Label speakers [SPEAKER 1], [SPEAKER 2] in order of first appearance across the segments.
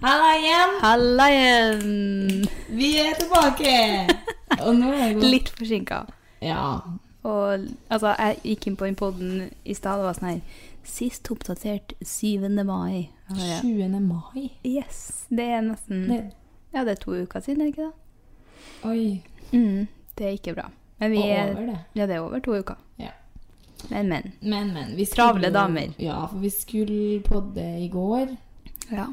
[SPEAKER 1] Halla igjen!
[SPEAKER 2] Halla igjen!
[SPEAKER 1] Vi er tilbake! Og nå er det
[SPEAKER 2] Litt forsinka.
[SPEAKER 1] Ja.
[SPEAKER 2] Og altså, jeg gikk inn på den podden i stad og var sånn her Sist oppdatert 7. mai. Og jeg,
[SPEAKER 1] 20. mai.
[SPEAKER 2] yes, det er nesten
[SPEAKER 1] Det-
[SPEAKER 2] Ja, det er to uker siden, er det ikke det?
[SPEAKER 1] Oi.
[SPEAKER 2] Mm, det er ikke bra. Men vi
[SPEAKER 1] Og
[SPEAKER 2] er
[SPEAKER 1] over det.
[SPEAKER 2] Ja, det er over to uker.
[SPEAKER 1] Ja.
[SPEAKER 2] Men, men.
[SPEAKER 1] Men, men. Vi
[SPEAKER 2] Travle damer.
[SPEAKER 1] Ja, for vi skulle podde i går.
[SPEAKER 2] Ja.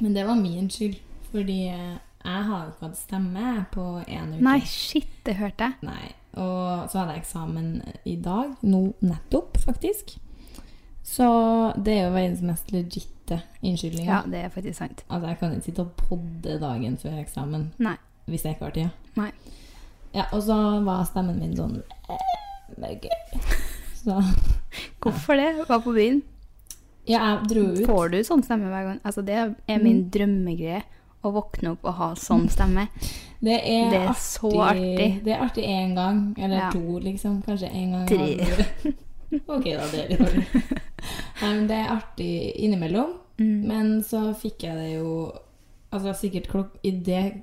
[SPEAKER 1] Men det var min skyld. Fordi eh, jeg har jo ikke hatt stemme på en uke.
[SPEAKER 2] Nei, shit, det hørte jeg.
[SPEAKER 1] Nei. Og så hadde jeg eksamen i dag. Nå nettopp, faktisk. Så det er jo verdens mest legitte unnskyldning.
[SPEAKER 2] Ja, det er faktisk sant.
[SPEAKER 1] Altså, jeg kan ikke sitte og podde dagen før eksamen
[SPEAKER 2] Nei.
[SPEAKER 1] hvis jeg ikke har tida.
[SPEAKER 2] Nei.
[SPEAKER 1] Ja, og så var stemmen min sånn eh, mørk. Så
[SPEAKER 2] Hvorfor det? Var på byen.
[SPEAKER 1] ja, jeg dro ut.
[SPEAKER 2] Får du sånn stemme hver gang? Altså, det er min drømmegreie. Å våkne opp og ha sånn stemme.
[SPEAKER 1] Det er,
[SPEAKER 2] Det er
[SPEAKER 1] artig.
[SPEAKER 2] så artig.
[SPEAKER 1] Det er artig én gang, eller
[SPEAKER 2] Ja.
[SPEAKER 1] to, liksom. Kanskje én gang. i
[SPEAKER 2] Tre.
[SPEAKER 1] halvåret. ok, da. Det er litt dårlig. Nei, men det er artig innimellom.
[SPEAKER 2] Mm.
[SPEAKER 1] Men så fikk jeg det jo Altså sikkert klok idet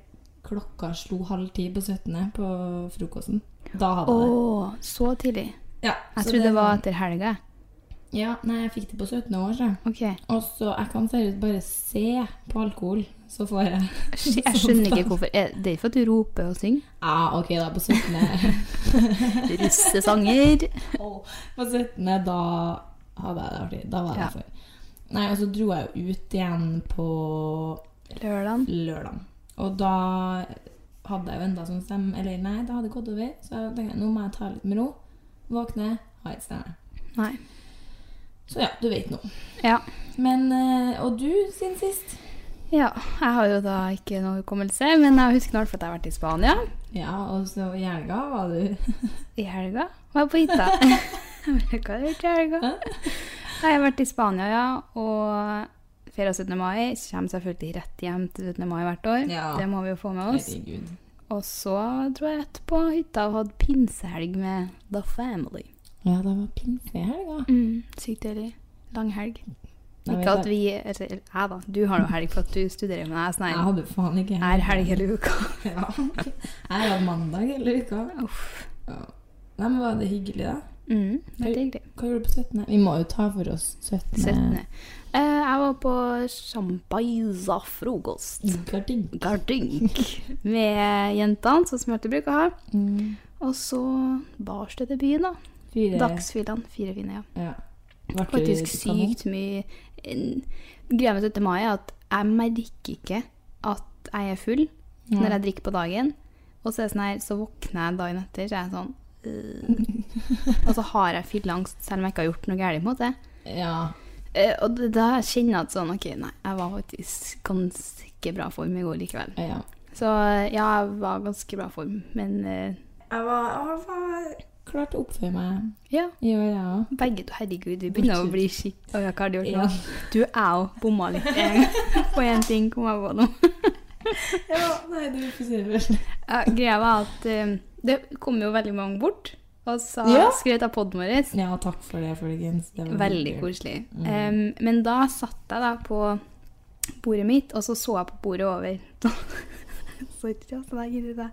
[SPEAKER 1] klokka slo halv ti på 17. på frokosten. Da hadde
[SPEAKER 2] Å,
[SPEAKER 1] jeg
[SPEAKER 2] så tidlig.
[SPEAKER 1] det. Ja,
[SPEAKER 2] Jeg
[SPEAKER 1] så
[SPEAKER 2] trodde det var
[SPEAKER 1] sånn-
[SPEAKER 2] etter helga. jeg.
[SPEAKER 1] Ja, nei, jeg fikk det på 17. år, så.
[SPEAKER 2] Ok.
[SPEAKER 1] Og så jeg kan seriøst bare se på alkohol, så får jeg
[SPEAKER 2] Shit, Jeg skjønner ikke hvorfor. Er det er ikke for at du roper og synger.
[SPEAKER 1] Ja, ok, da. På 17.
[SPEAKER 2] Russesanger.
[SPEAKER 1] Åh, på 17. da hadde jeg det artig. Da var jeg
[SPEAKER 2] Ja.
[SPEAKER 1] der før. Nei, og så dro jeg jo ut igjen på
[SPEAKER 2] Lørdagen.
[SPEAKER 1] lørdag. Og da hadde jeg jo enda sånn stemme Eller nei, det hadde gått over. Så jeg tenkte nå må jeg ta litt med ro. Våkne, ha et stemme.
[SPEAKER 2] Nei.
[SPEAKER 1] Så ja, du vet nå.
[SPEAKER 2] Ja.
[SPEAKER 1] Men eh, Og du, siden sist?
[SPEAKER 2] ja. Jeg har jo da ikke noe hukommelse, men jeg husker nå i hvert fall at jeg har vært i Spania
[SPEAKER 1] Ja, og så i helga var du
[SPEAKER 2] i helga. Var jeg på hytta. Jeg vet ikke Hva har jeg gjort i helga? Jeg har vært i Spania, ja. Og feira 17. mai. Kommer selvfølgelig rett hjem til 17. mai hvert år.
[SPEAKER 1] Ja.
[SPEAKER 2] Det må vi jo få med oss.
[SPEAKER 1] Herregud.
[SPEAKER 2] Og så tror jeg rett på hytta og hadde pinsehelg med The Family.
[SPEAKER 1] Ja, det var pinse i helga.
[SPEAKER 2] Mm, sykt deilig. Lang helg.
[SPEAKER 1] Jeg vet
[SPEAKER 2] Ikke at
[SPEAKER 1] det.
[SPEAKER 2] vi eller, Jeg, da. Du har jo helg for at du studerer, men jeg er sånn
[SPEAKER 1] Jeg
[SPEAKER 2] her,
[SPEAKER 1] hadde faen ikke
[SPEAKER 2] er helg hele uka.
[SPEAKER 1] Ja. Jeg hadde mandag hele uka.
[SPEAKER 2] Uff.
[SPEAKER 1] Ja. Nei, men var det hyggelig, da?
[SPEAKER 2] Mm, det er hyggelig.
[SPEAKER 1] Hva gjorde du på 17.? Vi må jo ta for oss 17.
[SPEAKER 2] 17. Eh, jeg var på champaisa frokost.
[SPEAKER 1] Garding.
[SPEAKER 2] Gardink. Med jentene, sånn som jeg alltid bruker å ha.
[SPEAKER 1] Mm.
[SPEAKER 2] Og så bars det til byen, da.
[SPEAKER 1] Fire.
[SPEAKER 2] Dagsfyllene. Fire fine, ja.
[SPEAKER 1] Ja. Ble du
[SPEAKER 2] Faktisk
[SPEAKER 1] kanon?
[SPEAKER 2] sykt mye en- Greia med 17. mai er at jeg merker ikke at jeg er full når jeg drikker på dagen. Og så, er det sånn her, så våkner jeg dagen etter, så er jeg sånn øh. Og så har jeg fylleangst, selv om jeg ikke har gjort noe galt. på en måte.
[SPEAKER 1] Ja.
[SPEAKER 2] Eh, Og det- da kjenner jeg at sånn Ok, nei, jeg var faktisk ganske bra form i går likevel.
[SPEAKER 1] ja.
[SPEAKER 2] Så ja, jeg var ganske bra form, men eh,
[SPEAKER 1] Jeg var, jeg var klart å oppføre meg
[SPEAKER 2] Ja,
[SPEAKER 1] i år, jeg òg.
[SPEAKER 2] begge to. Herregud, vi begynner å bli skikkelig Å, ja, hva har de gjort nå?
[SPEAKER 1] Ja.
[SPEAKER 2] Du, jeg òg bomma litt en gang på én ting. Kom jeg på nå.
[SPEAKER 1] Ja, nei, du får si det først.
[SPEAKER 2] Ja, greia var at eh, det kom jo veldig mange bort og sa
[SPEAKER 1] Ja.
[SPEAKER 2] skrøt av poden vår.
[SPEAKER 1] Ja, takk for det, folkens. Det var
[SPEAKER 2] Veldig
[SPEAKER 1] hyggelig.
[SPEAKER 2] koselig. Em, men da satt jeg da på bordet mitt, og så så jeg på bordet over. så ikke det, så der gidder jeg.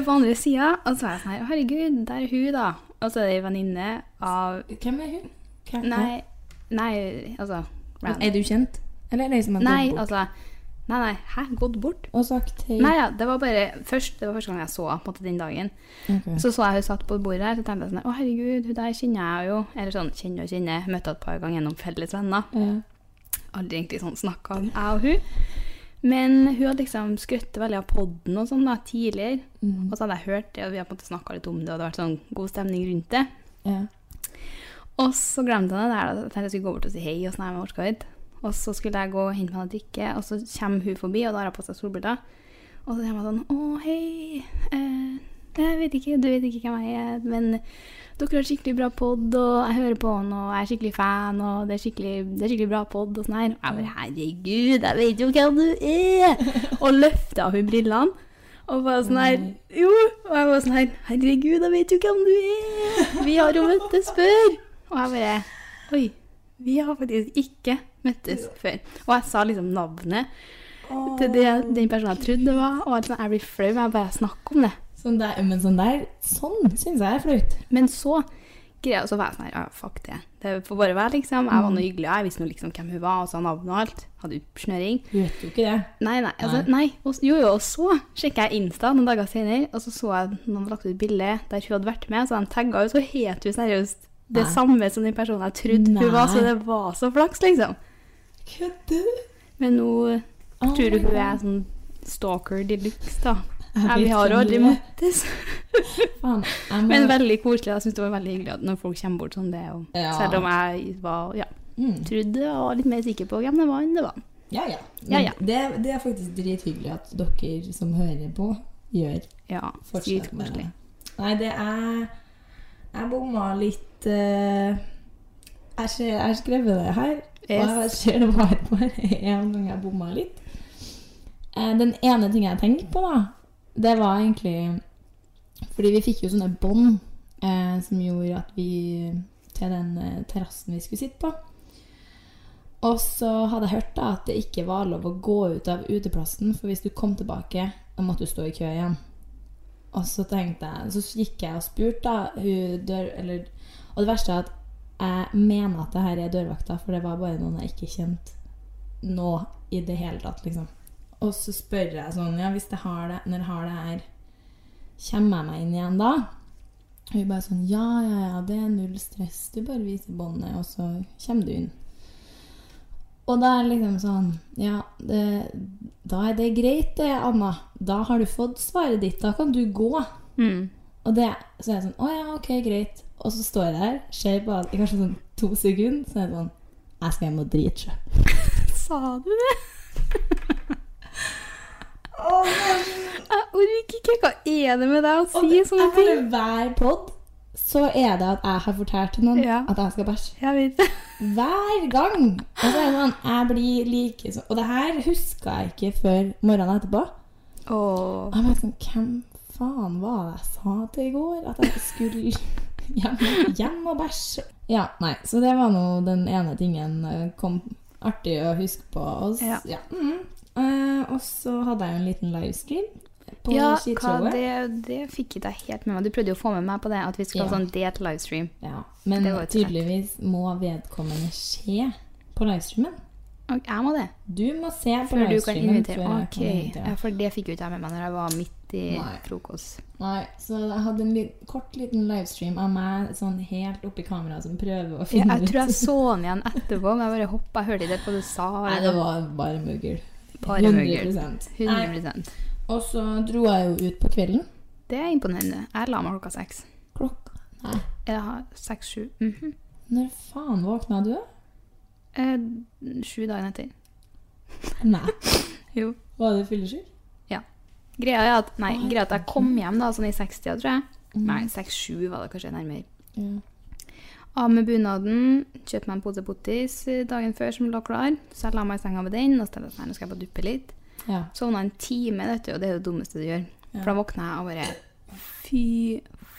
[SPEAKER 2] Eh, På andre sida, og så var jeg sånn her Herregud, der er hun, da. Og så er det ei venninne av
[SPEAKER 1] Hvem er hun? Hvem
[SPEAKER 2] Nei, nei, altså random.
[SPEAKER 1] Er du kjent? Eller er det ei som har
[SPEAKER 2] Nei,
[SPEAKER 1] gått bort
[SPEAKER 2] altså Nei, nei. Hæ? Gått bort?
[SPEAKER 1] og sagt hei?
[SPEAKER 2] Nei, ja, det var bare først, det var første gang jeg så henne på en måte, den dagen.
[SPEAKER 1] Ok.
[SPEAKER 2] Så så jeg hun satt på bordet her, så tenkte jeg sånn Å, herregud, hun der kjenner jeg jo. Eller sånn kjenner og kjenner. Møtte henne et par ganger gjennom felles venner.
[SPEAKER 1] Ja.
[SPEAKER 2] Aldri egentlig sånn snakka om jeg og hun. Men hun hadde liksom skrøttet veldig av podden og sånn da, tidligere. Og så hadde jeg hørt det, og vi hadde på en måte snakka litt om det, og det hadde vært sånn god stemning rundt det.
[SPEAKER 1] ja.
[SPEAKER 2] Og så glemte jeg det der, da. Jeg tenkte jeg skulle gå bort og si hei, og sånn, «Nei, jeg orka ikke. Og så skulle jeg gå og hente meg noe å drikke, og så kommer hun forbi, og da har jeg på seg solbriller. Og så kommer hun sånn Å, hei. Eh, jeg vet ikke, du vet ikke hvem jeg er, men dere har skikkelig bra pod, og jeg hører på han, og jeg er skikkelig fan, og det er skikkelig, det er skikkelig bra pod, og sånn her. Og jeg bare Herregud, jeg vet jo hvem du er! Og løfta hun brillene. Og bare sånn her Jo! Og jeg var sånn her Herregud, jeg vet jo hvem du er! Vi har jo møttes før! Og jeg bare Oi. Vi har faktisk ikke møttes før. Og jeg sa liksom navnet til det, den personen jeg trodde det var. Og alt sånn, jeg blir flau, men jeg bare snakker om det.
[SPEAKER 1] Sånn der, men sånn der Sånn syns jeg er flaut.
[SPEAKER 2] Men så greia så var jeg sånn her, ja, fuck det. Det får bare være, liksom. Jeg
[SPEAKER 1] Mm.
[SPEAKER 2] var noe hyggelig, jeg visste nå liksom hvem hun var, og sa navnet og alt. Hadde jo snøring.
[SPEAKER 1] Du vet jo ikke det.
[SPEAKER 2] Nei, nei. Altså, nei. Og, jo, jo, og så sjekka jeg Insta noen dager senere, og så så jeg at noen hadde lagt ut et bilde der hun hadde vært med, så de tagga henne, så het hun seriøst det
[SPEAKER 1] Nei.
[SPEAKER 2] samme som den personen jeg trodde
[SPEAKER 1] Nei.
[SPEAKER 2] hun var, så det var så flaks, liksom.
[SPEAKER 1] Kødder du?
[SPEAKER 2] Men nå
[SPEAKER 1] Oh
[SPEAKER 2] tror du
[SPEAKER 1] my
[SPEAKER 2] hun
[SPEAKER 1] God.
[SPEAKER 2] er sånn stalker de luxe, da.
[SPEAKER 1] Jeg
[SPEAKER 2] Ja, vi
[SPEAKER 1] blir
[SPEAKER 2] har jo aldri
[SPEAKER 1] flau.
[SPEAKER 2] møttes.
[SPEAKER 1] Faen, jeg må-
[SPEAKER 2] Men veldig koselig. Jeg syns det var veldig hyggelig at når folk kommer bort som det, og
[SPEAKER 1] Ja.
[SPEAKER 2] selv om jeg var, ja,
[SPEAKER 1] Mm.
[SPEAKER 2] trodde og var litt mer sikker på hvem det var enn det var.
[SPEAKER 1] Ja, ja.
[SPEAKER 2] Ja, ja.
[SPEAKER 1] Men Det, det er faktisk drithyggelig at dere som hører på, gjør
[SPEAKER 2] Ja,
[SPEAKER 1] fortsatt
[SPEAKER 2] sykt
[SPEAKER 1] med det.
[SPEAKER 2] koselig.
[SPEAKER 1] Nei, det er Jeg bomma litt eh, jeg, ser, jeg har skrevet det her, og jeg
[SPEAKER 2] Yes.
[SPEAKER 1] ser det var bare én gang jeg bomma litt. Eh, Den ene ting jeg tenkte på, da, det var egentlig Fordi vi fikk jo sånne bånd eh, som gjorde at vi Til den eh, terrassen vi skulle sitte på. Og så hadde jeg hørt da at det ikke var lov å gå ut av uteplassen, for hvis du kom tilbake, da måtte du stå i kø igjen. Og så tenkte jeg, så gikk jeg og spurte da, hun dør, eller, og det verste er at jeg mener at det her er dørvakta, for det var bare noen jeg ikke kjente nå i det hele tatt, liksom. Og så spør jeg sånn, ja, hvis det har det, når har det her, kommer jeg meg inn igjen da? Og hun bare sånn, ja, ja, ja, det er null stress, du bare viser båndet, og så kommer du inn. Og da er det liksom sånn Ja, det, da er det greit, det, Anna. Da har du fått svaret ditt. Da kan du gå.
[SPEAKER 2] Mm.
[SPEAKER 1] Og det, så er jeg sånn Å ja, ok, greit. Og så står jeg der, ser på han i kanskje sånn to sekunder, så er jeg sånn Jeg skal hjem og drite sjøl.
[SPEAKER 2] Sa du det? jeg orker ikke. Hva er det med deg å si sånne
[SPEAKER 1] Jeg
[SPEAKER 2] ting?
[SPEAKER 1] hører hver pod, så er det at jeg har fortalt til noen
[SPEAKER 2] Ja.
[SPEAKER 1] at jeg skal bæsje.
[SPEAKER 2] Jeg vet det.
[SPEAKER 1] Hver gang! Og så er det sånn Jeg blir like sånn Og det her huska jeg ikke før morgenen etterpå.
[SPEAKER 2] Åh.
[SPEAKER 1] Og Jeg var sånn, Hvem faen var det jeg sa til i går? At jeg skulle hjem, hjem og bæsje? Ja, nei, Så det var nå den ene tingen eh, kom artig å huske på. Og, s-
[SPEAKER 2] Ja.
[SPEAKER 1] ja, mhm. Eh, og så hadde jeg jo en liten livestream på
[SPEAKER 2] Ja, hva,
[SPEAKER 1] skishowet.
[SPEAKER 2] det, det fikk ikke jeg helt med meg. Du prøvde jo å få med meg på det, at vi skal ha
[SPEAKER 1] Ja.
[SPEAKER 2] sånn delt livestream.
[SPEAKER 1] Ja, men
[SPEAKER 2] Det var jo ikke
[SPEAKER 1] tydeligvis må vedkommende se på livestreamen.
[SPEAKER 2] Og jeg må det.
[SPEAKER 1] Du må se på
[SPEAKER 2] Før du kan
[SPEAKER 1] livestreamen
[SPEAKER 2] invitere.
[SPEAKER 1] før jeg
[SPEAKER 2] Ok,
[SPEAKER 1] kan invitere.
[SPEAKER 2] ja, For det fikk jo ikke jeg med meg når jeg var midt i
[SPEAKER 1] Nei.
[SPEAKER 2] frokost.
[SPEAKER 1] Nei, så jeg hadde en li kort liten livestream av meg sånn helt oppi kameraet som prøver å
[SPEAKER 2] Ja,
[SPEAKER 1] finne
[SPEAKER 2] jeg
[SPEAKER 1] ut
[SPEAKER 2] tror jeg så den igjen etterpå, men jeg bare hoppa. Jeg hørte ikke helt hva du sa.
[SPEAKER 1] Nei, det var bare muggel.
[SPEAKER 2] Bare mugger.
[SPEAKER 1] 100%.
[SPEAKER 2] 100
[SPEAKER 1] Nei, Og så dro jeg jo ut på kvelden.
[SPEAKER 2] Det er imponerende. Jeg la meg klokka seks.
[SPEAKER 1] Klokka Nei,
[SPEAKER 2] Jeg har seks-sju. Mhm.
[SPEAKER 1] når faen våkna du?
[SPEAKER 2] Eh, sju dager etter.
[SPEAKER 1] Nei.
[SPEAKER 2] Jo.
[SPEAKER 1] Var du fyllesyk?
[SPEAKER 2] Greia er at, nei, greia er at jeg kom hjem da, sånn i 60 tror jeg.
[SPEAKER 1] Mhm.
[SPEAKER 2] Nei, seks-sju var det kanskje nærmere.
[SPEAKER 1] Ja.
[SPEAKER 2] Av med bunaden, kjøpte meg en pose pottis eh, dagen før som lå klar. Så jeg la meg i senga med den og så tenkte jeg at nei, nå skal jeg bare duppe litt.
[SPEAKER 1] Ja.
[SPEAKER 2] Sovna en time, vet du, og det er det dummeste du gjør. For da våkna jeg og bare Fy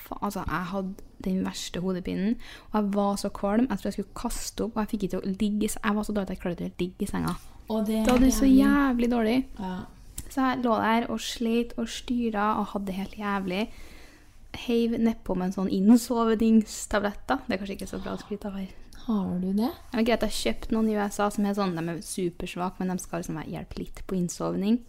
[SPEAKER 2] faen. Altså, jeg hadde den verste hodepinen. Og jeg var så kvalm. Jeg tror jeg skulle kaste opp. Og jeg fikk ikke til å ligge i se- Jeg var så dårlig at jeg klarte ikke å ligge i senga.
[SPEAKER 1] Og det
[SPEAKER 2] Da var det så jævlig dårlig.
[SPEAKER 1] Ja.
[SPEAKER 2] Så jeg lå der og slet og styra og hadde det helt jævlig. Heiv nedpå med en sånn innsovningstablett. da. Det er kanskje ikke så bra å skryte av her.
[SPEAKER 1] Har du
[SPEAKER 2] Det
[SPEAKER 1] det?
[SPEAKER 2] er greit, Jeg har kjøpt noen i USA som er sånn, de er supersvake, men de skal liksom være- hjelpe litt på innsovning.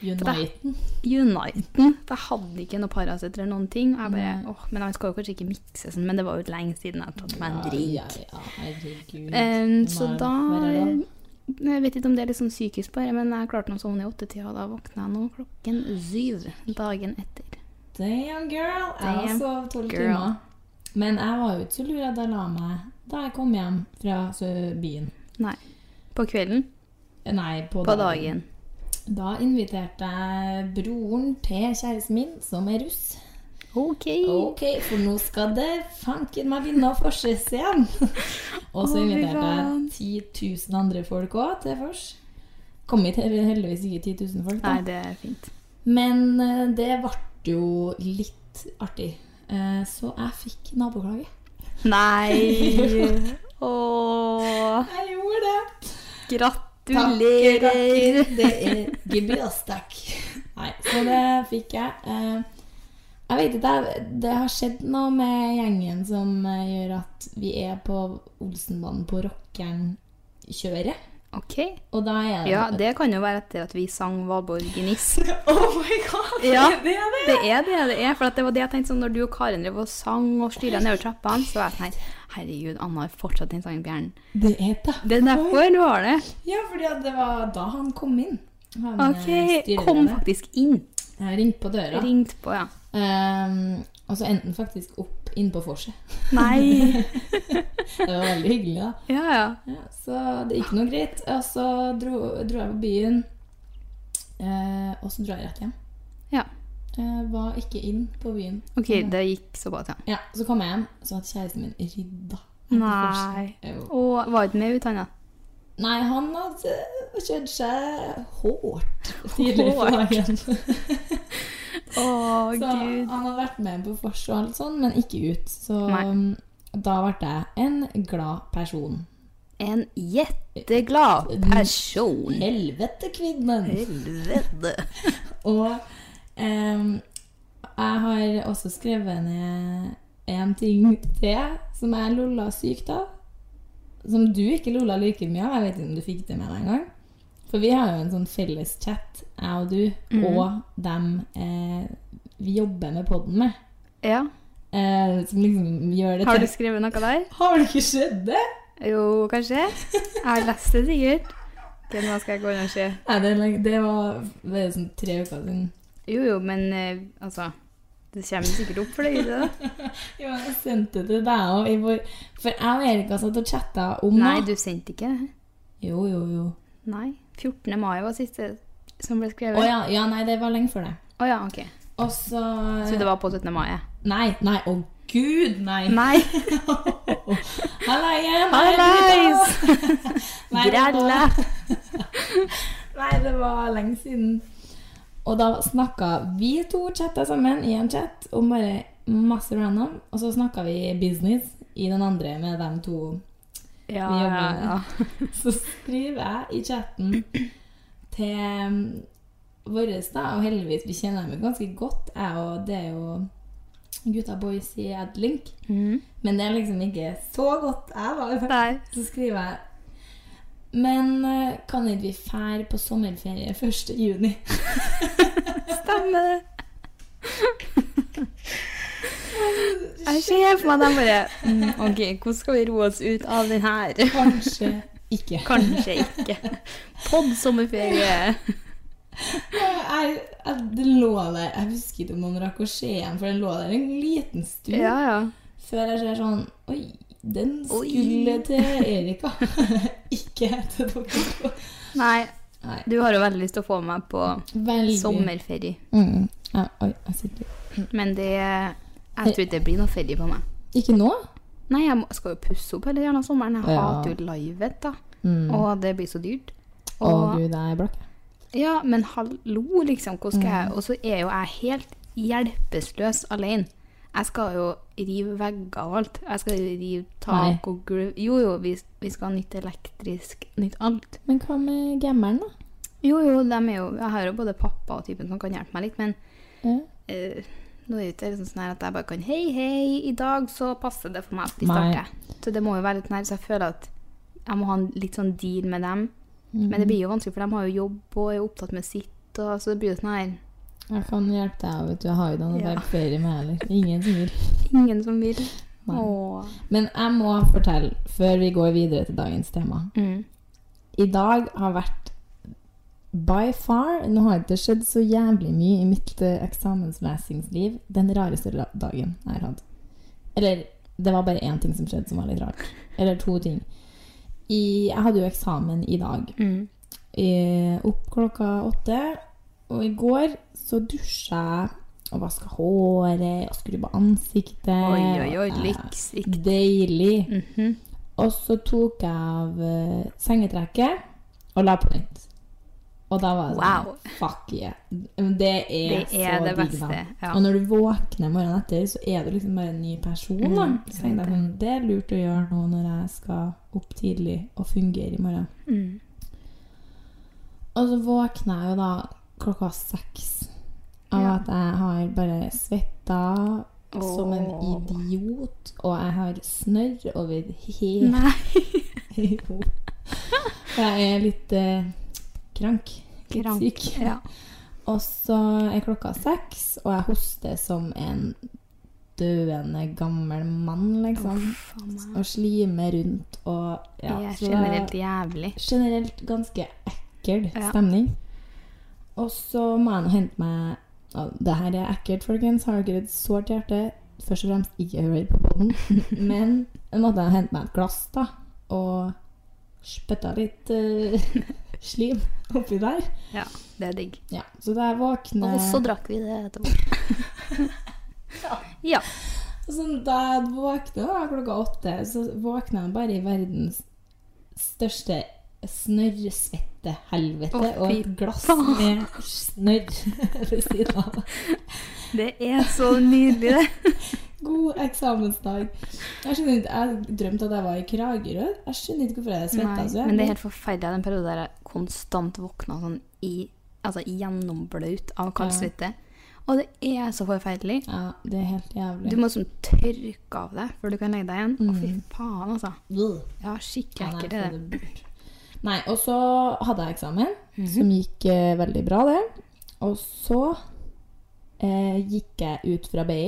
[SPEAKER 2] For det-
[SPEAKER 1] Uniten.
[SPEAKER 2] Uniten. For jeg hadde ikke noe Paracet eller noen ting. Og jeg bare, åh, men jeg skal jo kanskje ikke mikse sånn, men det var jo lenge siden jeg tatt meg en drink.
[SPEAKER 1] Ja, ja, herregud.
[SPEAKER 2] Em, så
[SPEAKER 1] Nei,
[SPEAKER 2] da
[SPEAKER 1] hva er det da?
[SPEAKER 2] Jeg vet ikke om det er litt sånn psykisk bare, men jeg klarte nå å sovne i åttetida, og da våkna jeg nå klokken syv dagen etter.
[SPEAKER 1] Damn, girl. Jeg
[SPEAKER 2] Damn,
[SPEAKER 1] sov tolv
[SPEAKER 2] girl.
[SPEAKER 1] timer. Men jeg var jo ikke så lur at jeg la meg da jeg kom hjem fra så, byen.
[SPEAKER 2] Nei. På kvelden?
[SPEAKER 1] Nei, på,
[SPEAKER 2] På dagen.
[SPEAKER 1] Da inviterte jeg broren til kjæresten min, som er russ.
[SPEAKER 2] OK.
[SPEAKER 1] Ok, for nå skal det fanken meg vinne og forses igjen. og
[SPEAKER 2] Å,
[SPEAKER 1] så
[SPEAKER 2] fy
[SPEAKER 1] inviterte
[SPEAKER 2] faen.
[SPEAKER 1] jeg 10 000 andre folk òg til vors. Kom hit hel- heldigvis ikke 10 000 folk, da.
[SPEAKER 2] Nei, det er fint.
[SPEAKER 1] Men eh, det ble jo litt artig. Eh, Så jeg fikk naboklage.
[SPEAKER 2] Nei! Åh,
[SPEAKER 1] Jeg gjorde det.
[SPEAKER 2] gratulerer!
[SPEAKER 1] Det er gebyrstakk. Nei, så det fikk jeg. Eh, Jeg vet ikke, jeg- det har skjedd noe med gjengen som eh, gjør at vi er på Olsenbanen på Rockeren-kjøret.
[SPEAKER 2] OK.
[SPEAKER 1] Og da er det
[SPEAKER 2] Ja, det kan jo være etter at vi sang Valborg i Niss.
[SPEAKER 1] Oh my god!
[SPEAKER 2] Ja,
[SPEAKER 1] Det er det!
[SPEAKER 2] det er det det er. For at det var det jeg tenkte sånn, når du og Karen drev og sang og styra nedover trappene, så var jeg sånn her Herregud, Anna har fortsatt den sangen på hjernen.
[SPEAKER 1] Det er det.
[SPEAKER 2] Det er derfor du har det.
[SPEAKER 1] Ja, fordi at det var da han kom inn. Han,
[SPEAKER 2] OK.
[SPEAKER 1] eh, styrer
[SPEAKER 2] Kom
[SPEAKER 1] det.
[SPEAKER 2] faktisk inn.
[SPEAKER 1] Jeg ringte på døra.
[SPEAKER 2] Ringt på, ja.
[SPEAKER 1] Ehm, og så endte han faktisk opp inne på vorset.
[SPEAKER 2] Nei.
[SPEAKER 1] Det var veldig hyggelig, da.
[SPEAKER 2] Ja, ja.
[SPEAKER 1] Ja, så det gikk noe greit. Og så dro, dro jeg på byen, eh, og så dro jeg rett hjem.
[SPEAKER 2] Ja.
[SPEAKER 1] Jeg var ikke inn på byen.
[SPEAKER 2] OK, det gikk så bra til.
[SPEAKER 1] Ja, Så kom jeg hjem, så hadde kjæresten min rydda.
[SPEAKER 2] Nei.
[SPEAKER 1] Jo.
[SPEAKER 2] Og var ikke med ut, Anna?
[SPEAKER 1] Nei, han hadde kjørt seg hårdt tidligere på dagen.
[SPEAKER 2] Å,
[SPEAKER 1] Så han
[SPEAKER 2] gud.
[SPEAKER 1] hadde vært med på vors og alt sånn, men ikke ut. Så
[SPEAKER 2] Nei.
[SPEAKER 1] da ble jeg en glad person.
[SPEAKER 2] En jetteglad person.
[SPEAKER 1] Helvete, kvinnen!
[SPEAKER 2] Helvete.
[SPEAKER 1] Og em, jeg har også skrevet ned en ting til som jeg lolla sykt av. Som du ikke lolla like mye av. Jeg vet ikke om du fikk det med deg engang. For vi har jo en sånn felles chat, jeg og du,
[SPEAKER 2] Mhm.
[SPEAKER 1] og dem eh, vi jobber med podden med.
[SPEAKER 2] Ja.
[SPEAKER 1] Eh, som liksom gjør det
[SPEAKER 2] Har du
[SPEAKER 1] til
[SPEAKER 2] skrevet noe der?
[SPEAKER 1] Har det ikke skjedd, det?
[SPEAKER 2] Jo, kanskje. Jeg har lest det sikkert. Ok, nå skal jeg gå inn og se.
[SPEAKER 1] Nei, det, er lenge- det var det er sånn tre uker siden.
[SPEAKER 2] Jo, jo, men eh, altså Det kommer sikkert opp for deg, gjør det ikke?
[SPEAKER 1] Jo, jeg sendte det til deg òg. For jeg og Erika satt og chatta om
[SPEAKER 2] Nei,
[SPEAKER 1] noe.
[SPEAKER 2] du sendte ikke det.
[SPEAKER 1] Jo, jo, jo.
[SPEAKER 2] Nei. 14. mai var siste som ble
[SPEAKER 1] Å
[SPEAKER 2] skrevet.
[SPEAKER 1] ja, ja, nei, det var lenge før det.
[SPEAKER 2] Å ja, ok.
[SPEAKER 1] Og så
[SPEAKER 2] Så det var på 17. mai? ja.
[SPEAKER 1] Nei, nei, å gud, nei!
[SPEAKER 2] Nei.
[SPEAKER 1] Halla igjen!
[SPEAKER 2] Hallais!
[SPEAKER 1] Nei, det var-
[SPEAKER 2] Grella.
[SPEAKER 1] Nei, det var lenge siden. Og da snakka vi to chatta sammen i en chat om bare masse random. Og så snakka vi business i den andre med dem to.
[SPEAKER 2] Ja,
[SPEAKER 1] Vi
[SPEAKER 2] ja,
[SPEAKER 1] jobber
[SPEAKER 2] ja.
[SPEAKER 1] Så skriver jeg i chatten til um, våres, da, og heldigvis vi kjenner dem jo ganske godt, jeg og det er jo gutta boys i Adlink.
[SPEAKER 2] Mm.
[SPEAKER 1] Men det er liksom ikke så godt jeg var.
[SPEAKER 2] Nei.
[SPEAKER 1] Så skriver jeg Men eh, kan ikke vi fære på sommerferie 1. juni?
[SPEAKER 2] Stemmer det. Jeg ser for meg dem bare mm, OK, hvordan skal vi roe oss ut av den her?
[SPEAKER 1] Kanskje ikke.
[SPEAKER 2] Kanskje ikke. Podd-sommerferie.
[SPEAKER 1] Jeg, jeg, det lå der, jeg husker ikke om noen rakk å se den, for den lå der en liten stund.
[SPEAKER 2] Ja, ja.
[SPEAKER 1] Før jeg ser sånn Oi, den
[SPEAKER 2] Oi.
[SPEAKER 1] skulle til Erika. ikke til dere.
[SPEAKER 2] Nei,
[SPEAKER 1] Nei.
[SPEAKER 2] du har jo veldig lyst til å få meg på
[SPEAKER 1] Veldig.
[SPEAKER 2] sommerferie.
[SPEAKER 1] Mm. Ja, oi, jeg sitter
[SPEAKER 2] Men det Jeg tror ikke det blir noe ferie på meg.
[SPEAKER 1] Ikke nå?
[SPEAKER 2] Nei, jeg må, skal jo pusse opp hele jævla sommeren. Jeg
[SPEAKER 1] Ja.
[SPEAKER 2] hater jo livet, da. Og det blir så dyrt.
[SPEAKER 1] Mm. Å
[SPEAKER 2] Og,
[SPEAKER 1] gud, jeg er blakk.
[SPEAKER 2] ja, men hallo, liksom. Hvordan skal
[SPEAKER 1] Mm.
[SPEAKER 2] jeg Og så er jo jeg helt hjelpeløs alene. Jeg skal jo rive vegger og alt. Jeg skal jo rive tak og gulv. Jo, jo, vi, vi skal ha nytt elektrisk, nytt alt.
[SPEAKER 1] Men hva med gammeren, da?
[SPEAKER 2] Jo, jo, dem er jo Jeg har jo både pappa og typen som kan hjelpe meg litt, men
[SPEAKER 1] Ja.
[SPEAKER 2] eh, nå er det ikke liksom sånn her at jeg bare kan Hei, hei, i dag så passer det for meg at vi
[SPEAKER 1] Nei.
[SPEAKER 2] starter. Så det må jo være litt nær, så jeg føler at jeg må ha en litt sånn deal med dem.
[SPEAKER 1] Mm.
[SPEAKER 2] Men det blir jo vanskelig, for de har jo jobb og er opptatt med sitt, og, så det blir jo sånn her
[SPEAKER 1] Jeg kan hjelpe deg, vet du. Jeg har jo ikke noe
[SPEAKER 2] Ja.
[SPEAKER 1] ja. ferie med heller. Ingen som vil.
[SPEAKER 2] Ingen som vil.
[SPEAKER 1] Nei.
[SPEAKER 2] Åh.
[SPEAKER 1] Men jeg må fortelle, før vi går videre til dagens tema
[SPEAKER 2] Mm.
[SPEAKER 1] I dag har vært by far Nå har det skjedd så jævlig mye i mitt eh, eksamensmessingsliv. Den rareste la- dagen jeg har hatt. Eller det var bare én ting som skjedde som var litt rart. Eller to ting. I, jeg hadde jo eksamen i dag.
[SPEAKER 2] mm.
[SPEAKER 1] Eh, opp klokka åtte. Og i går så dusja jeg og vaska håret og skrubba ansiktet.
[SPEAKER 2] Oi, oi, oi, Mhm,
[SPEAKER 1] og, eh,
[SPEAKER 2] lykksikt.
[SPEAKER 1] Deilig. Og så tok jeg av eh, sengetrekket og la på nytt. Og da var det sånn,
[SPEAKER 2] Wow.
[SPEAKER 1] Fuck yeah. Det er,
[SPEAKER 2] Det er
[SPEAKER 1] så
[SPEAKER 2] det
[SPEAKER 1] digg,
[SPEAKER 2] beste,
[SPEAKER 1] da.
[SPEAKER 2] ja.
[SPEAKER 1] Og når du våkner morgenen etter, så er du liksom bare en ny person. Da.
[SPEAKER 2] Mm,
[SPEAKER 1] Så tenkte jeg sånn, Det er lurt å gjøre nå når jeg skal opp tidlig og fungere i morgen.
[SPEAKER 2] Mm.
[SPEAKER 1] Og så våkner jeg jo da klokka seks av
[SPEAKER 2] Ja.
[SPEAKER 1] at jeg har bare svetta som en
[SPEAKER 2] Åh.
[SPEAKER 1] idiot, og jeg har snørr over hele
[SPEAKER 2] Nei.
[SPEAKER 1] Jo. Jeg er litt eh, krank. Litt
[SPEAKER 2] Krank.
[SPEAKER 1] syk.
[SPEAKER 2] Ja.
[SPEAKER 1] Og så er klokka seks, og jeg hoster som en døende gammel mann, liksom. og slimer rundt og
[SPEAKER 2] Det
[SPEAKER 1] ja,
[SPEAKER 2] er
[SPEAKER 1] så det-
[SPEAKER 2] generelt jævlig.
[SPEAKER 1] generelt ganske ekkel
[SPEAKER 2] Ja.
[SPEAKER 1] stemning. Og så må jeg nå hente meg å, Det her er ekkelt, folkens. Har dere et sårt hjerte? Først og fremst ikke hør på podden. Men jeg måtte hente meg et glass, da. Og spytta litt eh, slim oppi der.
[SPEAKER 2] Ja, det er digg.
[SPEAKER 1] Ja, så da jeg våkner
[SPEAKER 2] Og så drakk vi det etterpå. ja.
[SPEAKER 1] Og sånn, da jeg våkner da, klokka åtte, så våkner jeg bare i verdens største snørrsvette helvete
[SPEAKER 2] Å, fy
[SPEAKER 1] og et glass
[SPEAKER 2] faen.
[SPEAKER 1] med snørr ved siden av.
[SPEAKER 2] Det er så nydelig, det.
[SPEAKER 1] God eksamensdag. Jeg skjønner ikke, jeg drømte at jeg var i Kragerø. Jeg skjønner ikke hvorfor jeg svetta
[SPEAKER 2] Nei,
[SPEAKER 1] så
[SPEAKER 2] men det
[SPEAKER 1] jævlig.
[SPEAKER 2] er helt forferdelig den perioden der jeg konstant våkna sånn i Altså gjennomblaut av kaldsvette. Og det er så forferdelig.
[SPEAKER 1] Ja, det er helt
[SPEAKER 2] Du
[SPEAKER 1] jævlig.
[SPEAKER 2] må sånn tørke av deg før du kan legge deg igjen. Å, fy faen, altså.
[SPEAKER 1] Bleh.
[SPEAKER 2] Ja, skikkelig
[SPEAKER 1] Ja, nei,
[SPEAKER 2] ekkelt er
[SPEAKER 1] få
[SPEAKER 2] det.
[SPEAKER 1] det bort. Nei, og så hadde jeg eksamen, som gikk eh, veldig bra, det. Og så eh, gikk jeg ut fra BI,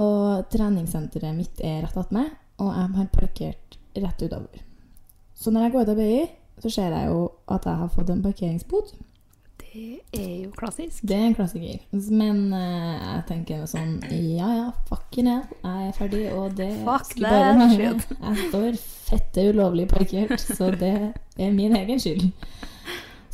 [SPEAKER 1] og treningssenteret mitt er rett attmed, og jeg har parkert rett utover. Så når jeg går ut av BI, så ser jeg jo at jeg har fått en parkeringsbot.
[SPEAKER 2] Det er jo klassisk.
[SPEAKER 1] Det er en klassiker. Men eh, jeg tenker noe sånn Ja ja, fucking hell. Jeg er ferdig, og det
[SPEAKER 2] Fuck
[SPEAKER 1] skulle
[SPEAKER 2] that
[SPEAKER 1] bare mangle.
[SPEAKER 2] shit.
[SPEAKER 1] Jeg står fette ulovlig parkert, så det er min egen skyld.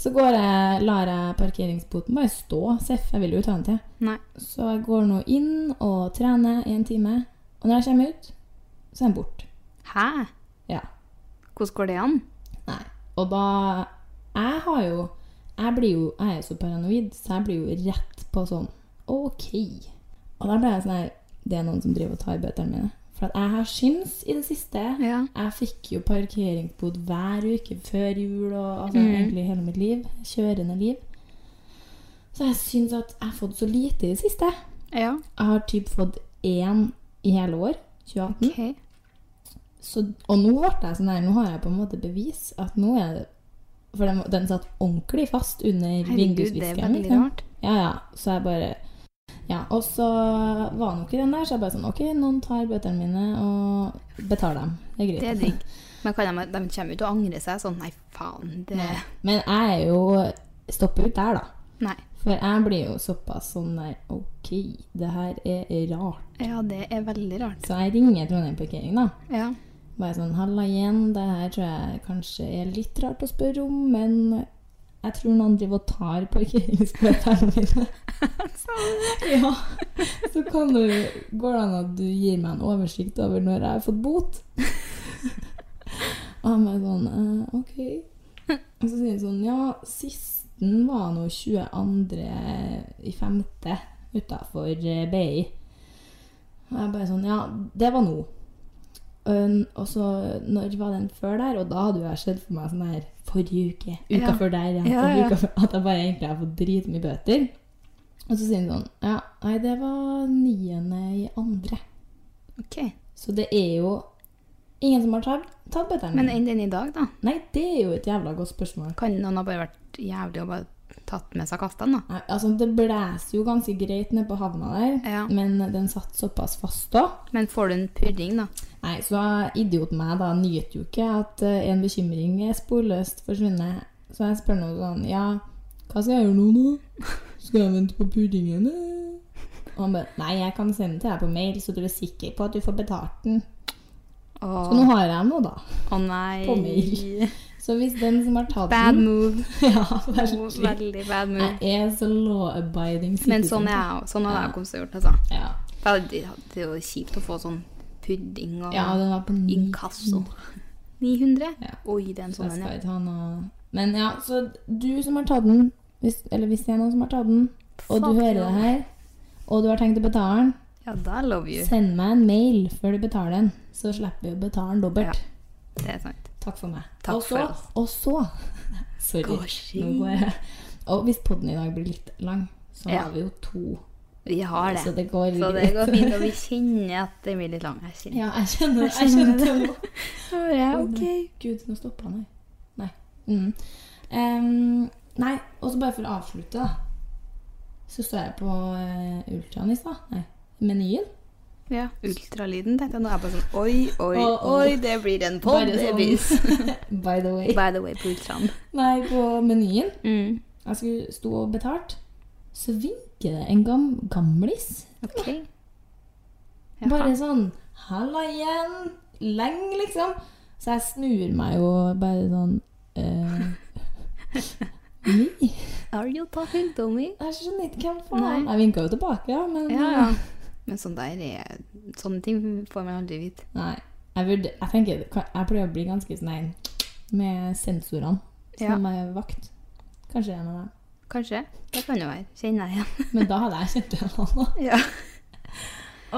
[SPEAKER 1] Så går jeg, lar jeg parkeringsboten bare stå, Seff. Jeg vil jo ta den til.
[SPEAKER 2] Nei.
[SPEAKER 1] Så jeg går nå inn og trener i en time. Og når jeg kommer ut, så er den borte.
[SPEAKER 2] Hæ?
[SPEAKER 1] Ja.
[SPEAKER 2] Hvordan går det an?
[SPEAKER 1] Nei. Og da Jeg har jo Jeg, blir jo, jeg er jo så paranoid, så jeg blir jo rett på sånn OK. Og da ble jeg sånn her Det er noen som driver og tar bøtene mine. For at jeg har syns i det siste.
[SPEAKER 2] Ja.
[SPEAKER 1] Jeg fikk jo parkeringsbod hver uke før jul og altså, egentlig hele mitt liv. Kjørende liv. Så jeg syns at jeg har fått så lite i det siste.
[SPEAKER 2] Ja,
[SPEAKER 1] Jeg har typ fått én i hele år. 2018.
[SPEAKER 2] OK.
[SPEAKER 1] Så, og nå ble jeg sånn her, nå har jeg på en måte bevis at nå er det For den, den satt ordentlig fast under
[SPEAKER 2] Herregud, det er
[SPEAKER 1] vindusviskeren.
[SPEAKER 2] veldig
[SPEAKER 1] liksom.
[SPEAKER 2] rart.
[SPEAKER 1] Ja, ja. Så jeg bare Ja. Og så var nå ikke den der, så jeg bare sånn OK, noen tar bøtene mine og betaler dem. Det er greit.
[SPEAKER 2] Det er digg. Men kan de, de kommer jo til å angre seg sånn Nei, faen. Det
[SPEAKER 1] Nei. Men jeg er jo Stopper ut der, da.
[SPEAKER 2] Nei.
[SPEAKER 1] For jeg blir jo såpass sånn der OK, det her er rart.
[SPEAKER 2] Ja, det er veldig rart.
[SPEAKER 1] Så jeg ringer Trondheim Parkering, da.
[SPEAKER 2] Ja.
[SPEAKER 1] Bare sånn, halla igjen, det her tror jeg kanskje er litt rart å spørre om, men Jeg tror noen driver og tar parkeringsbøtene mine. ja. Så kan du, går det an at du gir meg en oversikt over når jeg har fått bot? og han bare sånn eh, OK. Og så sier han sånn Ja, sisten var nå 22.5. utafor BI. Og jeg bare sånn Ja, det var nå. Um, og så når var den før der? Og da hadde jo jeg sett for meg sånn her forrige uke, uka
[SPEAKER 2] Ja.
[SPEAKER 1] før der igjen,
[SPEAKER 2] Ja,
[SPEAKER 1] og
[SPEAKER 2] ja.
[SPEAKER 1] uka før, at jeg bare egentlig har fått dritmye bøter. Og så sier han sånn Ja, nei, det var niende i andre.
[SPEAKER 2] Ok.
[SPEAKER 1] Så det er jo ingen som har tatt, tatt bøtene.
[SPEAKER 2] Men enn den i dag, da?
[SPEAKER 1] Nei, det er jo et jævla godt spørsmål.
[SPEAKER 2] Kan noen ha bare vært jævlig og bare tatt med seg kastene, da?
[SPEAKER 1] Nei, altså Det blåser jo ganske greit nede på havna der,
[SPEAKER 2] Ja.
[SPEAKER 1] men den satt såpass fast da.
[SPEAKER 2] Men får du en purring, da?
[SPEAKER 1] Nei, Så idiot meg da nyter jo ikke at eh, en bekymring er sporløst forsvunnet. Så jeg spør noe sånn Ja, hva skal jeg gjøre nå, nå? Skal jeg vente på puddingen? eh?» Og han bare Nei, jeg kan sende den til deg på mail, så du er sikker på at du får betalt den.
[SPEAKER 2] Å
[SPEAKER 1] Så nå har jeg den nå, da.
[SPEAKER 2] å nei.
[SPEAKER 1] På mail. Mm. Så hvis den som har tatt
[SPEAKER 2] Bad
[SPEAKER 1] den
[SPEAKER 2] move.
[SPEAKER 1] Ja,
[SPEAKER 2] Oh,
[SPEAKER 1] veldig.
[SPEAKER 2] Veldig bad move.
[SPEAKER 1] Jeg er så law-abiding
[SPEAKER 2] Men sånn er jeg òg. Sånn hadde jeg kommet til å gjort, altså.
[SPEAKER 1] Ja.
[SPEAKER 2] For Det det er jo kjipt å få sånn pudding og
[SPEAKER 1] Ja, den var på ni-
[SPEAKER 2] inkasso. 900?
[SPEAKER 1] Ja.
[SPEAKER 2] Oi, det er en
[SPEAKER 1] Så jeg
[SPEAKER 2] sånn en.
[SPEAKER 1] skal
[SPEAKER 2] ja.
[SPEAKER 1] ikke ha noe Men ja, så du som har tatt den, hvis, eller hvis det er noen som har tatt den, og
[SPEAKER 2] Fuck
[SPEAKER 1] du hører
[SPEAKER 2] you.
[SPEAKER 1] det her, og du har tenkt å betale den,
[SPEAKER 2] Ja, da love you.
[SPEAKER 1] send meg en mail før du betaler den, så slipper vi å betale den
[SPEAKER 2] Ja.
[SPEAKER 1] dobbelt.
[SPEAKER 2] Det er sant.
[SPEAKER 1] Takk for meg.
[SPEAKER 2] Takk
[SPEAKER 1] og så,
[SPEAKER 2] for oss.
[SPEAKER 1] og så Sorry.
[SPEAKER 2] Gå ski.
[SPEAKER 1] Nå går jeg. Og hvis podden i dag blir litt lang, så
[SPEAKER 2] Ja.
[SPEAKER 1] har vi jo to.
[SPEAKER 2] Vi har det.
[SPEAKER 1] Så det går
[SPEAKER 2] Så det
[SPEAKER 1] greit.
[SPEAKER 2] går fint. Og vi kjenner at det blir litt lang. Jeg kjenner
[SPEAKER 1] Ja, jeg kjenner, jeg kjenner det nå.
[SPEAKER 2] Ja, ok.
[SPEAKER 1] Gud, nå stoppa han her. Nei. Mm. Em, nei, og så bare for å avslutte, da. Så står jeg på uh, Ultraen i stad. Nei, menyen.
[SPEAKER 2] Ja, ultralyden tenkte jeg nå. er Jeg bare sånn oi, oi,
[SPEAKER 1] Å, å.
[SPEAKER 2] oi, det blir en podd,
[SPEAKER 1] Bare
[SPEAKER 2] det
[SPEAKER 1] sånn.
[SPEAKER 2] blir
[SPEAKER 1] By the way.
[SPEAKER 2] By the way, på ultraen.
[SPEAKER 1] Nei, på menyen.
[SPEAKER 2] Mm.
[SPEAKER 1] Jeg skulle stå og betalt. Så vinker det en gam gamlis.
[SPEAKER 2] Ok.
[SPEAKER 1] Bare sånn Halla igjen! Lenge, liksom. Så jeg snur meg jo bare sånn eh, Nei,
[SPEAKER 2] Are you talking to me?
[SPEAKER 1] Jeg skjønner ikke hvem faen
[SPEAKER 2] Nei.
[SPEAKER 1] Jeg vinka jo tilbake, ja, men eh,
[SPEAKER 2] Ja, ja. Men sånn der er Sånne ting får man aldri vite.
[SPEAKER 1] Nei. Jeg, vurd- jeg, tenker, jeg pleier å bli ganske sånn nei, med sensorene som er vakt. Kanskje jeg er med dem.
[SPEAKER 2] Sånn, Kanskje. Det kan det være. Kjenner jeg igjen.
[SPEAKER 1] Men da hadde jeg kjent igjen han da.
[SPEAKER 2] Ja.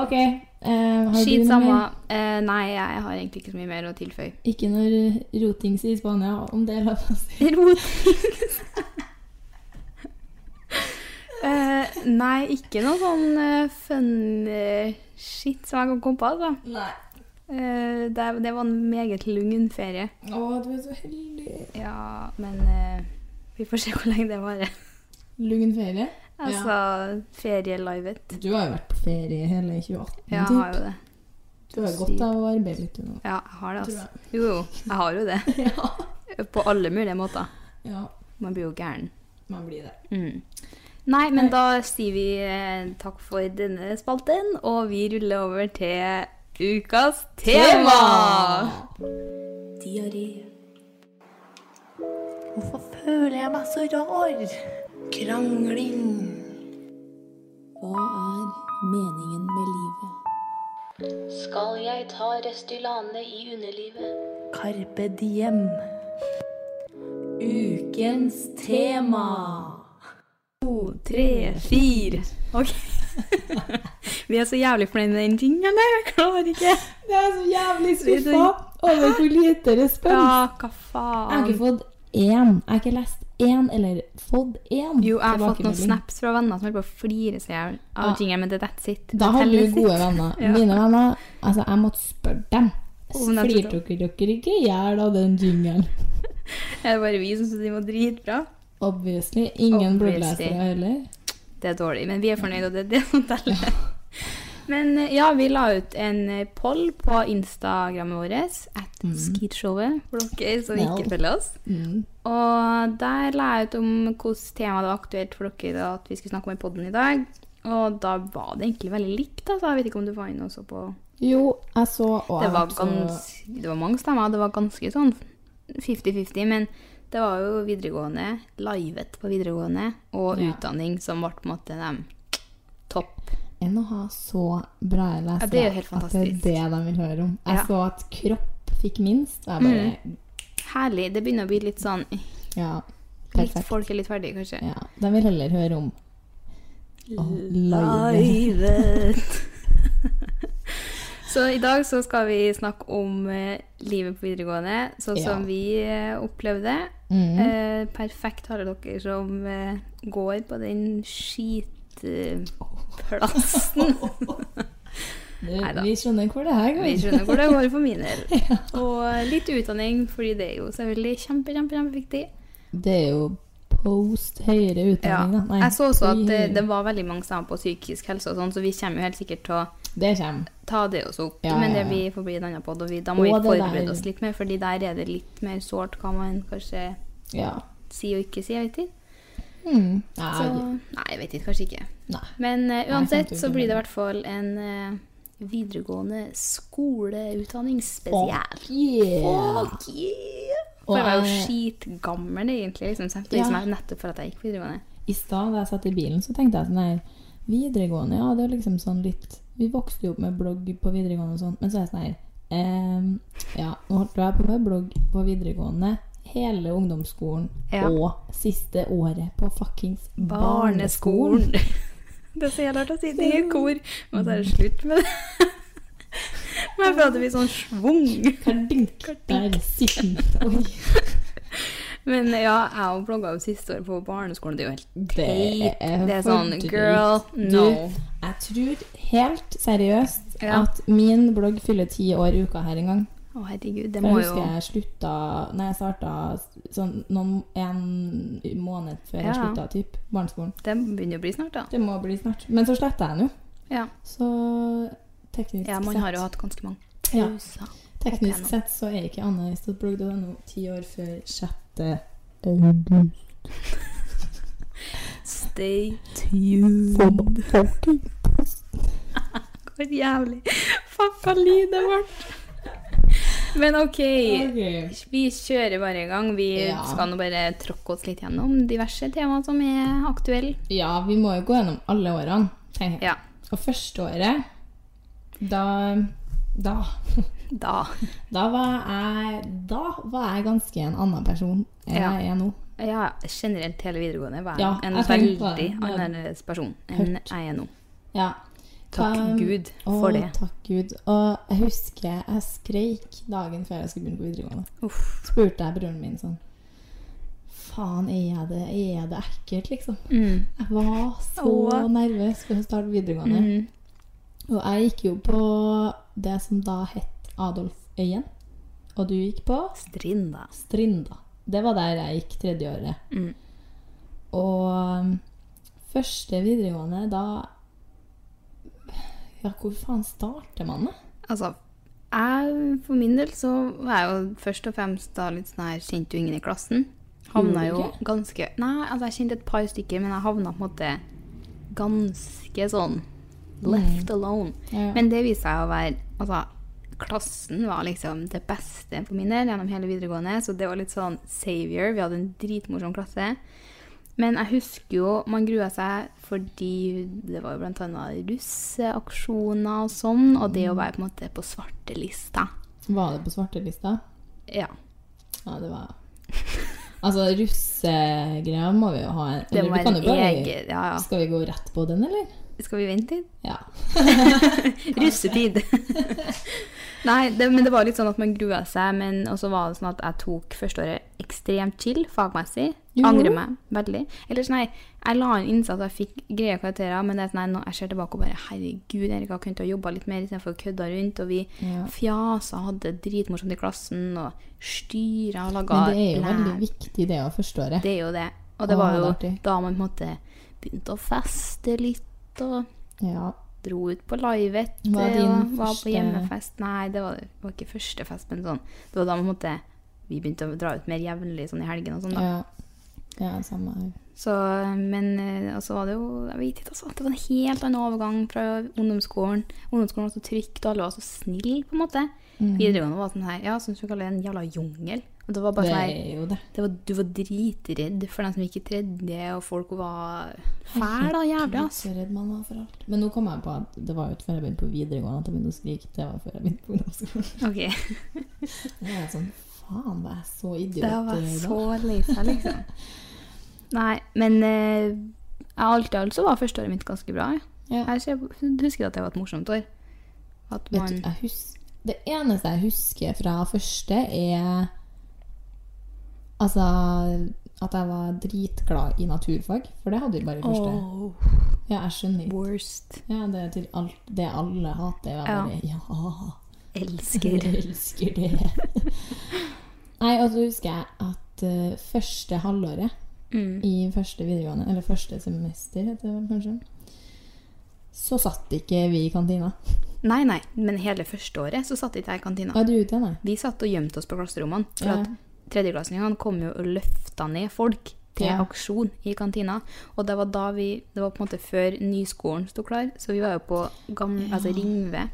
[SPEAKER 1] Ok. eh, har du
[SPEAKER 2] Skit
[SPEAKER 1] noe
[SPEAKER 2] samme.
[SPEAKER 1] mer?
[SPEAKER 2] Eh, nei, jeg har egentlig ikke så mye mer å tilføye.
[SPEAKER 1] Ikke noe rotings i Spania, om det er lov å si.
[SPEAKER 2] Rotings. eh, nei, ikke noe sånn eh, fun eh, shit som jeg kan komme på. Altså.
[SPEAKER 1] Nei.
[SPEAKER 2] Eh, det, det var en meget lugn ferie.
[SPEAKER 1] Å, du er så heldig.
[SPEAKER 2] Ja, men eh, vi får se hvor lenge det varer.
[SPEAKER 1] Lugn ferie.
[SPEAKER 2] Altså, ferielivet.
[SPEAKER 1] Du har jo vært på ferie hele 2018.
[SPEAKER 2] Ja, jeg
[SPEAKER 1] typ.
[SPEAKER 2] har jo det.
[SPEAKER 1] Du har godt av å arbeide litt du, nå.
[SPEAKER 2] Ja, jeg har det,
[SPEAKER 1] Tror
[SPEAKER 2] altså. Jo, jo, jeg har jo det.
[SPEAKER 1] Ja.
[SPEAKER 2] På alle mulige måter.
[SPEAKER 1] ja,
[SPEAKER 2] Man blir jo gæren.
[SPEAKER 1] man blir det.
[SPEAKER 2] Mm. Nei, men da sier vi eh, takk for denne spalten, og vi ruller over til ukas tema!
[SPEAKER 3] diaré. Hvorfor føler jeg meg så rar? Krangling. Hva er meningen med livet?
[SPEAKER 4] Skal jeg ta Restylane i underlivet?
[SPEAKER 3] Carpe diem. Ukens tema.
[SPEAKER 2] To, tre, fire. Ok. vi er så jævlig fornøyd med den tingen, eller? Jeg klarer ikke.
[SPEAKER 1] Det er så jævlig
[SPEAKER 2] Det er
[SPEAKER 1] skuffa
[SPEAKER 2] så-
[SPEAKER 1] over hvor lite respons.
[SPEAKER 2] Ja, hva
[SPEAKER 1] Jeg har
[SPEAKER 2] faen?
[SPEAKER 1] ikke fått én. Jeg har ikke lest én eller fått én
[SPEAKER 2] Jo, jeg har fått noen
[SPEAKER 1] tilbakemelding.
[SPEAKER 2] snaps fra venner som holder på å flire seg i hjel
[SPEAKER 1] Ja.
[SPEAKER 2] av jingen, men det er that's it.
[SPEAKER 1] Da har
[SPEAKER 2] Det
[SPEAKER 1] du
[SPEAKER 2] teller sitt.
[SPEAKER 1] gode venner.
[SPEAKER 2] Ja.
[SPEAKER 1] Mine venner Altså, jeg måtte spørre dem.
[SPEAKER 2] Om de
[SPEAKER 1] Flirte dere dere ikke i hjel av den jingelen?
[SPEAKER 2] Er det bare vi som syns de var dritbra?
[SPEAKER 1] Obviously. Ingen
[SPEAKER 2] Obviously.
[SPEAKER 1] blogglasere heller.
[SPEAKER 2] Det er dårlig, men vi er fornøyd, og det er det som teller. Men eh, ja, vi la ut en eh, poll på Instagrammet vårt, at skitshowet, for dere som
[SPEAKER 1] Well.
[SPEAKER 2] ikke følger oss.
[SPEAKER 1] Mm.
[SPEAKER 2] Og der la jeg ut om hvilket tema det var aktuelt for dere at vi skulle snakke om i podden i dag. Og da var det egentlig veldig likt, altså. Jeg vet ikke om du var inne og så på
[SPEAKER 1] Jo, jeg så og
[SPEAKER 2] det
[SPEAKER 1] jeg
[SPEAKER 2] var,
[SPEAKER 1] ble så-
[SPEAKER 2] gans, det var mange stemmer, det var ganske sånn 50-50, men Det var jo videregående, livet på videregående, og
[SPEAKER 5] Ja.
[SPEAKER 2] utdanning som ble på en måte dem topp.
[SPEAKER 5] Enn å ha så bra lesere
[SPEAKER 2] Ja, det er jo helt
[SPEAKER 5] at det er
[SPEAKER 2] fantastisk.
[SPEAKER 5] det de vil høre om. Jeg
[SPEAKER 2] Ja. Mm.
[SPEAKER 5] så at kropp fikk minst. og Jeg bare
[SPEAKER 2] Herlig. Det begynner å bli litt sånn
[SPEAKER 5] Ja,
[SPEAKER 2] litt,
[SPEAKER 5] perfekt.
[SPEAKER 2] Folk er litt ferdige, kanskje.
[SPEAKER 5] Ja, de vil heller høre om oh, live.
[SPEAKER 2] Livet. så i dag så skal vi snakke om eh, livet på videregående, sånn
[SPEAKER 5] Ja.
[SPEAKER 2] som vi eh, opplevde det.
[SPEAKER 5] Mm.
[SPEAKER 2] Eh, perfekt har dere som eh, går på den skitplassen.
[SPEAKER 5] Du,
[SPEAKER 2] Neida.
[SPEAKER 5] Vi skjønner hvor det her
[SPEAKER 2] Vi
[SPEAKER 5] går.
[SPEAKER 2] skjønner hvor det går for min del. Og litt utdanning, fordi det er jo selvfølgelig kjempe, kjempe, kjempeviktig.
[SPEAKER 5] Det er jo post høyere
[SPEAKER 2] Ja.
[SPEAKER 5] utdanning, da. Nei,
[SPEAKER 2] Jeg så også at eh, det,
[SPEAKER 5] høyere.
[SPEAKER 2] det var veldig mange som var på psykisk helse og sånn, så vi kommer jo helt sikkert til å
[SPEAKER 5] Det kommer.
[SPEAKER 2] ta det også opp.
[SPEAKER 5] Ja,
[SPEAKER 2] Men
[SPEAKER 5] ja,
[SPEAKER 2] det
[SPEAKER 5] ja.
[SPEAKER 2] blir får bli en annen podd, og vi, da må
[SPEAKER 5] Og
[SPEAKER 2] vi
[SPEAKER 5] det
[SPEAKER 2] forberede
[SPEAKER 5] der-
[SPEAKER 2] oss litt mer, fordi der er det litt mer sårt hva man kanskje
[SPEAKER 5] Ja.
[SPEAKER 2] sier og ikke sier, jeg vet ikke.
[SPEAKER 5] Mm. Nei,
[SPEAKER 2] Så, nei, jeg vet ikke, kanskje ikke.
[SPEAKER 5] nei.
[SPEAKER 2] Men eh, uansett
[SPEAKER 5] sant,
[SPEAKER 2] så
[SPEAKER 5] du
[SPEAKER 2] blir det i
[SPEAKER 5] mener.
[SPEAKER 2] hvert fall en eh, videregående skoleutdanning spesiell.
[SPEAKER 5] Fuck yeah!
[SPEAKER 2] Fuck yeah! For
[SPEAKER 5] Og
[SPEAKER 2] jeg var jo
[SPEAKER 5] jeg-
[SPEAKER 2] skitgammel egentlig, liksom, så jeg
[SPEAKER 5] Ja.
[SPEAKER 2] liksom, jeg- nettopp for at jeg gikk videregående.
[SPEAKER 5] I stad da jeg satt i bilen, så tenkte jeg sånn her Videregående, ja, det er liksom sånn litt Vi vokste jo opp med blogg på videregående og sånn, men så er jeg sånn her ehm, Ja, nå holdt jeg på med blogg på videregående hele ungdomsskolen
[SPEAKER 2] Ja.
[SPEAKER 5] og siste året på fuckings
[SPEAKER 2] Barneskolen!
[SPEAKER 5] barneskolen.
[SPEAKER 2] det er så jævlig rart å si det i et kor, men så er det slutt med det. Men jeg føler at det blir sånn schwung.
[SPEAKER 5] Kardink, der sitter den. Oi,
[SPEAKER 2] Men ja, jeg og blogga jo siste år på barneskolen. Det er jo helt
[SPEAKER 5] Det
[SPEAKER 2] teit.
[SPEAKER 5] er
[SPEAKER 2] Det er sånn
[SPEAKER 5] for
[SPEAKER 2] Girl,
[SPEAKER 5] drygt.
[SPEAKER 2] no.
[SPEAKER 5] Du, jeg tror helt seriøst
[SPEAKER 2] Ja.
[SPEAKER 5] at min blogg fyller ti år i uka her en gang.
[SPEAKER 2] Å, herregud. Det
[SPEAKER 5] For
[SPEAKER 2] må
[SPEAKER 5] jeg
[SPEAKER 2] jo
[SPEAKER 5] husker jeg slutta Nei, jeg starta sånn noen, en måned før
[SPEAKER 2] Ja.
[SPEAKER 5] jeg slutta typ, barneskolen.
[SPEAKER 2] Det begynner jo å bli snart, da.
[SPEAKER 5] Det må bli snart. Men så sletta jeg den jo.
[SPEAKER 2] Ja.
[SPEAKER 5] Så teknisk
[SPEAKER 2] Ja, man
[SPEAKER 5] sett
[SPEAKER 2] har jo hatt ganske mange
[SPEAKER 5] Ja.
[SPEAKER 2] pauser.
[SPEAKER 5] Teknisk
[SPEAKER 2] opp igjennom.
[SPEAKER 5] sett så er ikke anna.blogg.no ti år før 6. august.
[SPEAKER 2] Stay
[SPEAKER 5] Som fucking
[SPEAKER 2] Hvor jævlig Fucka lyd det ble! Men OK,
[SPEAKER 5] Ok.
[SPEAKER 2] vi kjører bare i gang. Vi
[SPEAKER 5] Ja.
[SPEAKER 2] skal nå bare tråkke oss litt gjennom diverse temaer som er aktuelle.
[SPEAKER 5] Ja, vi må jo gå gjennom alle årene, tenker jeg.
[SPEAKER 2] Ja,
[SPEAKER 5] Og første året, da Da
[SPEAKER 2] da.
[SPEAKER 5] Da var jeg, da var jeg ganske en annen person enn
[SPEAKER 2] Ja.
[SPEAKER 5] jeg er nå.
[SPEAKER 2] Ja, generelt hele videregående var jeg
[SPEAKER 5] Ja,
[SPEAKER 2] en
[SPEAKER 5] jeg
[SPEAKER 2] veldig
[SPEAKER 5] tenkte på det. Det-
[SPEAKER 2] annerledes person enn jeg er nå.
[SPEAKER 5] Ja.
[SPEAKER 2] Takk
[SPEAKER 5] Um,
[SPEAKER 2] Gud
[SPEAKER 5] å,
[SPEAKER 2] for det.
[SPEAKER 5] Takk Gud. Og jeg husker jeg skreik dagen før jeg skulle begynne på videregående.
[SPEAKER 2] Uff.
[SPEAKER 5] Spurte jeg broren min sånn Faen, er jeg det, er jeg det ekkelt, liksom?
[SPEAKER 2] Mm.
[SPEAKER 5] Jeg var så
[SPEAKER 2] Åh.
[SPEAKER 5] nervøs for å starte på videregående.
[SPEAKER 2] Mm.
[SPEAKER 5] Og jeg gikk jo på det som da het Adolføyen. Og du gikk på
[SPEAKER 2] Strinda.
[SPEAKER 5] Strinda. Det var der jeg gikk tredje året.
[SPEAKER 2] Mm.
[SPEAKER 5] Og um, første videregående, da Ja, hvor faen starter man, da?
[SPEAKER 2] Altså, jeg, for min del så var jeg jo først og fremst da litt sånn her Kjente jo ingen i klassen. Havna
[SPEAKER 5] Gjorde du
[SPEAKER 2] jo ganske Nei, altså jeg kjente et par stykker, men jeg havna på en måte ganske sånn left alone.
[SPEAKER 5] Ja.
[SPEAKER 2] Men det viste seg å være Altså, klassen var liksom det beste for min del gjennom hele videregående, så det var litt sånn savior. Vi hadde en dritmorsom klasse. Men jeg husker jo man grua seg fordi det var jo bl.a. russeaksjoner og sånn, og det å være på en måte på svartelista.
[SPEAKER 5] Var det på svartelista?
[SPEAKER 2] Ja.
[SPEAKER 5] Ja, det var Altså, russegreier må vi jo ha en
[SPEAKER 2] Det må
[SPEAKER 5] vi kan
[SPEAKER 2] være
[SPEAKER 5] jo bare-
[SPEAKER 2] eget Ja, ja.
[SPEAKER 5] Skal vi gå rett på den, eller?
[SPEAKER 2] Skal vi vente litt?
[SPEAKER 5] Ja.
[SPEAKER 2] Russetid! Nei, det, men det var litt sånn at man grua seg, men og så var det sånn at jeg tok førsteåret ekstremt chill fagmessig.
[SPEAKER 5] Gjorde du?
[SPEAKER 2] Angrer meg veldig. Eller sånn, nei, jeg la inn innsats og jeg fikk greie karakterer, men det er sånn, nei, nå, jeg ser tilbake og bare herregud, Erika kunne ha jobba litt mer istedenfor å kødde rundt. Og vi
[SPEAKER 5] Ja.
[SPEAKER 2] fjasa, hadde det dritmorsomt i klassen og styra og laga
[SPEAKER 5] Men det er jo veldig viktig, det å forstå det.
[SPEAKER 2] Det er jo det. Og det
[SPEAKER 5] Å,
[SPEAKER 2] var jo
[SPEAKER 5] det er artig.
[SPEAKER 2] da man på en måte begynte å feste litt og
[SPEAKER 5] Ja.
[SPEAKER 2] dro ut på livet
[SPEAKER 5] Var
[SPEAKER 2] eh,
[SPEAKER 5] din
[SPEAKER 2] og var
[SPEAKER 5] første-
[SPEAKER 2] på hjemmefest. Nei, det var, det var ikke første fest, men sånn. Det var da man måtte, vi begynte å dra ut mer jevnlig sånn i helgen og sånn. da.
[SPEAKER 5] Ja, ja samme her.
[SPEAKER 2] Så, men eh, og så var det jo Jeg vet ikke, altså. Det var en helt annen overgang fra ungdomsskolen. Ungdomsskolen
[SPEAKER 5] Mm. Mhm.
[SPEAKER 2] var så trygt, og alle var så snille, på en måte. Videregående var sånn her Ja, syns du kaller det en jævla jungel? Og det var bare
[SPEAKER 5] Det
[SPEAKER 2] sånn her
[SPEAKER 5] er jo det.
[SPEAKER 2] det var, Du var dritredd for dem som gikk i tredje, og folk var fæle og jævla. ass.
[SPEAKER 5] Så redd man var for alt. Men nå kom jeg på at det var jo ikke før jeg begynte på videregående at jeg begynte å skrike. Det var før jeg begynte på ungdomsskolen.
[SPEAKER 2] Ok,
[SPEAKER 5] Det er sånn, faen, var jeg så idiot
[SPEAKER 2] Det var
[SPEAKER 5] i dag?
[SPEAKER 2] så lei seg, liksom. Nei, men eh, jeg alt i alt så var førsteåret mitt ganske bra. jeg.
[SPEAKER 5] Ja.
[SPEAKER 2] Jeg ser- husker at det var et morsomt år. At
[SPEAKER 5] Vet du,
[SPEAKER 2] man
[SPEAKER 5] jeg hus- Det eneste jeg husker fra første, er Altså at jeg var dritglad i naturfag, for det hadde vi bare i første.
[SPEAKER 2] Åh,
[SPEAKER 5] Ja, jeg skjønner ikke.
[SPEAKER 2] worst.
[SPEAKER 5] Ja, det, er til alt, det alle hater. Jeg bare, ja.
[SPEAKER 2] Elsker.
[SPEAKER 5] Jeg elsker det. Nei, og så husker jeg at eh, første halvåret
[SPEAKER 2] Mm.
[SPEAKER 5] i første videregående, eller første semester, heter det vel kanskje, så satt ikke vi i kantina.
[SPEAKER 2] Nei, nei, men hele førsteåret så satt ikke jeg i kantina.
[SPEAKER 5] Var du ute igjen, nei?
[SPEAKER 2] Vi satt og gjemte oss på klasserommene, for
[SPEAKER 5] Ja.
[SPEAKER 2] at tredjeklassingene kom jo og løfta ned folk til
[SPEAKER 5] Ja.
[SPEAKER 2] aksjon i kantina. Og det var da vi Det var på en måte før nyskolen sto klar, så vi var jo på gamle, altså Ringve.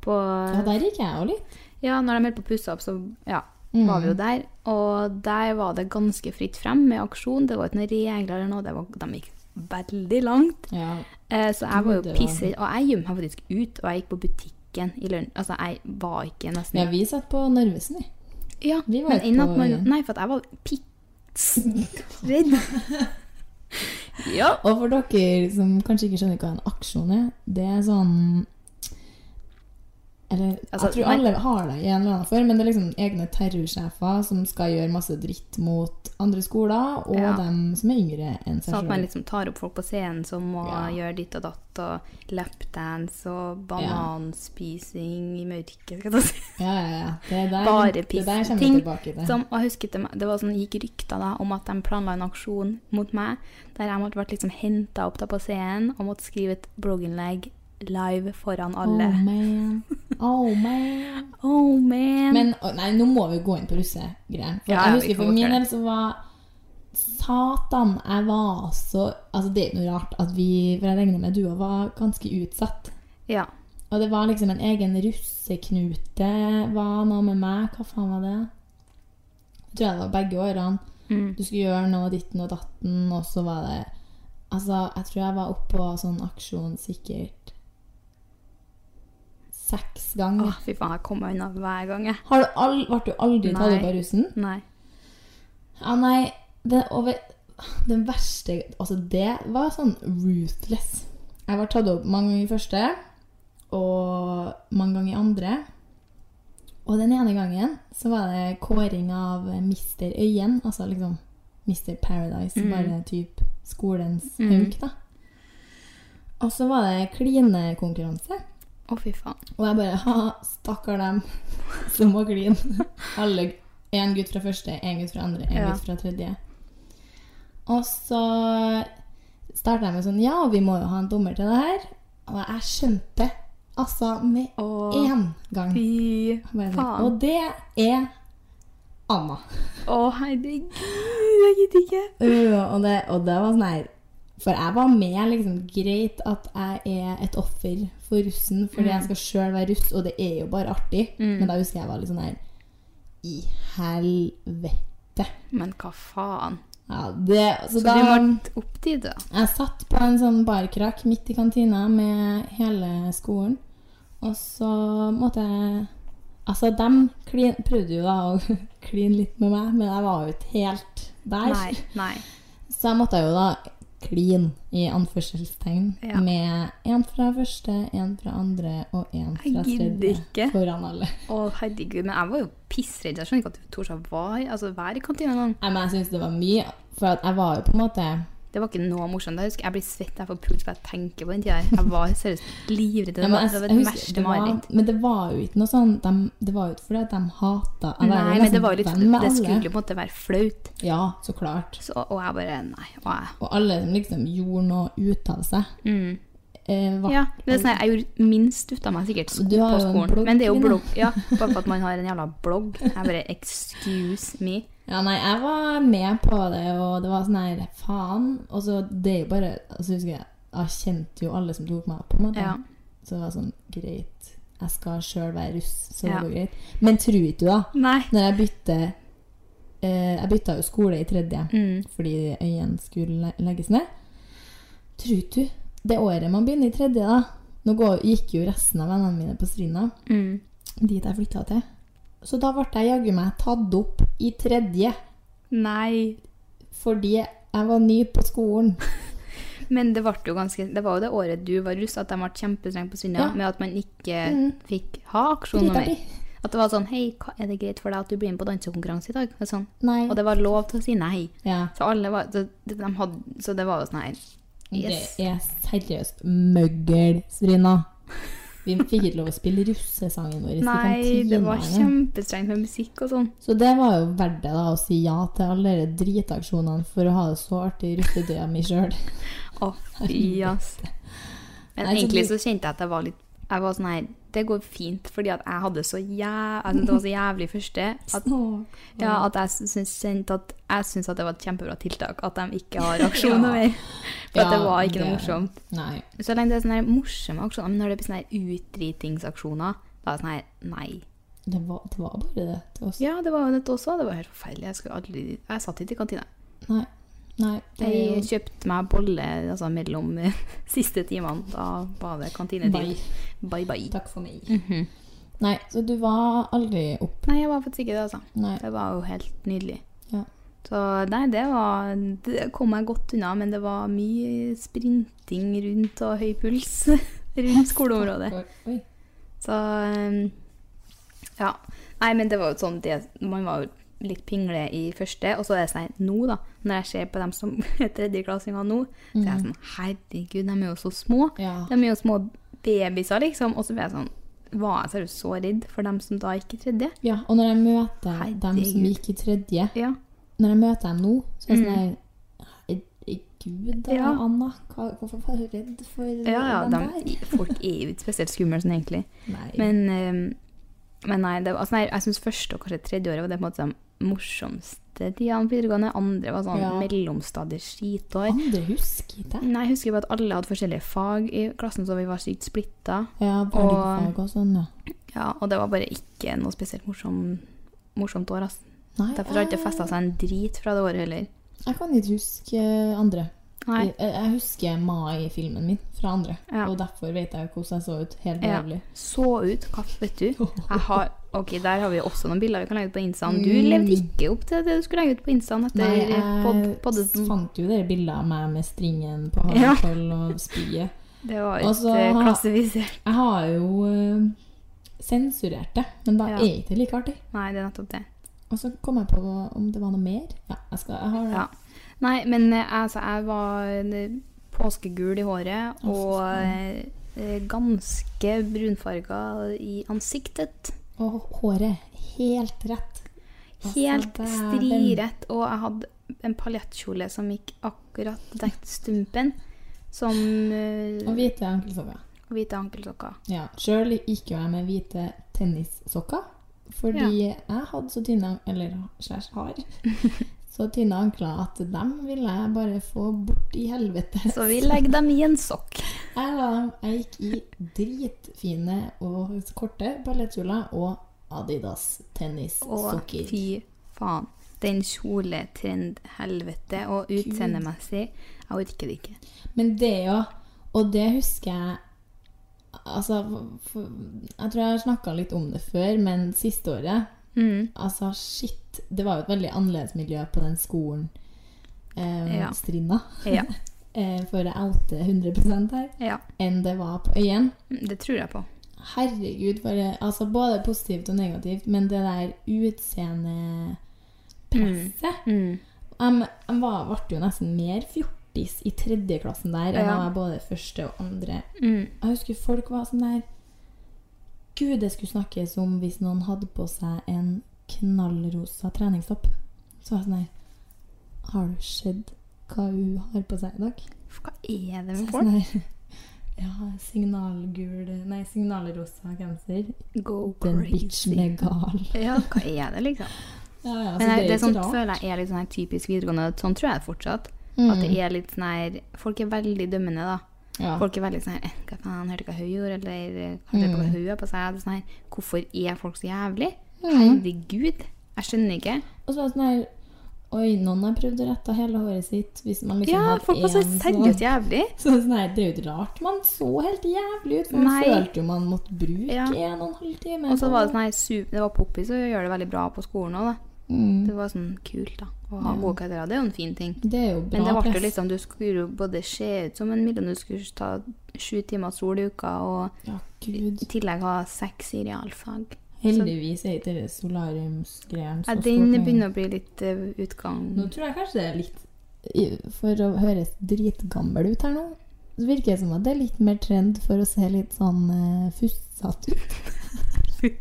[SPEAKER 2] På,
[SPEAKER 5] Ja, der gikk jeg jo litt.
[SPEAKER 2] ja, når de holdt på å pusse opp, så ja, var vi
[SPEAKER 5] Mm.
[SPEAKER 2] jo der. Og der var det ganske fritt frem med aksjon. Det var ikke noen regler eller noe. Det var, de gikk veldig langt.
[SPEAKER 5] Ja.
[SPEAKER 2] Eh, så jeg var
[SPEAKER 5] Mm, Det
[SPEAKER 2] jo
[SPEAKER 5] var-
[SPEAKER 2] pisser, og jeg gjemte meg faktisk ut, og jeg gikk på butikken i lunsj. Altså, jeg var ikke nesten
[SPEAKER 5] ja, vi satt på Narvesen, vi.
[SPEAKER 2] ja,
[SPEAKER 5] Vi var
[SPEAKER 2] men
[SPEAKER 5] jo
[SPEAKER 2] innen
[SPEAKER 5] på-
[SPEAKER 2] at man Nei, for at jeg var pitsredd. ja.
[SPEAKER 5] Og for dere som kanskje ikke skjønner hva en aksjon er, det er sånn eller,
[SPEAKER 2] Altså,
[SPEAKER 5] Jeg tror
[SPEAKER 2] nei.
[SPEAKER 5] alle har det i en eller annen form, men det er liksom egne terrorsjefer som skal gjøre masse dritt mot andre skoler, og
[SPEAKER 2] Ja.
[SPEAKER 5] dem som er yngre enn seg
[SPEAKER 2] Sånn at man
[SPEAKER 5] sjøl.
[SPEAKER 2] liksom tar opp folk på scenen som må
[SPEAKER 5] Ja.
[SPEAKER 2] gjøre ditt og datt, og lapdance og bananspising i mørket, skal jeg si.
[SPEAKER 5] Ja, ja, ja. Det der,
[SPEAKER 2] Bare
[SPEAKER 5] det der
[SPEAKER 2] piss.
[SPEAKER 5] kommer vi
[SPEAKER 2] Ting
[SPEAKER 5] tilbake til.
[SPEAKER 2] som, og jeg husker det, det var sånn, gikk rykter da, om at de planla en aksjon mot meg, der jeg måtte vært liksom henta opp da på scenen og måtte skrive et blogginnlegg live foran alle.
[SPEAKER 5] Oh man. Oh man.
[SPEAKER 2] Oh, man!
[SPEAKER 5] Men å, nei, nå må vi gå inn på russegreier. For
[SPEAKER 2] Ja, ja,
[SPEAKER 5] jeg
[SPEAKER 2] vi
[SPEAKER 5] husker
[SPEAKER 2] kan
[SPEAKER 5] for
[SPEAKER 2] godt
[SPEAKER 5] min
[SPEAKER 2] gjøre
[SPEAKER 5] del så var Satan, jeg var så Altså, det er ikke noe rart at vi For jeg regner med du òg var ganske utsatt.
[SPEAKER 2] ja.
[SPEAKER 5] Og det var liksom en egen russeknute. Var noe med meg? Hva faen var det? Jeg tror det var begge årene.
[SPEAKER 2] Mm.
[SPEAKER 5] Du skulle gjøre noe ditten og datten, og så var det Altså, jeg tror jeg var oppe på sånn aksjon sikkert seks
[SPEAKER 2] Å,
[SPEAKER 5] ganger.
[SPEAKER 2] fy faen, jeg kom meg unna hver gang, jeg.
[SPEAKER 5] Har du all, ble du aldri tatt
[SPEAKER 2] Nei.
[SPEAKER 5] opp av russen?
[SPEAKER 2] Nei.
[SPEAKER 5] Ja, nei, det, og vet- den verste Altså, det var sånn ruthless. Jeg var tatt opp mange ganger i første, og mange ganger i andre. Og den ene gangen så var det kåring av Mister Øyen, altså liksom Mister Paradise, bare typ skolens hauk, da. Og så var det klinekonkurranse.
[SPEAKER 2] Å, fy faen.
[SPEAKER 5] Og jeg bare ha, stakkar dem som må kline. Alle. Én gutt fra første, én gutt fra andre, én
[SPEAKER 2] Ja.
[SPEAKER 5] gutt fra tredje. Og så starta jeg med sånn Ja, vi må jo ha en dommer til det her. Og jeg skjønte altså med
[SPEAKER 2] Åh.
[SPEAKER 5] én gang.
[SPEAKER 2] Fy
[SPEAKER 5] Bare,
[SPEAKER 2] faen.
[SPEAKER 5] Og det er Anna.
[SPEAKER 2] Å, herregud, jeg gidder ikke.
[SPEAKER 5] Øh, og, det, og det var sånn her For jeg var med, liksom. Greit at jeg er et offer for russen, fordi jeg skal sjøl være russ, og det er jo bare artig.
[SPEAKER 2] Mm.
[SPEAKER 5] Men da husker jeg var litt sånn her I helvete.
[SPEAKER 2] Men hva faen?
[SPEAKER 5] Ja, det, så,
[SPEAKER 2] Så
[SPEAKER 5] da
[SPEAKER 2] du måtte opp dit, da?
[SPEAKER 5] Jeg satt på en sånn barkrakk midt i kantina med hele skolen, og så måtte jeg Altså, dem klin, prøvde jo da å kline litt med meg, men jeg var jo ikke helt der.
[SPEAKER 2] Nei. nei.
[SPEAKER 5] Så jeg måtte jo da kline i anførselstegn
[SPEAKER 2] Ja.
[SPEAKER 5] med én fra første, én fra andre og én fra
[SPEAKER 2] Jeg gidder
[SPEAKER 5] tredje
[SPEAKER 2] ikke.
[SPEAKER 5] foran alle.
[SPEAKER 2] Å, herregud, men jeg var jo pissredd. Jeg skjønner ikke at du torde å være, altså, være i kantina engang.
[SPEAKER 5] Nei, men jeg syns det var mye, for at jeg var jo på en måte
[SPEAKER 2] Det var ikke noe morsomt. Jeg husker jeg blir svett jeg får puls for jeg tenker på den tida. her. Jeg var seriøst livredd.
[SPEAKER 5] Nei,
[SPEAKER 2] Det
[SPEAKER 5] men
[SPEAKER 2] var
[SPEAKER 5] jeg-
[SPEAKER 2] det var
[SPEAKER 5] jeg
[SPEAKER 2] det
[SPEAKER 5] husker-
[SPEAKER 2] verste
[SPEAKER 5] det var-
[SPEAKER 2] mareritt.
[SPEAKER 5] Men det var jo ikke noe sånn dem- Det var jo ikke fordi at de hata jeg var
[SPEAKER 2] Nei,
[SPEAKER 5] jo
[SPEAKER 2] men det
[SPEAKER 5] nesten
[SPEAKER 2] var jo litt
[SPEAKER 5] liksom venn med
[SPEAKER 2] Det
[SPEAKER 5] alle.
[SPEAKER 2] skulle på en måte være flaut.
[SPEAKER 5] Ja, så klart.
[SPEAKER 2] Så, og jeg bare Nei. Og jeg,
[SPEAKER 5] Og alle som liksom gjorde noe ut av seg. eh, var-
[SPEAKER 2] Mm. ja, men det er sånn, her, jeg gjorde minst ut av meg sikkert sko
[SPEAKER 5] Du har
[SPEAKER 2] på
[SPEAKER 5] jo en
[SPEAKER 2] skolen.
[SPEAKER 5] blogg,
[SPEAKER 2] Men det er jo
[SPEAKER 5] Trine.
[SPEAKER 2] blogg. Ja, bare for at man har en jævla blogg. Jeg bare Excuse me.
[SPEAKER 5] Ja, nei, jeg var med på det, og det var sånn her Faen. Og så det er jo bare altså, husker jeg, jeg kjente jo alle som tok meg opp, på en måte.
[SPEAKER 2] Ja.
[SPEAKER 5] Så det var sånn Greit, jeg skal sjøl være russ, så
[SPEAKER 2] Ja.
[SPEAKER 5] det går greit. Men tror ikke du, da,
[SPEAKER 2] Nei.
[SPEAKER 5] når jeg bytter
[SPEAKER 1] eh, Jeg bytta jo skole i tredje
[SPEAKER 2] Mm.
[SPEAKER 1] fordi øynene skulle le- legges ned. Tror du det året man begynner i tredje, da Nå går, gikk jo resten av vennene mine på Strina,
[SPEAKER 2] Mm.
[SPEAKER 1] dit jeg flytta til. Så da ble jeg jaggu meg tatt opp i tredje
[SPEAKER 2] Nei.
[SPEAKER 1] fordi jeg var ny på skolen.
[SPEAKER 2] Men det, ble jo ganske, det var jo det året du var russ, at de ble kjempestrenge på Svinja
[SPEAKER 1] Ja.
[SPEAKER 2] med at man ikke
[SPEAKER 1] Mm.
[SPEAKER 2] fikk ha aksjon noe
[SPEAKER 1] Dritartig.
[SPEAKER 2] mer. At det var sånn Hei, hva, er det greit for deg at du blir med på dansekonkurranse i dag? Og, sånn.
[SPEAKER 1] Nei.
[SPEAKER 2] og det var lov til å si nei.
[SPEAKER 1] ja.
[SPEAKER 2] Så, alle var, så, de de hadde, så det var jo sånn her Yes.
[SPEAKER 1] Det er seriøst møggel, Strina. Vi fikk ikke lov å spille russesangen vår i
[SPEAKER 2] Nei, det var
[SPEAKER 1] kantinene.
[SPEAKER 2] kjempestrengt med musikk og sånn.
[SPEAKER 1] Så det var jo verdt det, da, å si ja til alle de dritaksjonene for å ha det så artig i russetida mi sjøl.
[SPEAKER 2] Å, fy, ass. Men
[SPEAKER 1] Nei, så
[SPEAKER 2] egentlig så
[SPEAKER 1] du-
[SPEAKER 2] kjente jeg at jeg var litt Jeg var sånn her Det går fint, fordi at jeg hadde så jæv... Jeg syntes det var så jævlig første at, ja, at jeg syns- kjente at Jeg syns at det var et kjempebra tiltak at de ikke har aksjoner mer. For at det var ikke noe morsomt.
[SPEAKER 1] Nei.
[SPEAKER 2] Så lenge det er sånne her morsomme aksjoner, men når det blir sånne her utdritingsaksjoner, da er det sånn her Nei.
[SPEAKER 1] Det var, det var bare det. det var,
[SPEAKER 2] Ja, det var jo dette også. Det var helt forferdelig. Jeg, skulle aldri, jeg satt ikke i kantina.
[SPEAKER 1] Nei. Nei. Det er
[SPEAKER 2] Jeg
[SPEAKER 1] jo
[SPEAKER 2] kjøpte meg bolle altså, mellom eh, siste timene. Da var det
[SPEAKER 1] Bye.
[SPEAKER 2] kantinetid. Bye, Mhm. bye.
[SPEAKER 1] Takk for meg. Nei, så du var aldri opp...
[SPEAKER 2] Nei, jeg var faktisk ikke det, altså.
[SPEAKER 1] Nei.
[SPEAKER 2] Det var jo helt nydelig.
[SPEAKER 1] Ja.
[SPEAKER 2] Så nei, det var Det kom meg godt unna, men det var mye sprinting rundt og høy puls rundt skoleområdet.
[SPEAKER 1] Oi.
[SPEAKER 2] Så eh, ja. Nei, men det var jo sånn det, Man var jo litt pingle i første, og så er det sånn nå, da. Når jeg ser på dem som er tredjeklassinger nå, så er jeg sånn Herregud, de er jo så små.
[SPEAKER 1] Ja.
[SPEAKER 2] De er jo små babyer, liksom. Og så blir jeg sånn Var jeg seriøst så redd for dem som da gikk i tredje?
[SPEAKER 1] Ja, og når jeg møter dem som
[SPEAKER 2] Herregud.
[SPEAKER 1] gikk i tredje
[SPEAKER 2] Ja.
[SPEAKER 1] når jeg møter dem nå, så er jeg sånn her Herregud, da,
[SPEAKER 2] Mm. Ja.
[SPEAKER 1] Anna. Hva, hvorfor var du redd for
[SPEAKER 2] Ja, ja,
[SPEAKER 1] den
[SPEAKER 2] de, folk er jo ikke spesielt skumle sånn, egentlig.
[SPEAKER 1] der? Nei.
[SPEAKER 2] Men, eh, men nei, det, var- altså, nei, jeg syns første og kanskje tredje året var det på en måte de morsomste tidene på videregående. Andre var sånn
[SPEAKER 1] Ja.
[SPEAKER 2] mellomstadig skitår.
[SPEAKER 1] Andre husker ikke.
[SPEAKER 2] Nei, jeg husker bare at alle hadde forskjellige fag i klassen, så vi var sykt splitta.
[SPEAKER 1] Ja, verdifag og sånn, ja.
[SPEAKER 2] Ja, og det var bare ikke noe spesielt morsom, morsomt år. Altså.
[SPEAKER 1] Nei, ah.
[SPEAKER 2] Derfor har det ikke festa seg en drit fra det året heller.
[SPEAKER 1] jeg, jeg kan ikke huske eh, andre.
[SPEAKER 2] Nei,
[SPEAKER 1] Jeg, jeg husker Mai-filmen min fra andre,
[SPEAKER 2] Ja.
[SPEAKER 1] og derfor vet jeg hvordan jeg så ut. Helt
[SPEAKER 2] Ja.
[SPEAKER 1] jævlig.
[SPEAKER 2] Så ut, hva vet du? Jeg har, ok, Der har vi også noen bilder vi kan legge ut på Instaen. Du levde ikke opp til det du skulle legge ut på Instaen etter
[SPEAKER 1] Mm. Nei,
[SPEAKER 2] pod,
[SPEAKER 1] jeg
[SPEAKER 2] podden.
[SPEAKER 1] fant jo dere bilder av meg med stringen på
[SPEAKER 2] Ja.
[SPEAKER 1] håndkoll og spyet.
[SPEAKER 2] Det var
[SPEAKER 1] Og så
[SPEAKER 2] ikke
[SPEAKER 1] har-
[SPEAKER 2] klassifisert.
[SPEAKER 1] Jeg har jo eh, sensurert det, men da
[SPEAKER 2] Ja.
[SPEAKER 1] er ikke det like artig.
[SPEAKER 2] Nei, det er nettopp det.
[SPEAKER 1] Og så kom jeg på om det var noe mer. Ja, jeg skal, jeg har
[SPEAKER 2] Ja. Nei, men eh, altså, jeg var eh, påskegul i håret
[SPEAKER 1] Å, fy
[SPEAKER 2] og
[SPEAKER 1] faen.
[SPEAKER 2] eh, ganske brunfarga i ansiktet.
[SPEAKER 1] Og håret helt rett. Altså,
[SPEAKER 2] Helt
[SPEAKER 1] det er den-
[SPEAKER 2] strirett, og jeg hadde en paljettkjole som gikk akkurat dekket stumpen, som eh,
[SPEAKER 1] Og hvite ankelsokker.
[SPEAKER 2] Og hvite ankelsokker.
[SPEAKER 1] Ja. Sjøl gikk jo jeg med hvite tennissokker. Fordi jeg hadde så tynne an- Eller slash har. Så tynne ankler at dem ville jeg bare få bort i helvete.
[SPEAKER 2] Så vi legger dem i en sokk.
[SPEAKER 1] Jeg, la dem- jeg gikk i dritfine og korte ballettkjoler og Adidas
[SPEAKER 2] Og
[SPEAKER 1] tennissokker.
[SPEAKER 2] fy faen. Den kjoletrend-helvete og utseendemessig, jeg orker det ikke.
[SPEAKER 1] Men det er jo Og det husker jeg Altså, for, jeg tror jeg har snakka litt om det før, men siste året
[SPEAKER 2] Mm,
[SPEAKER 1] Altså, shit. Det var jo et veldig annerledes miljø på den skolen. Eh,
[SPEAKER 2] Ja.
[SPEAKER 1] Strinda.
[SPEAKER 2] Ja,
[SPEAKER 1] Eh, for jeg outer 100 her.
[SPEAKER 2] ja.
[SPEAKER 1] Enn det var på Øyen.
[SPEAKER 2] Det tror jeg på.
[SPEAKER 1] Herregud, bare Altså, både positivt og negativt, men det der utseendepresset
[SPEAKER 2] Mm.
[SPEAKER 1] jeg ble jo nesten mer fjortis i tredje klassen der enn
[SPEAKER 2] Ja.
[SPEAKER 1] jeg var både første og andre.
[SPEAKER 2] Mm.
[SPEAKER 1] Jeg husker folk var sånn der Gud, det skulle snakkes om hvis noen hadde på seg en knallrosa treningstopp. Så var jeg sånn her Har du sett hva hun har på seg i dag?
[SPEAKER 2] Hva er det
[SPEAKER 1] Så
[SPEAKER 2] med
[SPEAKER 1] jeg
[SPEAKER 2] folk?
[SPEAKER 1] sånn her, ja, signalgul Nei, signalrosa genser.
[SPEAKER 2] Go
[SPEAKER 1] Den bitchen
[SPEAKER 2] crazy.
[SPEAKER 1] er gal.
[SPEAKER 2] Ja, hva er det, liksom?
[SPEAKER 1] Ja, ja, så
[SPEAKER 5] Altså,
[SPEAKER 2] Men det,
[SPEAKER 1] jo
[SPEAKER 2] det
[SPEAKER 1] ikke
[SPEAKER 2] sånn,
[SPEAKER 1] rart.
[SPEAKER 2] føler jeg er litt sånn her typisk videregående. Sånn tror jeg det fortsatt.
[SPEAKER 1] Mm.
[SPEAKER 2] At det er litt sånn her Folk er veldig dømmende, da.
[SPEAKER 1] ja.
[SPEAKER 2] Folk er veldig sånn her, «Eh, Hva faen, hørte du hva hun gjorde? Eller eh, hørte du hva Altså, hun har på seg? Det er Sånn her, Hvorfor er folk så jævlig? Herregud, jeg skjønner ikke.
[SPEAKER 1] Og
[SPEAKER 5] Og så var det sånn her Oi, noen har prøvd å rette hele håret sitt. Hvis man liksom
[SPEAKER 2] Ja,
[SPEAKER 5] hadde
[SPEAKER 2] folk var så
[SPEAKER 5] en
[SPEAKER 2] seriøse
[SPEAKER 5] sånn-
[SPEAKER 2] jævlig.
[SPEAKER 5] Så sånn her, Det er jo ikke rart man så helt jævlig ut. For man
[SPEAKER 2] Nei.
[SPEAKER 5] følte jo man måtte bruke
[SPEAKER 2] Ja.
[SPEAKER 5] en og en halv time.
[SPEAKER 2] Og så var det sånn her su- Det var poppis å gjøre det veldig bra på skolen òg, da. Det var sånn kult, da. Å ha gode karakterer. Det er jo en fin ting.
[SPEAKER 5] Mm. Det er jo bra
[SPEAKER 2] Men det ble jo
[SPEAKER 5] press.
[SPEAKER 2] liksom Du skulle jo både se ut som en million, du skulle ta sju timer sol i uka, og
[SPEAKER 5] Ja,
[SPEAKER 2] i
[SPEAKER 5] gud.
[SPEAKER 2] tillegg ha seks i realfag.
[SPEAKER 5] Heldigvis er ikke det solariumsgreiene
[SPEAKER 2] Ja,
[SPEAKER 5] så
[SPEAKER 2] den
[SPEAKER 5] stort nå.
[SPEAKER 2] begynner å bli litt eh, utgang.
[SPEAKER 5] Nå tror jeg kanskje det er litt i- For å høres dritgammel ut her nå, så virker det som at det er litt mer trend for å se litt sånn uh, fussete ut.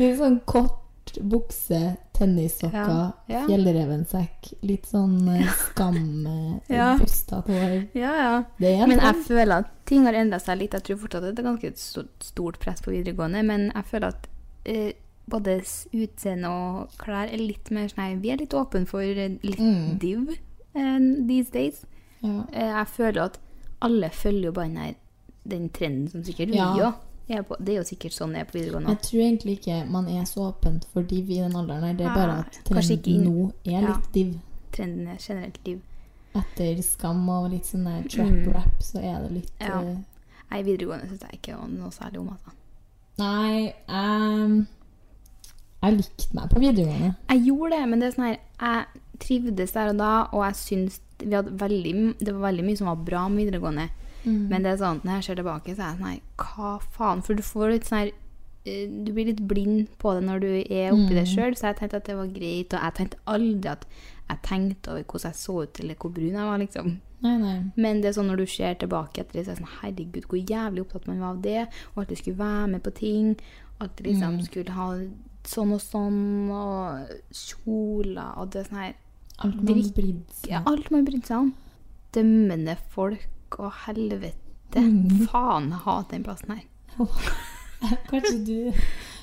[SPEAKER 5] Litt sånn kort bukse, tennissokker,
[SPEAKER 2] Ja, ja.
[SPEAKER 5] fjellrevensekk. Litt sånn uh, skam, eh,
[SPEAKER 2] Ja.
[SPEAKER 5] bustete hår.
[SPEAKER 2] Ja, ja.
[SPEAKER 5] Det er en
[SPEAKER 2] Men jeg
[SPEAKER 5] trend.
[SPEAKER 2] føler at ting har endra seg litt. Jeg tror fortsatt at det er ganske et stort- stort press på videregående, men jeg føler at eh, både s- utseende og klær er litt mer sånn her Vi er litt åpne for eh, litt
[SPEAKER 5] Mm.
[SPEAKER 2] div eh, these days.
[SPEAKER 5] Ja.
[SPEAKER 2] Eh, jeg føler at alle følger jo bare den her den trenden som sikkert vi
[SPEAKER 5] Ja.
[SPEAKER 2] òg er på. Det er jo sikkert sånn det er på videregående.
[SPEAKER 5] Jeg tror egentlig ikke man er så åpent for div i den alderen her. Det er bare at
[SPEAKER 2] Nei, kanskje ikke inn-
[SPEAKER 5] trenden nå
[SPEAKER 2] Ja.
[SPEAKER 5] er litt div.
[SPEAKER 2] Trenden er generelt div.
[SPEAKER 5] Etter skam og litt sånn der trap rap, så er det litt
[SPEAKER 2] Mm. Ja.
[SPEAKER 5] eh,
[SPEAKER 2] Jeg i videregående syns jeg ikke var noe særlig om, altså.
[SPEAKER 5] Nei, ehm, jeg likte meg på videregående.
[SPEAKER 2] Jeg gjorde det, men det er sånn her, jeg trivdes der og da, og jeg syns vi hadde veldig, det var veldig mye som var bra med videregående. Men det er sånn, når jeg ser tilbake, så er jeg sånn her Hva faen? For du får litt sånn her eh, Du blir litt blind på det når du er oppi det sjøl, så jeg tenkte at det var greit. Og jeg tenkte aldri at jeg tenkte over hvordan jeg så ut, eller hvor brun jeg var, liksom.
[SPEAKER 5] Nei, nei.
[SPEAKER 2] Men det er sånn når du ser tilbake etter det, så er det sånn Herregud, hvor jævlig opptatt man var av det. Og alltid skulle være med på ting. Alltid liksom skulle ha sånn og sånn, og kjoler og det er sånn her
[SPEAKER 5] Alt man
[SPEAKER 2] Drikk-
[SPEAKER 5] brydde seg
[SPEAKER 2] ja, Alt man brydde seg om. Dømmende folk og helvete. Faen, jeg hater den plassen her.
[SPEAKER 5] Kanskje du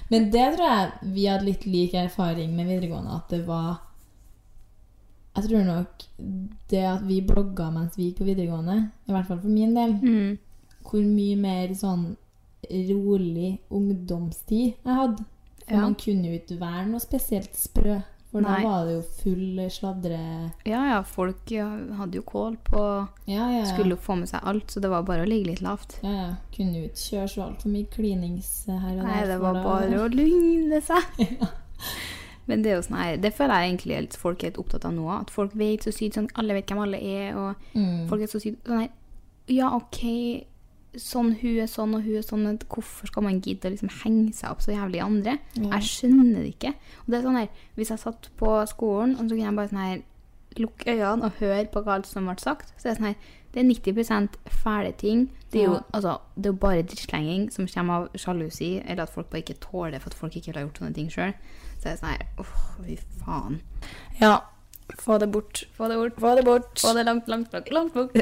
[SPEAKER 5] Men det tror jeg vi hadde litt lik erfaring med videregående. At det var Jeg tror nok det at vi blogga mens vi gikk på videregående, i hvert fall for min del,
[SPEAKER 2] Mm.
[SPEAKER 5] hvor mye mer sånn rolig ungdomstid jeg hadde. For
[SPEAKER 2] Ja.
[SPEAKER 5] man kunne jo ikke være noe spesielt sprø. For
[SPEAKER 2] Nei.
[SPEAKER 5] da var det jo full sladre...
[SPEAKER 2] Ja, ja, folk ja, hadde jo kål på
[SPEAKER 5] Ja, ja, ja.
[SPEAKER 2] Skulle jo få med seg alt, så det var bare å ligge litt lavt.
[SPEAKER 5] Ja, ja. Kunne jo ikke kjøre så altfor mye klinings her og der.
[SPEAKER 2] Nei, det
[SPEAKER 5] for
[SPEAKER 2] var
[SPEAKER 5] da-
[SPEAKER 2] bare å lugne seg. Men det er jo sånn her, det føler jeg egentlig at folk er litt opptatt av nå. At folk vet så sykt sånn, alle vet hvem alle er, og
[SPEAKER 5] Mm.
[SPEAKER 2] folk er så sykt sånn her Ja, OK, sånn hun er sånn, og hun er sånn, men hvorfor skal man gidde å liksom henge seg opp så jævlig i andre? Jeg skjønner det ikke. Og det er sånn her, Hvis jeg satt på skolen, og så kunne jeg bare sånn her lukke øynene og høre på hva alt som ble sagt, så er det sånn her Det er 90 fæle ting. Det er jo
[SPEAKER 5] Ja.
[SPEAKER 2] altså, det er jo bare drittslenging som kommer av sjalusi, eller at folk bare ikke tåler det for at folk ikke har gjort sånne ting sjøl. Så er det sånn her Åh, fy faen. Ja. Få det bort. Få det bort. Få det bort. Få det langt, langt, langt, langt bort.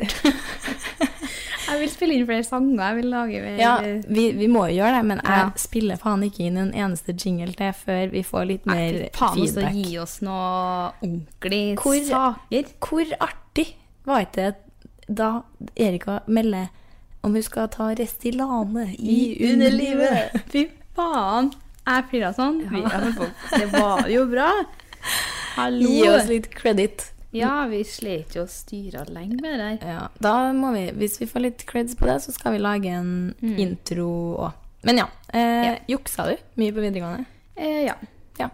[SPEAKER 2] jeg vil spille inn flere sanger. Jeg vil lage mer
[SPEAKER 5] Ja, vi, vi må jo gjøre det, men jeg
[SPEAKER 2] Ja.
[SPEAKER 5] spiller faen ikke inn en eneste jingle til før vi får litt
[SPEAKER 2] Nei,
[SPEAKER 5] mer
[SPEAKER 2] fy faen, også
[SPEAKER 5] feedback.
[SPEAKER 2] gi oss noe ordentlig
[SPEAKER 1] Hvor-
[SPEAKER 2] saker.
[SPEAKER 1] Hvor artig var ikke det da Erika melder om hun skal ta Restylane i underlivet?
[SPEAKER 2] Fy faen. Jeg flira sånn. Vi- Ja. men folk, Det var jo bra. Hallo.
[SPEAKER 1] Gi oss litt credit.
[SPEAKER 2] Ja, vi slet jo å styre lenge med det der.
[SPEAKER 1] Ja, da må vi, hvis vi får litt creds på det, så skal vi lage en
[SPEAKER 2] Mm.
[SPEAKER 1] intro òg. Men ja, eh, juksa du mye på videregående?
[SPEAKER 2] Eh, ja.
[SPEAKER 1] Jeg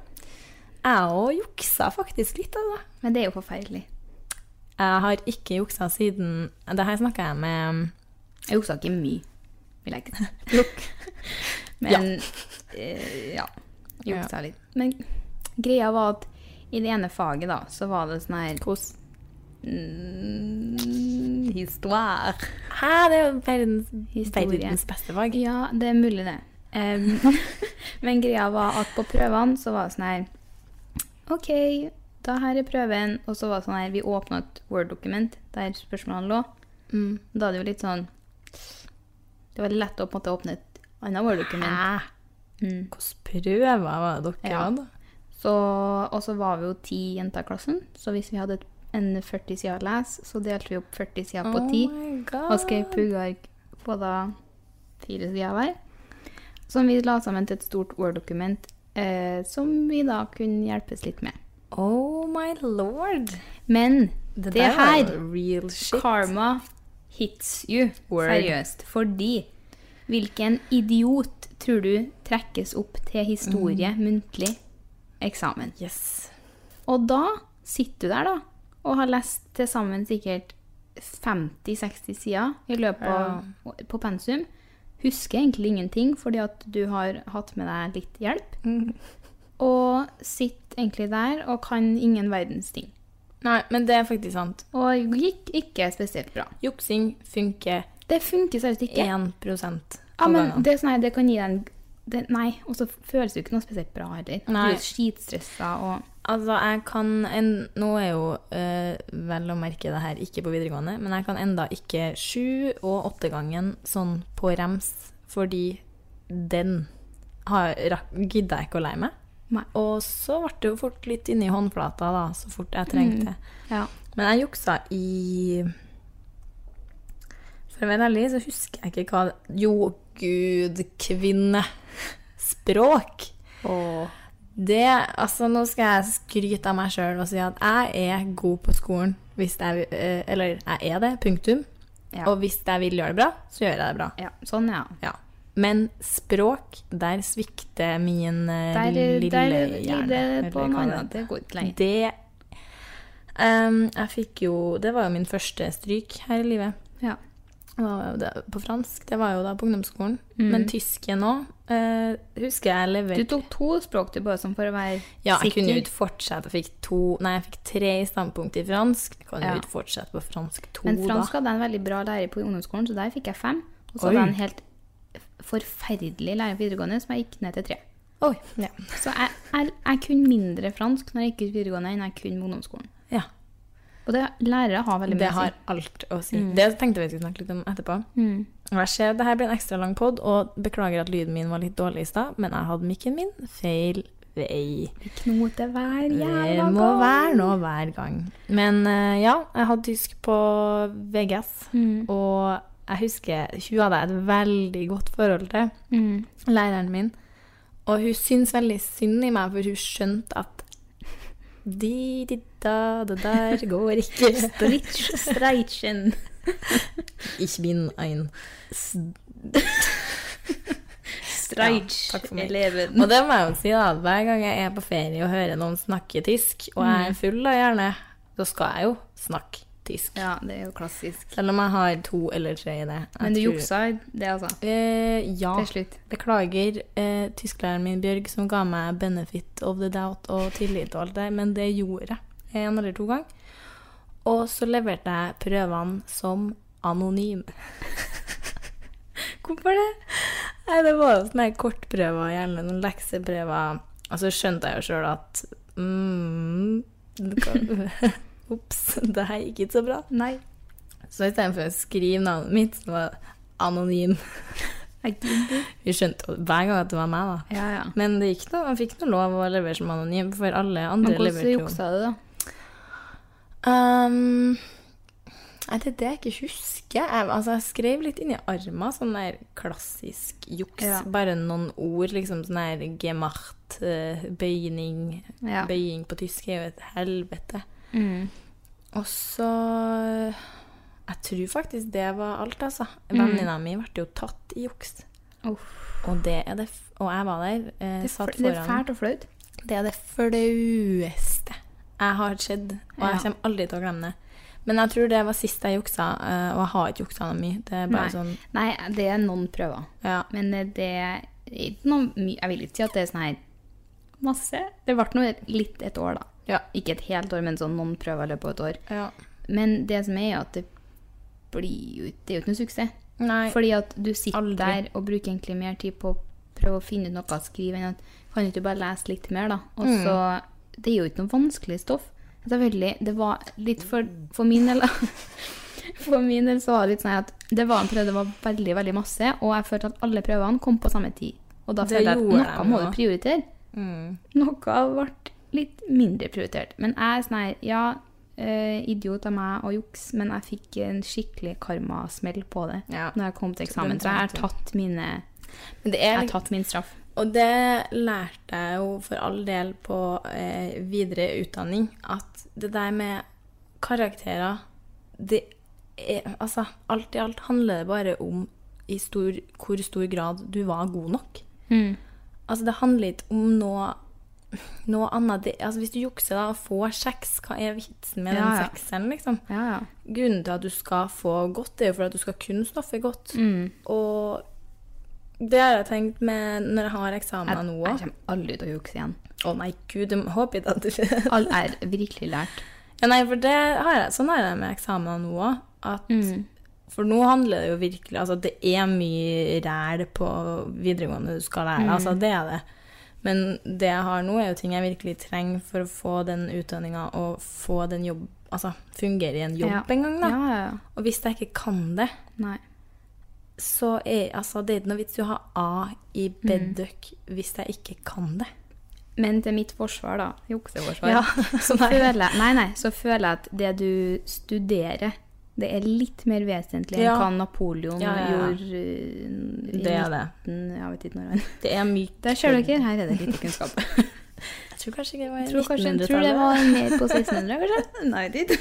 [SPEAKER 1] òg juksa faktisk litt, altså.
[SPEAKER 2] Men det er jo forferdelig.
[SPEAKER 1] Jeg har ikke juksa siden Det her snakka jeg med
[SPEAKER 2] Jeg juksa ikke mye, vil jeg ikke si. Men eh, ja. Juksa litt. Men greia var at i det ene faget, da, så var det sånn her Hvordan? Mm, histoire.
[SPEAKER 1] Hæ, det er jo verdens,
[SPEAKER 2] Historie.
[SPEAKER 1] verdens beste fag.
[SPEAKER 2] Ja, det er mulig det. Em, men greia var at på prøvene så var det sånn her OK, da her er prøven. Og så var det sånn her, vi åpna et Word-dokument der spørsmålene lå. Da er det jo litt sånn Det var lett å på en måte åpne et annet Word-dokument.
[SPEAKER 1] Hvilke prøver var det dere
[SPEAKER 2] Ja.
[SPEAKER 1] hadde?
[SPEAKER 2] Så- Og så var vi jo ti jenter i klassen, så hvis vi hadde et, en 40 sider å lese, så delte vi opp 40 sider på ti.
[SPEAKER 1] my god.
[SPEAKER 2] og skrev puggark på da fire sider hver. Som vi la sammen til et stort Word-dokument eh, som vi da kunne hjelpes litt med.
[SPEAKER 5] Oh my lord.
[SPEAKER 2] Men det,
[SPEAKER 5] Det, der var
[SPEAKER 2] her
[SPEAKER 5] real shit.
[SPEAKER 2] Karma hits you.
[SPEAKER 5] Word.
[SPEAKER 2] Seriøst. Fordi hvilken idiot tror du trekkes opp til historie muntlig eksamen?
[SPEAKER 5] Mm. Yes.
[SPEAKER 2] Og da sitter du der, da, og har lest til sammen sikkert 50-60 sider i løpet av på pensum. Husker egentlig ingenting, fordi at du har hatt med deg litt hjelp.
[SPEAKER 5] Mm.
[SPEAKER 2] Og sitter egentlig der og kan ingen verdens ting.
[SPEAKER 5] Nei, men det er faktisk sant.
[SPEAKER 2] Og gikk ikke spesielt bra.
[SPEAKER 5] Juksing funker
[SPEAKER 2] Det funker seriøst ikke.
[SPEAKER 5] 1 på
[SPEAKER 2] Ja, men
[SPEAKER 5] gangen.
[SPEAKER 2] det, er sånn her, det kan gi deg en det, Nei, og så føles det jo ikke noe spesielt bra heller.
[SPEAKER 5] Nei.
[SPEAKER 2] Du er skitstressa og
[SPEAKER 5] Altså, jeg kan en, Nå er jo eh, vel å merke det her ikke på videregående, men jeg kan enda ikke sju- og åttegangen sånn på rems, fordi den har rakk- gidda jeg ikke å leie meg.
[SPEAKER 2] Nei.
[SPEAKER 5] Og så ble det jo fort litt inni håndflata, da, så fort jeg trengte det.
[SPEAKER 2] Ja.
[SPEAKER 5] Men jeg juksa i For å være ærlig, så husker jeg ikke hva det- Jo, gud, kvinne! Språk! Det, altså Nå skal jeg skryte av meg sjøl og si at jeg er god på skolen. Hvis jeg, eh, eller jeg er det, punktum.
[SPEAKER 2] Ja.
[SPEAKER 5] Og hvis jeg vil gjøre det bra, så gjør jeg det bra.
[SPEAKER 2] ja. Sånn, ja.
[SPEAKER 5] Ja. Men språk, der svikter min eh,
[SPEAKER 2] Der,
[SPEAKER 5] lille
[SPEAKER 2] der
[SPEAKER 5] hjerne.
[SPEAKER 2] ligger det
[SPEAKER 5] eller
[SPEAKER 2] på noe
[SPEAKER 5] hva det er.
[SPEAKER 2] annet. Det går ikke lenger.
[SPEAKER 5] Det Ehm, Jeg fikk jo Det var jo min første stryk her i livet.
[SPEAKER 2] Ja.
[SPEAKER 5] Det var jo det- På fransk. Det var jo da på ungdomsskolen. Men tysken òg. husker jeg
[SPEAKER 2] Mm. Du
[SPEAKER 5] leverte
[SPEAKER 2] tok to språk du bare sånn for å være
[SPEAKER 5] Ja, jeg
[SPEAKER 2] sikker.
[SPEAKER 5] kunne jo ikke fortsette. Jeg fikk to Nei, jeg fikk tre i standpunkt i fransk. Jeg kan jo
[SPEAKER 2] Ja.
[SPEAKER 5] ikke fortsette på fransk to,
[SPEAKER 2] Men fransk
[SPEAKER 5] da.
[SPEAKER 2] hadde jeg en veldig bra lærer på ungdomsskolen, så der fikk jeg fem. Og så
[SPEAKER 5] Oi.
[SPEAKER 2] hadde jeg en helt forferdelig lærer på videregående som jeg gikk ned til tre.
[SPEAKER 5] Oi, ja.
[SPEAKER 2] Så jeg, jeg, jeg kunne mindre fransk når jeg gikk ut videregående enn jeg kunne på ungdomsskolen.
[SPEAKER 5] ja.
[SPEAKER 2] Og det, lærere har veldig mye
[SPEAKER 5] Det
[SPEAKER 2] å si. Mm.
[SPEAKER 5] har alt å si. Det tenkte vi skulle snakke litt om etterpå. Og jeg ser det her blir en ekstra lang pod, og beklager at lyden min var litt dårlig i stad, men jeg hadde mikken min feil vei.
[SPEAKER 2] Knote hver
[SPEAKER 5] Det
[SPEAKER 2] jævla
[SPEAKER 5] må
[SPEAKER 2] gang.
[SPEAKER 5] være nå hver gang. Men eh, ja, jeg hadde tysk på VGS,
[SPEAKER 2] Mm.
[SPEAKER 5] og jeg husker hun hadde jeg et veldig godt forhold til, læreren min. Og hun syntes veldig synd i meg, for hun skjønte at de, de, da, det der går ikke.
[SPEAKER 2] Stritch, streitchen.
[SPEAKER 5] Ich bin ein
[SPEAKER 2] Streitch.
[SPEAKER 5] Ja, takk for meg.
[SPEAKER 2] eleven.
[SPEAKER 5] Og det må jeg jo si, da. at Hver gang jeg er på ferie og hører noen snakke tysk, og jeg er full da gjerne, så skal jeg jo snakke tysk.
[SPEAKER 2] Ja, det er jo klassisk.
[SPEAKER 5] Selv om jeg har to eller tre i det. Jeg
[SPEAKER 2] Men du
[SPEAKER 5] tror-
[SPEAKER 2] juksa i det, altså.
[SPEAKER 5] Eh, ja.
[SPEAKER 2] Til slutt.
[SPEAKER 5] Beklager eh, tysklæreren min Bjørg, som ga meg benefit of the doubt og tillit og alt det, men det gjorde jeg en eller to ganger. Og så leverte jeg prøvene som anonym. Hvorfor det? Nei, det var jo sånne her kortprøver, gjerne noen lekseprøver. Og så skjønte jeg jo sjøl at mm, det kan- Ops, det her gikk ikke så bra.
[SPEAKER 2] Nei.
[SPEAKER 5] Så istedenfor å skrive navnet mitt, så var det anonym.
[SPEAKER 2] Jeg gidder.
[SPEAKER 5] Vi skjønte jo hver gang at det var meg, da.
[SPEAKER 2] Ja, ja.
[SPEAKER 5] Men det gikk noe, man fikk noe lov å levere som anonym, for alle
[SPEAKER 2] Men
[SPEAKER 5] andre
[SPEAKER 2] hvordan
[SPEAKER 5] leverte jo.
[SPEAKER 2] juksa du, da?
[SPEAKER 5] Um, nei, det er det jeg ikke husker. Jeg, altså, jeg skrev litt inni armen, sånn der klassisk juks.
[SPEAKER 2] Ja.
[SPEAKER 5] Bare noen ord, liksom sånn der gemacht, eh, bøyning.
[SPEAKER 2] Ja.
[SPEAKER 5] Bøying på tysk er jo et helvete. Og så Jeg tror faktisk det var alt, altså. Venninna mi ble jo tatt i juks.
[SPEAKER 2] Uff.
[SPEAKER 5] Og, det er det, f- og jeg var der, eh,
[SPEAKER 2] Det, er
[SPEAKER 5] satt
[SPEAKER 2] fl- det er
[SPEAKER 5] foran
[SPEAKER 2] fælt og flaut.
[SPEAKER 5] det er det flaueste jeg har skjedd, og jeg
[SPEAKER 2] Ja.
[SPEAKER 5] kommer aldri til å glemme det. Men jeg tror det var sist jeg juksa, eh, og jeg har ikke juksa noe mye. Det er bare
[SPEAKER 2] Nei.
[SPEAKER 5] sånn
[SPEAKER 2] Nei, det er noen prøver.
[SPEAKER 5] ja.
[SPEAKER 2] Men eh, det er ikke noe mye Jeg vil ikke si at det er sånn her masse. Det ble nå litt et år, da.
[SPEAKER 5] Ja.
[SPEAKER 2] Ikke et helt år, men sånn noen prøver i løpet av et år.
[SPEAKER 5] ja.
[SPEAKER 2] Men det som er, er at det blir jo Det er jo ikke noe suksess.
[SPEAKER 5] Nei.
[SPEAKER 2] Fordi at du sitter
[SPEAKER 5] Aldri.
[SPEAKER 2] der og bruker egentlig mer tid på å prøve å finne ut noe å skrive enn at kan ikke du bare lese litt mer, da? Og
[SPEAKER 5] Mm.
[SPEAKER 2] så Det er jo ikke noe vanskelig stoff. Selvfølgelig, det var litt for, for min del For min del så var det litt sånn at det var en prøve det var veldig, veldig masse, og jeg følte at alle prøvene kom på samme tid. Og da
[SPEAKER 5] Det
[SPEAKER 2] følte jeg at
[SPEAKER 5] gjorde
[SPEAKER 2] noe må
[SPEAKER 5] jeg
[SPEAKER 2] du
[SPEAKER 5] også.
[SPEAKER 2] prioritere.
[SPEAKER 5] Mm.
[SPEAKER 2] Noe ble litt mindre prioritert. Men jeg er sånn her Ja, eh, idiot av meg og juks, men jeg fikk en skikkelig karmasmell på det
[SPEAKER 5] Ja.
[SPEAKER 2] når jeg kom til eksamen.
[SPEAKER 5] Den
[SPEAKER 2] Så jeg har
[SPEAKER 5] trengte du.
[SPEAKER 2] tatt mine
[SPEAKER 5] Men det
[SPEAKER 2] Jeg
[SPEAKER 5] er,
[SPEAKER 2] har
[SPEAKER 5] litt-
[SPEAKER 2] tatt min straff.
[SPEAKER 5] Og det lærte jeg jo for all del på eh, videre utdanning, at det der med karakterer det er, altså, Alt i alt handler det bare om i stor, hvor stor grad du var god nok. Altså, det handler ikke om noe, noe annet. Det, altså, hvis du jukser da og får seks, hva er vitsen med
[SPEAKER 2] Ja,
[SPEAKER 5] den
[SPEAKER 2] ja.
[SPEAKER 5] sekseren, liksom?
[SPEAKER 2] Ja, ja.
[SPEAKER 5] Grunnen til at du skal få godt, det er jo for at du skal kunne stoffet godt.
[SPEAKER 2] Mm.
[SPEAKER 5] Og det har jeg tenkt med når jeg har eksamener
[SPEAKER 2] Jeg,
[SPEAKER 5] nå
[SPEAKER 2] jeg
[SPEAKER 5] òg.
[SPEAKER 2] kommer aldri til å jukse igjen.
[SPEAKER 5] Å nei, gud, jeg håper ikke at det skjer.
[SPEAKER 2] Alt er virkelig lært.
[SPEAKER 5] Ja, nei, for det har jeg, sånn er det med eksamener nå òg. At
[SPEAKER 2] Mm.
[SPEAKER 5] For nå handler det jo virkelig Altså, det er mye ræl på videregående du skal lære.
[SPEAKER 2] Mm.
[SPEAKER 5] Altså, det er det. Men det jeg har nå, er jo ting jeg virkelig trenger for å få den utdanninga og få den jobb... Altså fungere i en jobb
[SPEAKER 2] Ja.
[SPEAKER 5] en gang, da.
[SPEAKER 2] Ja, ja, ja.
[SPEAKER 5] Og hvis jeg ikke kan det,
[SPEAKER 2] Nei.
[SPEAKER 5] så er altså, det er ikke noe vits i å ha A i
[SPEAKER 2] Mm.
[SPEAKER 5] bedøk hvis jeg ikke kan det.
[SPEAKER 2] Men til mitt forsvar, da. Jukseforsvar.
[SPEAKER 5] Ja,
[SPEAKER 2] så føler jeg, nei, nei, så føler jeg at det du studerer, det er litt mer vesentlig enn
[SPEAKER 5] Ja.
[SPEAKER 2] hva Napoleon
[SPEAKER 5] Ja, ja, ja.
[SPEAKER 2] gjorde eh, i
[SPEAKER 5] Det er det.
[SPEAKER 2] 19... Jeg vet ikke når han
[SPEAKER 5] Det er mykt.
[SPEAKER 2] Der ser dere, her er det lite kunnskap.
[SPEAKER 5] Jeg tror kanskje ikke det var i
[SPEAKER 2] tror, kanskje, tror det
[SPEAKER 5] 1900-tallet.
[SPEAKER 2] var mer på 1600, kanskje? Nei, dit.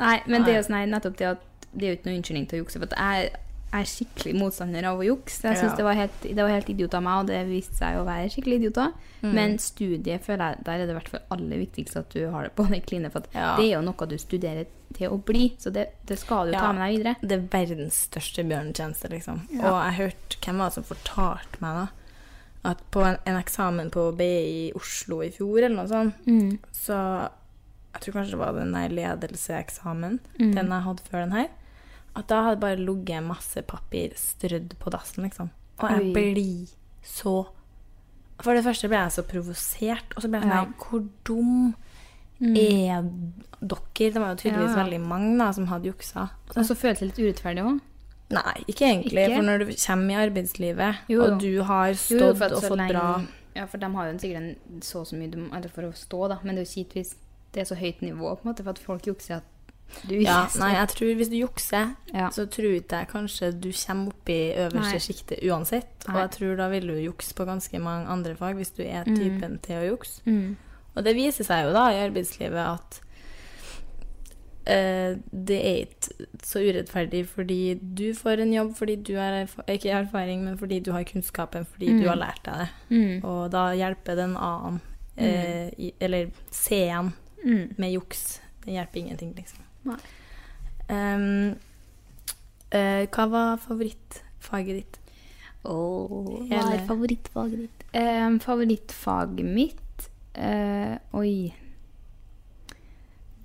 [SPEAKER 2] nei, men det er jo sånn her, nettopp det at det er jo ikke noe unnskyldning til å jukse. For at jeg jeg er skikkelig motstander av å jukse. Jeg synes
[SPEAKER 5] Ja.
[SPEAKER 2] det, var helt- det var helt idiot av meg, og det viste seg å være skikkelig idioter.
[SPEAKER 5] Mm.
[SPEAKER 2] Men studiet føler jeg, der er det i hvert fall aller viktigst at du har det på det kline. For at
[SPEAKER 5] Ja.
[SPEAKER 2] det er jo noe du studerer til å bli, så det, det skal du
[SPEAKER 5] Ja.
[SPEAKER 2] ta med deg videre.
[SPEAKER 5] Det er verdens største bjørnetjeneste, liksom. Og jeg hørte hvem var det som fortalte meg da, at på en, en eksamen på BI i Oslo i fjor, eller noe sånt,
[SPEAKER 2] Mm.
[SPEAKER 5] så jeg tror kanskje det var den der ledelseeksamen,
[SPEAKER 2] Mm.
[SPEAKER 5] den jeg hadde før den her, at da hadde bare ligget masse papir strødd på dassen, liksom. Og jeg
[SPEAKER 2] Oi.
[SPEAKER 5] blir så For det første ble jeg så provosert, og så ble jeg sånn
[SPEAKER 2] Ja. Mm.
[SPEAKER 5] her, Hvor dum er dere? Det var jo tydeligvis
[SPEAKER 2] Ja.
[SPEAKER 5] veldig mange da, som hadde juksa.
[SPEAKER 2] Og så føles det litt urettferdig òg.
[SPEAKER 5] Nei, ikke egentlig.
[SPEAKER 2] Ikke?
[SPEAKER 5] For når du kommer i arbeidslivet,
[SPEAKER 2] Jo, jo.
[SPEAKER 5] og du har
[SPEAKER 2] Jo,
[SPEAKER 5] stått
[SPEAKER 2] jo, for at
[SPEAKER 5] og
[SPEAKER 2] så
[SPEAKER 5] fått
[SPEAKER 2] lenge-
[SPEAKER 5] bra
[SPEAKER 2] Ja, for de har jo en- sikkert en så og så mye de, eller for å stå, da. Men det er jo kjipt hvis det er så høyt nivå, på en måte, for at folk jukser at du ikke
[SPEAKER 5] ja,
[SPEAKER 2] er så-
[SPEAKER 5] Nei, jeg tror hvis du jukser,
[SPEAKER 2] Ja.
[SPEAKER 5] så tror ikke jeg kanskje du kommer opp i
[SPEAKER 2] Nei.
[SPEAKER 5] øverste sjiktet uansett. Og
[SPEAKER 2] Nei. Mm.
[SPEAKER 5] jeg tror da vil du jukse på ganske mange andre fag hvis du er typen til å jukse. Og det viser seg jo da i arbeidslivet at eh, det er ikke så urettferdig fordi du får en jobb fordi du har erf ikke erfaring, men fordi du har kunnskapen, fordi
[SPEAKER 2] Mm.
[SPEAKER 5] du har lært deg det. Og da hjelper den A-en, eh, i- eller C-en,
[SPEAKER 2] mm.
[SPEAKER 5] med juks. Det hjelper ingenting, liksom.
[SPEAKER 2] Nei.
[SPEAKER 5] Ehm, eh, hva var favorittfaget ditt?
[SPEAKER 2] Åh,
[SPEAKER 5] Hva er
[SPEAKER 2] favorittfaget ditt? eh, favorittfaget mitt? Eh, oi.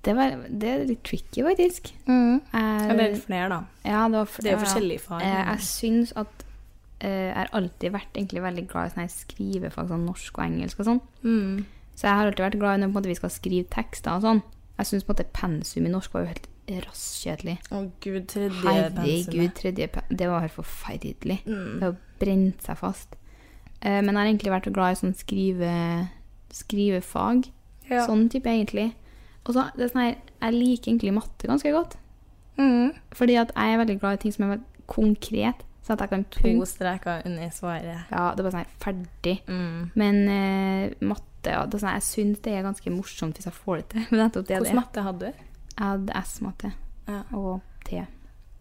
[SPEAKER 2] Det, var, det er litt tricky, faktisk. Jeg-
[SPEAKER 5] Eller flere, da.
[SPEAKER 2] ja, det, var,
[SPEAKER 5] Det
[SPEAKER 2] Mm. ja,
[SPEAKER 5] er jo
[SPEAKER 2] ja.
[SPEAKER 5] forskjellige fag.
[SPEAKER 2] Eh, jeg syns at eh, Jeg har alltid vært egentlig veldig glad i sånne her skrivefag, sånn norsk og engelsk og sånn.
[SPEAKER 5] Mm.
[SPEAKER 2] Så jeg har alltid vært glad i når på en måte vi skal skrive tekster og sånn. Jeg syns på en måte pensum i norsk var jo helt rasskjedelig.
[SPEAKER 5] Å gud, tredje
[SPEAKER 2] Herregud,
[SPEAKER 5] pensumet.
[SPEAKER 2] tredje pe- Det var helt forferdelig.
[SPEAKER 5] Mm.
[SPEAKER 2] Det har brent seg fast. Eh, men jeg har egentlig vært glad i sånn skrive, skrivefag.
[SPEAKER 5] Ja.
[SPEAKER 2] Sånn type, egentlig. Og så, det er sånn her, jeg liker egentlig matte ganske godt.
[SPEAKER 5] Mm.
[SPEAKER 2] Fordi at jeg er veldig glad i ting som er veldig konkret. Så at jeg kan
[SPEAKER 5] To
[SPEAKER 2] punkt.
[SPEAKER 5] streker under svaret.
[SPEAKER 2] Ja, det er bare sånn her, ferdig.
[SPEAKER 5] Mm.
[SPEAKER 2] Men eh, matte ja, det er sånn, Jeg syns det er ganske morsomt hvis jeg får det til. Men nettopp det er det.
[SPEAKER 5] Hvordan matte hadde du?
[SPEAKER 2] Jeg hadde S-matte
[SPEAKER 5] Ja.
[SPEAKER 2] og T.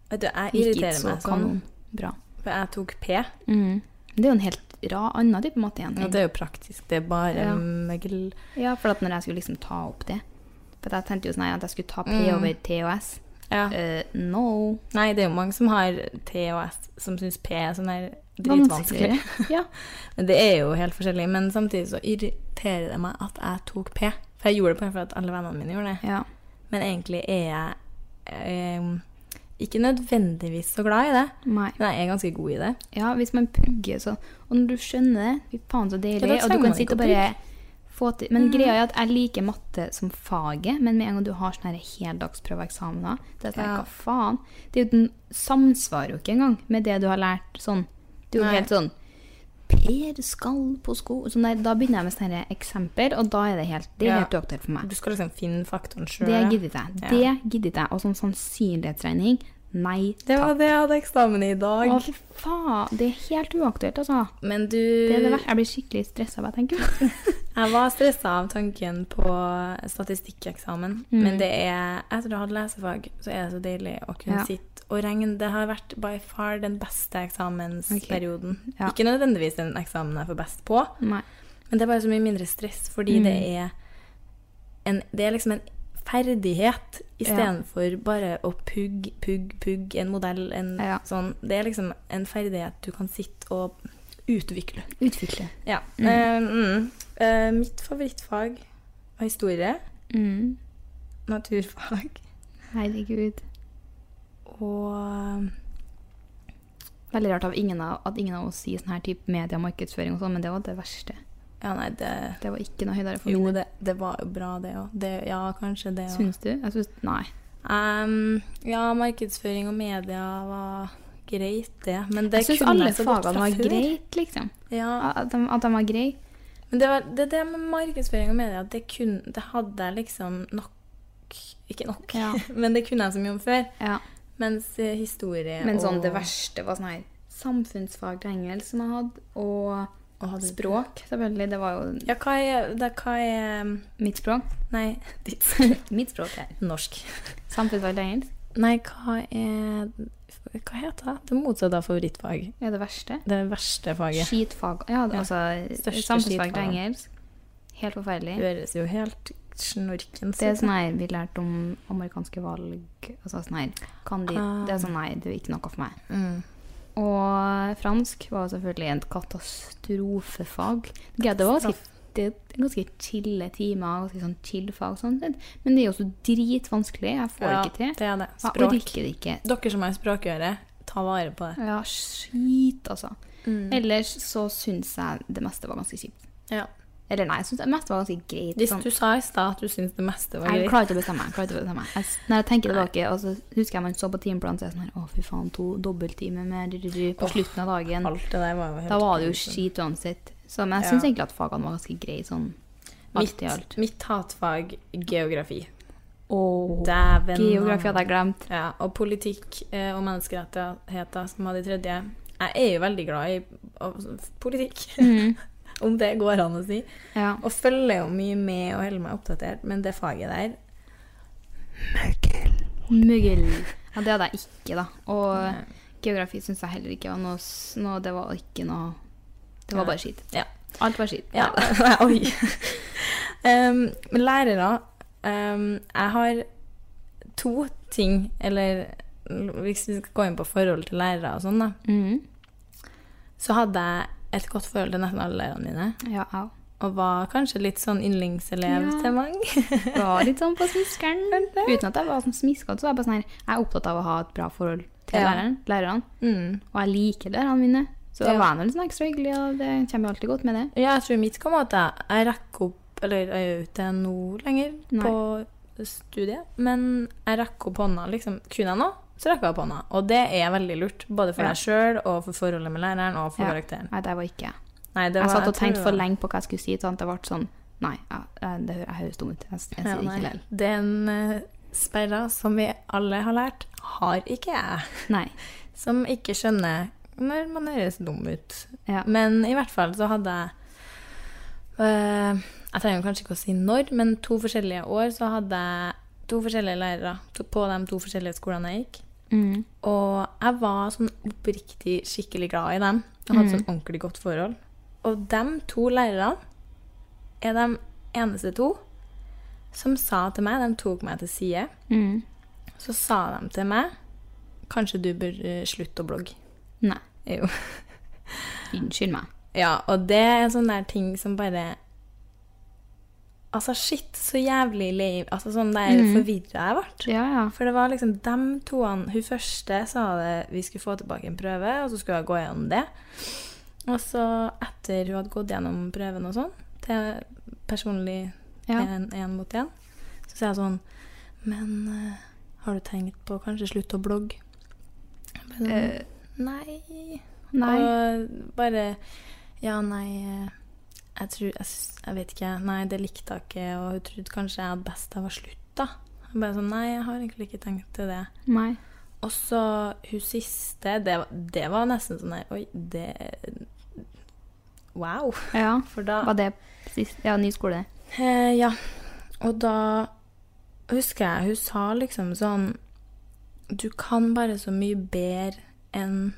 [SPEAKER 5] Vet du, jeg
[SPEAKER 2] Gikk ikke
[SPEAKER 5] irriterer
[SPEAKER 2] så
[SPEAKER 5] meg sånn.
[SPEAKER 2] kanon Mm. bra.
[SPEAKER 5] For jeg tok P.
[SPEAKER 2] Det er jo en helt ra, annen type matte igjen.
[SPEAKER 5] Og det er jo praktisk. Det er bare
[SPEAKER 2] Ja.
[SPEAKER 5] møgl.
[SPEAKER 2] Ja, for at når jeg skulle liksom ta opp det For jeg tenkte jo sånn her at jeg skulle ta P over T og S.
[SPEAKER 5] Mm. Ja.
[SPEAKER 2] Eh, no.
[SPEAKER 5] Nei, det er jo mange som har T og S, som syns P er sånn her dritvanskelig.
[SPEAKER 2] ja.
[SPEAKER 5] Men Det er jo helt forskjellig. Men samtidig så irriterer det meg at jeg tok P. For jeg gjorde det bare for at alle vennene mine gjorde det.
[SPEAKER 2] ja.
[SPEAKER 5] Men egentlig er jeg eh, ikke nødvendigvis så glad i det.
[SPEAKER 2] Nei.
[SPEAKER 5] Men jeg er ganske god i det.
[SPEAKER 2] Ja, hvis man pugger så Og når du skjønner det, fy faen så deilig.
[SPEAKER 5] Ja, da
[SPEAKER 2] og du
[SPEAKER 5] trenger
[SPEAKER 2] kan
[SPEAKER 5] man
[SPEAKER 2] sitte og
[SPEAKER 5] ikke å Mm.
[SPEAKER 2] bare få til Men greia er at jeg liker matte som faget, men med en gang du har sånne her heldagsprøveeksamener Det er sånn,
[SPEAKER 5] Ja.
[SPEAKER 2] hva faen? Det er jo den samsvarer jo ikke engang med det du har lært sånn. Det er jo
[SPEAKER 5] Nei.
[SPEAKER 2] helt sånn Per skal på sko sånn der, Da begynner jeg med sånne her eksempler, og da er det helt Det er
[SPEAKER 5] Ja.
[SPEAKER 2] helt uaktuelt for meg.
[SPEAKER 5] Du skal liksom finne faktoren sjøl.
[SPEAKER 2] Det gidder ikke jeg.
[SPEAKER 5] Ja.
[SPEAKER 2] Det gidder ikke jeg. Og sånn sannsynlighetsregning, Nei
[SPEAKER 5] Det var
[SPEAKER 2] takk.
[SPEAKER 5] det jeg hadde eksamen i i dag.
[SPEAKER 2] Å, fy faen. Det er helt uaktuelt, altså.
[SPEAKER 5] Men du
[SPEAKER 2] Det er det verste. Jeg blir skikkelig stressa bare jeg tenker på det.
[SPEAKER 5] Jeg var stressa av tanken på statistikkeksamen.
[SPEAKER 2] Mm.
[SPEAKER 5] Men det er, etter å ha hatt lesefag, så er det så deilig å kunne
[SPEAKER 2] Ja.
[SPEAKER 5] sitte og regne. Det har vært by far den beste eksamensperioden.
[SPEAKER 2] Ja.
[SPEAKER 5] Ikke nødvendigvis den eksamen jeg får best på,
[SPEAKER 2] Nei.
[SPEAKER 5] men det er bare så mye mindre stress fordi det
[SPEAKER 2] Mm.
[SPEAKER 5] er en, det er liksom en ferdighet istedenfor bare å pugge, pugge, pugge en modell. En,
[SPEAKER 2] Ja.
[SPEAKER 5] sånn, det er liksom en ferdighet du kan sitte og utvikle.
[SPEAKER 2] Utvikle.
[SPEAKER 5] Ja. Eh, mm. Eh, mitt favorittfag var historie,
[SPEAKER 2] Mm.
[SPEAKER 5] naturfag
[SPEAKER 2] Herregud.
[SPEAKER 5] og
[SPEAKER 2] Veldig rart av ingen av, at ingen av oss sier sånn her type media, markedsføring og sånn, men det var det verste.
[SPEAKER 5] Ja, nei, det
[SPEAKER 2] Det var ikke noe høydere for
[SPEAKER 5] Jo,
[SPEAKER 2] min.
[SPEAKER 5] det, det var jo bra, det òg. Ja, kanskje det òg.
[SPEAKER 2] Syns du? Jeg syns Nei.
[SPEAKER 5] ja, markedsføring og media var greit, det. Men det
[SPEAKER 2] Jeg syns
[SPEAKER 5] kunne
[SPEAKER 2] alle
[SPEAKER 5] jeg så godt
[SPEAKER 2] fagene
[SPEAKER 5] fra
[SPEAKER 2] var
[SPEAKER 5] før.
[SPEAKER 2] greit, liksom.
[SPEAKER 5] Ja.
[SPEAKER 2] At de, at de var greie.
[SPEAKER 5] Men det, var, det, det med markedsføring og media, det, kun, det hadde jeg liksom nok Ikke nok,
[SPEAKER 2] Ja.
[SPEAKER 5] men det kunne jeg så mye om før.
[SPEAKER 2] Ja.
[SPEAKER 5] Mens eh, historie
[SPEAKER 2] Men sånn,
[SPEAKER 5] og
[SPEAKER 2] det verste var sånn her samfunnsfag til engelsk som jeg hadde, og
[SPEAKER 5] og hadde-
[SPEAKER 2] språk, selvfølgelig. Det var jo
[SPEAKER 5] Ja, hva er, da, hva er um,
[SPEAKER 2] mitt språk.
[SPEAKER 5] Nei, ditt
[SPEAKER 2] mitt språk er
[SPEAKER 5] Norsk.
[SPEAKER 2] samfunnsfag til engelsk.
[SPEAKER 5] Nei, hva er Hva heter det? Det motsatte av favorittfag.
[SPEAKER 2] Det er det verste.
[SPEAKER 5] Det verste faget.
[SPEAKER 2] Skitfag. Ja, det,
[SPEAKER 5] Ja.
[SPEAKER 2] altså
[SPEAKER 5] Største
[SPEAKER 2] samfunnsfag til
[SPEAKER 5] skitfag.
[SPEAKER 2] engelsk. Helt
[SPEAKER 5] Det
[SPEAKER 2] forferdelig.
[SPEAKER 5] høres jo helt snorkens
[SPEAKER 2] Det er
[SPEAKER 5] ut.
[SPEAKER 2] sånn her vi lærte om amerikanske valg altså sånn her, kan de,
[SPEAKER 5] Ah.
[SPEAKER 2] Det er sånn nei, det er ikke noe for meg.
[SPEAKER 5] Mm.
[SPEAKER 2] Og fransk var selvfølgelig en katastrofefag. Ja, det var ganske, det er ganske chille timer, ganske sånn chill fag. og Sånn. sett. Men det er jo så dritvanskelig. Jeg får
[SPEAKER 5] Ja,
[SPEAKER 2] det ikke til.
[SPEAKER 5] det er det.
[SPEAKER 2] Jeg
[SPEAKER 5] Språk.
[SPEAKER 2] orker det ikke.
[SPEAKER 5] Dere som har språkøre, ta vare på det.
[SPEAKER 2] Ja, skit, altså.
[SPEAKER 5] Mm.
[SPEAKER 2] Ellers så syns jeg det meste var ganske kjipt. Eller nei, jeg syns det meste var ganske greit.
[SPEAKER 5] Hvis
[SPEAKER 2] sånn.
[SPEAKER 5] du sa i stad at du syntes det meste var
[SPEAKER 2] Jeg
[SPEAKER 5] greit
[SPEAKER 2] klarer ikke å bestemme meg. klarer ikke å bestemme meg. Jeg, s- når jeg tenker tilbake, og så husker jeg man så på timeplanen, så er jeg sånn her Å, fy faen, to dobbelttimer med rrrr på slutten av dagen.
[SPEAKER 5] Alt det der var jo helt
[SPEAKER 2] Da var det jo
[SPEAKER 5] grusomt.
[SPEAKER 2] skit uansett. Så, men jeg
[SPEAKER 5] Ja.
[SPEAKER 2] syns egentlig at fagene var ganske greie sånn alt i
[SPEAKER 5] Mitt,
[SPEAKER 2] alt.
[SPEAKER 5] mitt hatfag geografi.
[SPEAKER 2] Åh,
[SPEAKER 5] Dæven.
[SPEAKER 2] Oh. Geografi
[SPEAKER 5] eh,
[SPEAKER 2] hadde jeg glemt.
[SPEAKER 5] Ja, og politikk eh, og menneskerettigheter som var de tredje. Jeg er jo veldig glad i og- politikk, om det går an å si.
[SPEAKER 2] Mhm, Ja.
[SPEAKER 5] Og følger jo mye med og holder meg oppdatert, men det faget der
[SPEAKER 2] Muggel. Ja, det hadde jeg ikke, da. Og geografi syns jeg heller ikke var noe, s- noe Det var ikke noe Det var bare skit.
[SPEAKER 5] Ja.
[SPEAKER 2] Alt var skit.
[SPEAKER 5] ja. Oi. um, men lærere um, Jeg har to ting, eller hvis vi skal gå inn på forhold til lærere og sånn, da,
[SPEAKER 2] Mhm.
[SPEAKER 5] så hadde jeg et godt forhold til nesten alle lærerne mine.
[SPEAKER 2] Ja, au.
[SPEAKER 5] Og var kanskje litt sånn yndlingselev
[SPEAKER 2] Ja.
[SPEAKER 5] til mange.
[SPEAKER 2] var litt sånn på smiskeren. Uten at jeg var sånn smiskete, så var jeg bare sånn her Jeg er opptatt av å ha et bra forhold til
[SPEAKER 5] Ja.
[SPEAKER 2] læreren, lærerne.
[SPEAKER 5] Mm.
[SPEAKER 2] Og jeg liker lærerne mine. Så da
[SPEAKER 5] Ja.
[SPEAKER 2] var jeg nå litt sånn ekstra hyggelig, og det kommer jo alltid godt med det.
[SPEAKER 5] Ja, jeg tror mitt kom at jeg, jeg rekker opp Eller jeg er jo ikke nå lenger
[SPEAKER 2] Nei.
[SPEAKER 5] på studiet, men jeg rekker opp hånda. liksom, Kunne jeg nå, så rekker jeg opp hånda. Og det er veldig lurt. Både for
[SPEAKER 2] Ja.
[SPEAKER 5] deg sjøl og for forholdet med læreren og for
[SPEAKER 2] Ja.
[SPEAKER 5] karakteren.
[SPEAKER 2] Nei, det var ikke jeg.
[SPEAKER 5] Nei, det
[SPEAKER 2] Jeg
[SPEAKER 5] var-
[SPEAKER 2] satt og
[SPEAKER 5] tror
[SPEAKER 2] tenkte
[SPEAKER 5] det
[SPEAKER 2] for
[SPEAKER 5] var-
[SPEAKER 2] lenge på hva jeg skulle si, sånn at det ble sånn Nei, ja, jeg, det hø- jeg høres dum ut. Jeg, s- jeg
[SPEAKER 5] Ja,
[SPEAKER 2] sier ikke
[SPEAKER 5] nei.
[SPEAKER 2] lell.
[SPEAKER 5] Det er en eh, sperra som vi alle har lært, har ikke jeg.
[SPEAKER 2] Nei.
[SPEAKER 5] Som ikke skjønner når man høres dum ut.
[SPEAKER 2] Ja.
[SPEAKER 5] Men i hvert fall så hadde jeg øh, Jeg trenger kanskje ikke å si når, men to forskjellige år så hadde jeg to forskjellige lærere to, på de to forskjellige skolene jeg gikk.
[SPEAKER 2] Mm.
[SPEAKER 5] Og jeg var sånn oppriktig skikkelig glad i dem. Jeg hadde sånn ordentlig godt forhold. Og de to lærerne er de eneste to som sa til meg De tok meg til side.
[SPEAKER 2] Mm.
[SPEAKER 5] Så sa de til meg Kanskje du bør eh, slutte å blogge.
[SPEAKER 2] Nei.
[SPEAKER 5] Jo.
[SPEAKER 2] Unnskyld meg.
[SPEAKER 5] Ja, og det er en sånn der ting som bare Altså, shit, så jævlig lei Altså, sånn der forvirra jeg ble.
[SPEAKER 2] Ja, Mhm. ja.
[SPEAKER 5] For det var liksom dem toene Hun første sa det vi skulle få tilbake en prøve, og så skulle hun gå gjennom det. Og så, etter hun hadde gått gjennom prøven og sånn, til personlig
[SPEAKER 2] Ja.
[SPEAKER 5] én mot én, så sier jeg sånn Men eh, har du tenkt på å kanskje slutte å blogge? Jeg ble
[SPEAKER 2] Eh,
[SPEAKER 5] sånn, Nei.
[SPEAKER 2] Nei.
[SPEAKER 5] Og bare Ja, nei eh, jeg, tror, jeg, s- jeg vet ikke. Nei, det likte jeg ikke. Og hun trodde kanskje jeg hadde best av å slutte. da. Jeg Bare sånn, nei, jeg har egentlig ikke tenkt til det.
[SPEAKER 2] Nei.
[SPEAKER 5] Og så hun siste, det, var- det var nesten sånn der Oi, det Wow.
[SPEAKER 2] Ja.
[SPEAKER 5] For da
[SPEAKER 2] Var det sist? Ja, ny skole.
[SPEAKER 5] Eh, ja. Og da husker jeg hun sa liksom sånn Du kan bare så mye bedre enn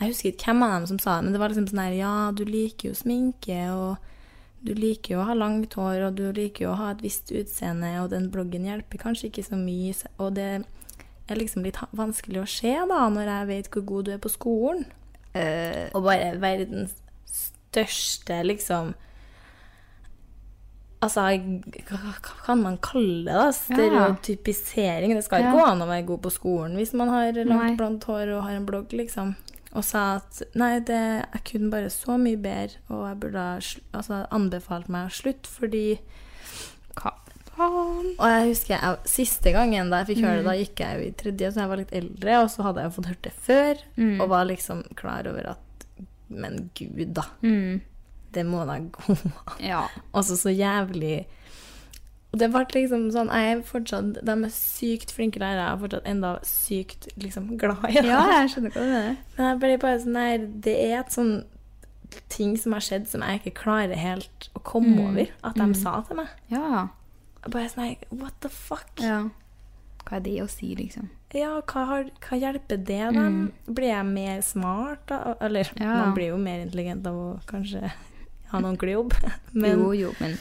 [SPEAKER 5] Jeg husker ikke hvem av dem som sa det, men det var liksom sånn her Ja, du liker jo sminke, og du liker jo å ha langt hår, og du liker jo å ha et visst utseende, og den bloggen hjelper kanskje ikke så mye, så- og det er liksom litt ha- vanskelig å se da, når jeg vet hvor god du er på skolen. og bare verdens største, liksom Altså, hva hva kan man kalle det? da? Stereotypisering. Det skal ikke
[SPEAKER 2] Ja.
[SPEAKER 5] gå an å være god på skolen hvis man har langt,
[SPEAKER 2] Nei.
[SPEAKER 5] blondt hår og har en blogg, liksom. Og sa at nei, det, jeg kunne bare så mye bedre, og jeg burde ha sl- altså, anbefalt meg å slutte fordi Hva faen? Og jeg husker jeg, siste gangen da jeg fikk høre det, da
[SPEAKER 2] Mm.
[SPEAKER 5] gikk jeg jo i tredje, så jeg var litt eldre, og så hadde jeg jo fått hørt det før,
[SPEAKER 2] Mm.
[SPEAKER 5] og var liksom klar over at Men gud, da. Det må da gå an.
[SPEAKER 2] Mm. Ja.
[SPEAKER 5] Altså så jævlig Og det ble liksom sånn Jeg er fortsatt De er sykt flinke lærere. Jeg er fortsatt enda sykt liksom glad i det.
[SPEAKER 2] Ja, jeg skjønner hva du mener.
[SPEAKER 5] Men jeg ble bare sånn der, Det er et sånn ting som har skjedd som jeg ikke klarer helt å komme over. At de sa til meg.
[SPEAKER 2] Ja.
[SPEAKER 5] Jeg Bare sånn her, What the fuck?
[SPEAKER 2] ja. Hva er det å si, liksom?
[SPEAKER 5] Ja, hva, har, hva hjelper det dem? Blir jeg mer smart da? Eller
[SPEAKER 2] Ja.
[SPEAKER 5] man blir jo mer intelligent av å kanskje ha noen ordentlig jobb. Men
[SPEAKER 2] Jo, jo, men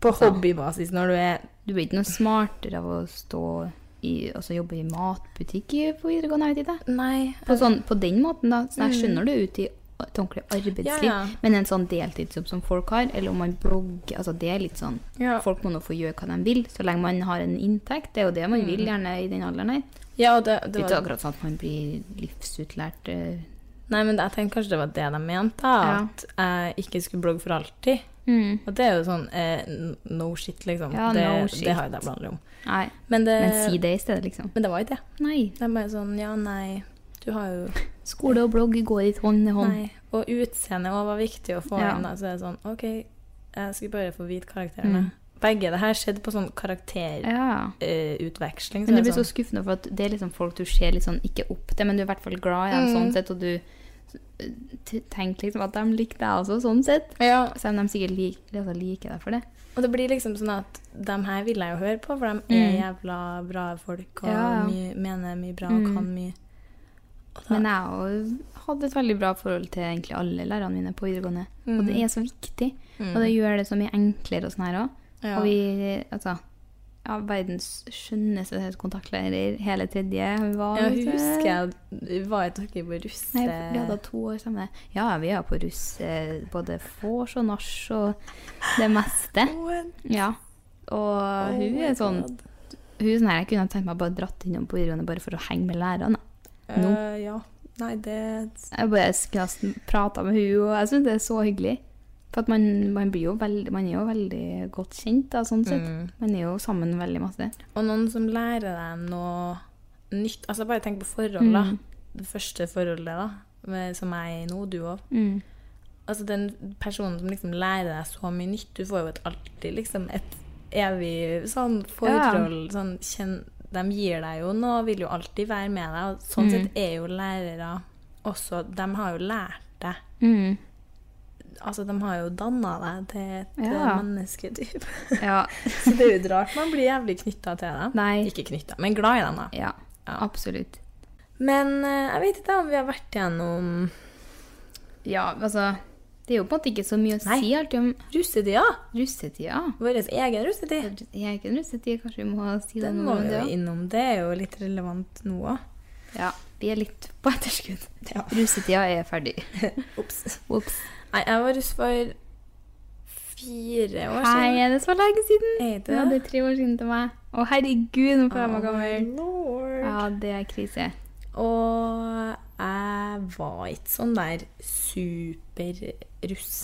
[SPEAKER 5] på hobbybasis når du er
[SPEAKER 2] du blir ikke noe smartere av å stå i, altså jobbe i matbutikk i- på videregående. Jeg vet ikke.
[SPEAKER 5] Nei.
[SPEAKER 2] På, sånn, på den måten, da. Så jeg skjønner du ut i et ordentlig arbeidsliv.
[SPEAKER 5] Mm. Ja, ja.
[SPEAKER 2] Men en sånn deltidsjobb som folk har, eller om man blogger altså Det er litt sånn
[SPEAKER 5] Ja.
[SPEAKER 2] Folk må nå få gjøre hva de vil, så lenge man har en inntekt. Det er jo det man vil gjerne i den alderen her.
[SPEAKER 5] Ja, og Mm. det,
[SPEAKER 2] Det
[SPEAKER 5] det
[SPEAKER 2] er ikke
[SPEAKER 5] var,
[SPEAKER 2] akkurat sånn at man blir livsutlært eh.
[SPEAKER 5] nei, men jeg tenkte kanskje det var det de mente, da. At jeg ikke skulle blogge for alltid. Og det er jo sånn eh, n- no shit, liksom.
[SPEAKER 2] Ja,
[SPEAKER 5] det,
[SPEAKER 2] no
[SPEAKER 5] det
[SPEAKER 2] shit.
[SPEAKER 5] har jo de blandet om.
[SPEAKER 2] Nei.
[SPEAKER 5] Men det,
[SPEAKER 2] Men si det i stedet, liksom.
[SPEAKER 5] men det var jo det.
[SPEAKER 2] Nei.
[SPEAKER 5] Det er bare sånn Ja, nei, du har jo
[SPEAKER 2] Skole og blogg går litt hånd i hånd.
[SPEAKER 5] Nei. Og utseendet òg var viktig å få
[SPEAKER 2] Sånn. Ja.
[SPEAKER 5] inn. Da. Så det er sånn OK, jeg skulle bare få vite karakterene. Begge det her skjedde på sånn
[SPEAKER 2] Mm.
[SPEAKER 5] karakterutveksling.
[SPEAKER 2] Ja.
[SPEAKER 5] utveksling
[SPEAKER 2] Men det blir
[SPEAKER 5] er
[SPEAKER 2] så
[SPEAKER 5] sånn,
[SPEAKER 2] skuffende, for at det er liksom folk du ser litt sånn ikke opp til, men du er i hvert fall glad i
[SPEAKER 5] Mm.
[SPEAKER 2] dem sånn sett, og du eh, t- tenker liksom at de liker deg også, sånn sett.
[SPEAKER 5] ja,
[SPEAKER 2] Selv om de sikkert lik, altså liker deg for det.
[SPEAKER 5] Og det blir liksom sånn at de her vil jeg jo høre på, for de er jævla bra folk
[SPEAKER 2] Mm.
[SPEAKER 5] og
[SPEAKER 2] Ja, Mm. ja.
[SPEAKER 5] mye, mener mye bra og kan mye.
[SPEAKER 2] Men jeg også hadde et veldig bra forhold til egentlig alle lærerne mine på videregående. Og
[SPEAKER 5] Mm.
[SPEAKER 2] det er så viktig. Og det gjør det så mye enklere og sånn her òg.
[SPEAKER 5] Ja.
[SPEAKER 2] Og vi, altså ja, Verdens skjønneste kontaktlærer hele tredje hun var.
[SPEAKER 5] Ja,
[SPEAKER 2] vet du.
[SPEAKER 5] husker jeg vi var et dere på russe...
[SPEAKER 2] Nei, vi hadde to år sammen. Ja, vi er på russ eh, både vors og nach og det meste. Ja. Og hun
[SPEAKER 5] oh
[SPEAKER 2] er sånn Hun er sånn her, Jeg kunne tenkt meg bare dratt innom på videregående bare for å henge med lærerne. nå.
[SPEAKER 5] Eh, ja. Nei, det
[SPEAKER 2] Jeg bare skulle prata med hun, og jeg syns det er så hyggelig. For at man, man, blir jo veldig, man er jo veldig godt kjent, da, sånn sett.
[SPEAKER 5] Mm.
[SPEAKER 2] Man er jo sammen veldig masse.
[SPEAKER 5] Og noen som lærer deg noe nytt Altså, bare tenk på forhold, da. Det første forholdet, da, med, som jeg er i nå, du òg. Altså, den personen som liksom lærer deg så mye nytt Du får jo et alltid liksom et evig sånn forhold sånn, kjenn, De gir deg jo noe, vil jo alltid være med deg. Og sånn sett er jo lærere også De har jo lært deg.
[SPEAKER 2] Mm.
[SPEAKER 5] Altså, de har jo danna deg til et
[SPEAKER 2] Ja.
[SPEAKER 5] eh, menneske, typ.
[SPEAKER 2] Ja.
[SPEAKER 5] Så det er jo litt rart man blir jævlig knytta til dem.
[SPEAKER 2] Nei.
[SPEAKER 5] Ikke knytta, men glad i dem, da.
[SPEAKER 2] ja. Absolutt.
[SPEAKER 5] Men eh, jeg vet ikke om vi har vært gjennom
[SPEAKER 2] Ja, altså Det er jo på en måte ikke så mye å si alltid om
[SPEAKER 5] russetida.
[SPEAKER 2] russetida.
[SPEAKER 5] Vår egen russetid.
[SPEAKER 2] Jeg er ikke en russetid, kanskje vi må si
[SPEAKER 5] Den
[SPEAKER 2] noe
[SPEAKER 5] må
[SPEAKER 2] om
[SPEAKER 5] vi
[SPEAKER 2] det
[SPEAKER 5] jo
[SPEAKER 2] også.
[SPEAKER 5] innom. Det er jo litt relevant nå òg.
[SPEAKER 2] Ja, vi er litt på etterskudd. Russetida er ferdig.
[SPEAKER 5] Ops.
[SPEAKER 2] Ops.
[SPEAKER 5] Nei, jeg var russ for fire år
[SPEAKER 2] Hei,
[SPEAKER 5] siden.
[SPEAKER 2] er det så lenge siden?
[SPEAKER 5] Er det?
[SPEAKER 2] Ja, det er tre år siden til meg. Å, herregud, nå føler jeg meg gammel.
[SPEAKER 5] Lord.
[SPEAKER 2] Ja, det er krise.
[SPEAKER 5] Og jeg var ikke sånn der superruss.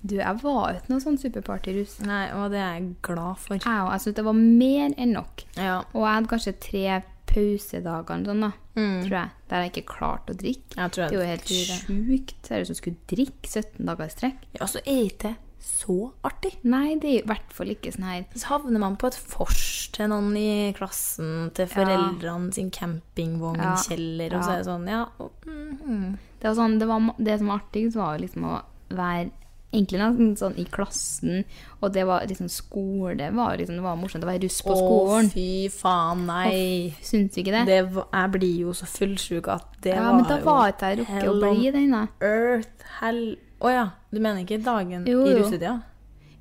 [SPEAKER 2] Du, jeg var ikke noe sånn superpartyruss. Jeg
[SPEAKER 5] Nei, og det er jeg glad for.
[SPEAKER 2] òg. Jeg syntes det var mer enn nok.
[SPEAKER 5] Ja.
[SPEAKER 2] Og jeg hadde kanskje tre pausedager eller sånn, da,
[SPEAKER 5] Mm.
[SPEAKER 2] tror jeg, der jeg ikke klarte å drikke.
[SPEAKER 5] Jeg tror jeg
[SPEAKER 2] det er jo helt
[SPEAKER 5] hadde
[SPEAKER 2] sjukt. Seriøst, du skulle drikke 17 dager i strekk.
[SPEAKER 5] Ja, så er ikke det så artig.
[SPEAKER 2] Nei, det er jo i hvert fall ikke sånn her
[SPEAKER 5] Så havner man på et vors til noen i klassen, til foreldrene sin
[SPEAKER 2] Ja.
[SPEAKER 5] campingvognkjeller, og så er det sånn, ja og, mm, mm.
[SPEAKER 2] Det, var sånn, det, var, ma- det som var artigst, var jo liksom å være egentlig nesten sånn i klassen. Og det var liksom skole var jo liksom, Det var morsomt å være russ på skolen.
[SPEAKER 5] Å, fy faen, nei.
[SPEAKER 2] Syns du ikke det?
[SPEAKER 5] Det var, jeg blir jo så fullsjuk at det
[SPEAKER 2] ja,
[SPEAKER 5] var
[SPEAKER 2] men da var
[SPEAKER 5] jo
[SPEAKER 2] ikke jeg rukket å
[SPEAKER 5] hell on
[SPEAKER 2] bli den, da.
[SPEAKER 5] Earth, hell Å ja, du mener ikke dagen
[SPEAKER 2] Jo,
[SPEAKER 5] i
[SPEAKER 2] jo.
[SPEAKER 5] russetida?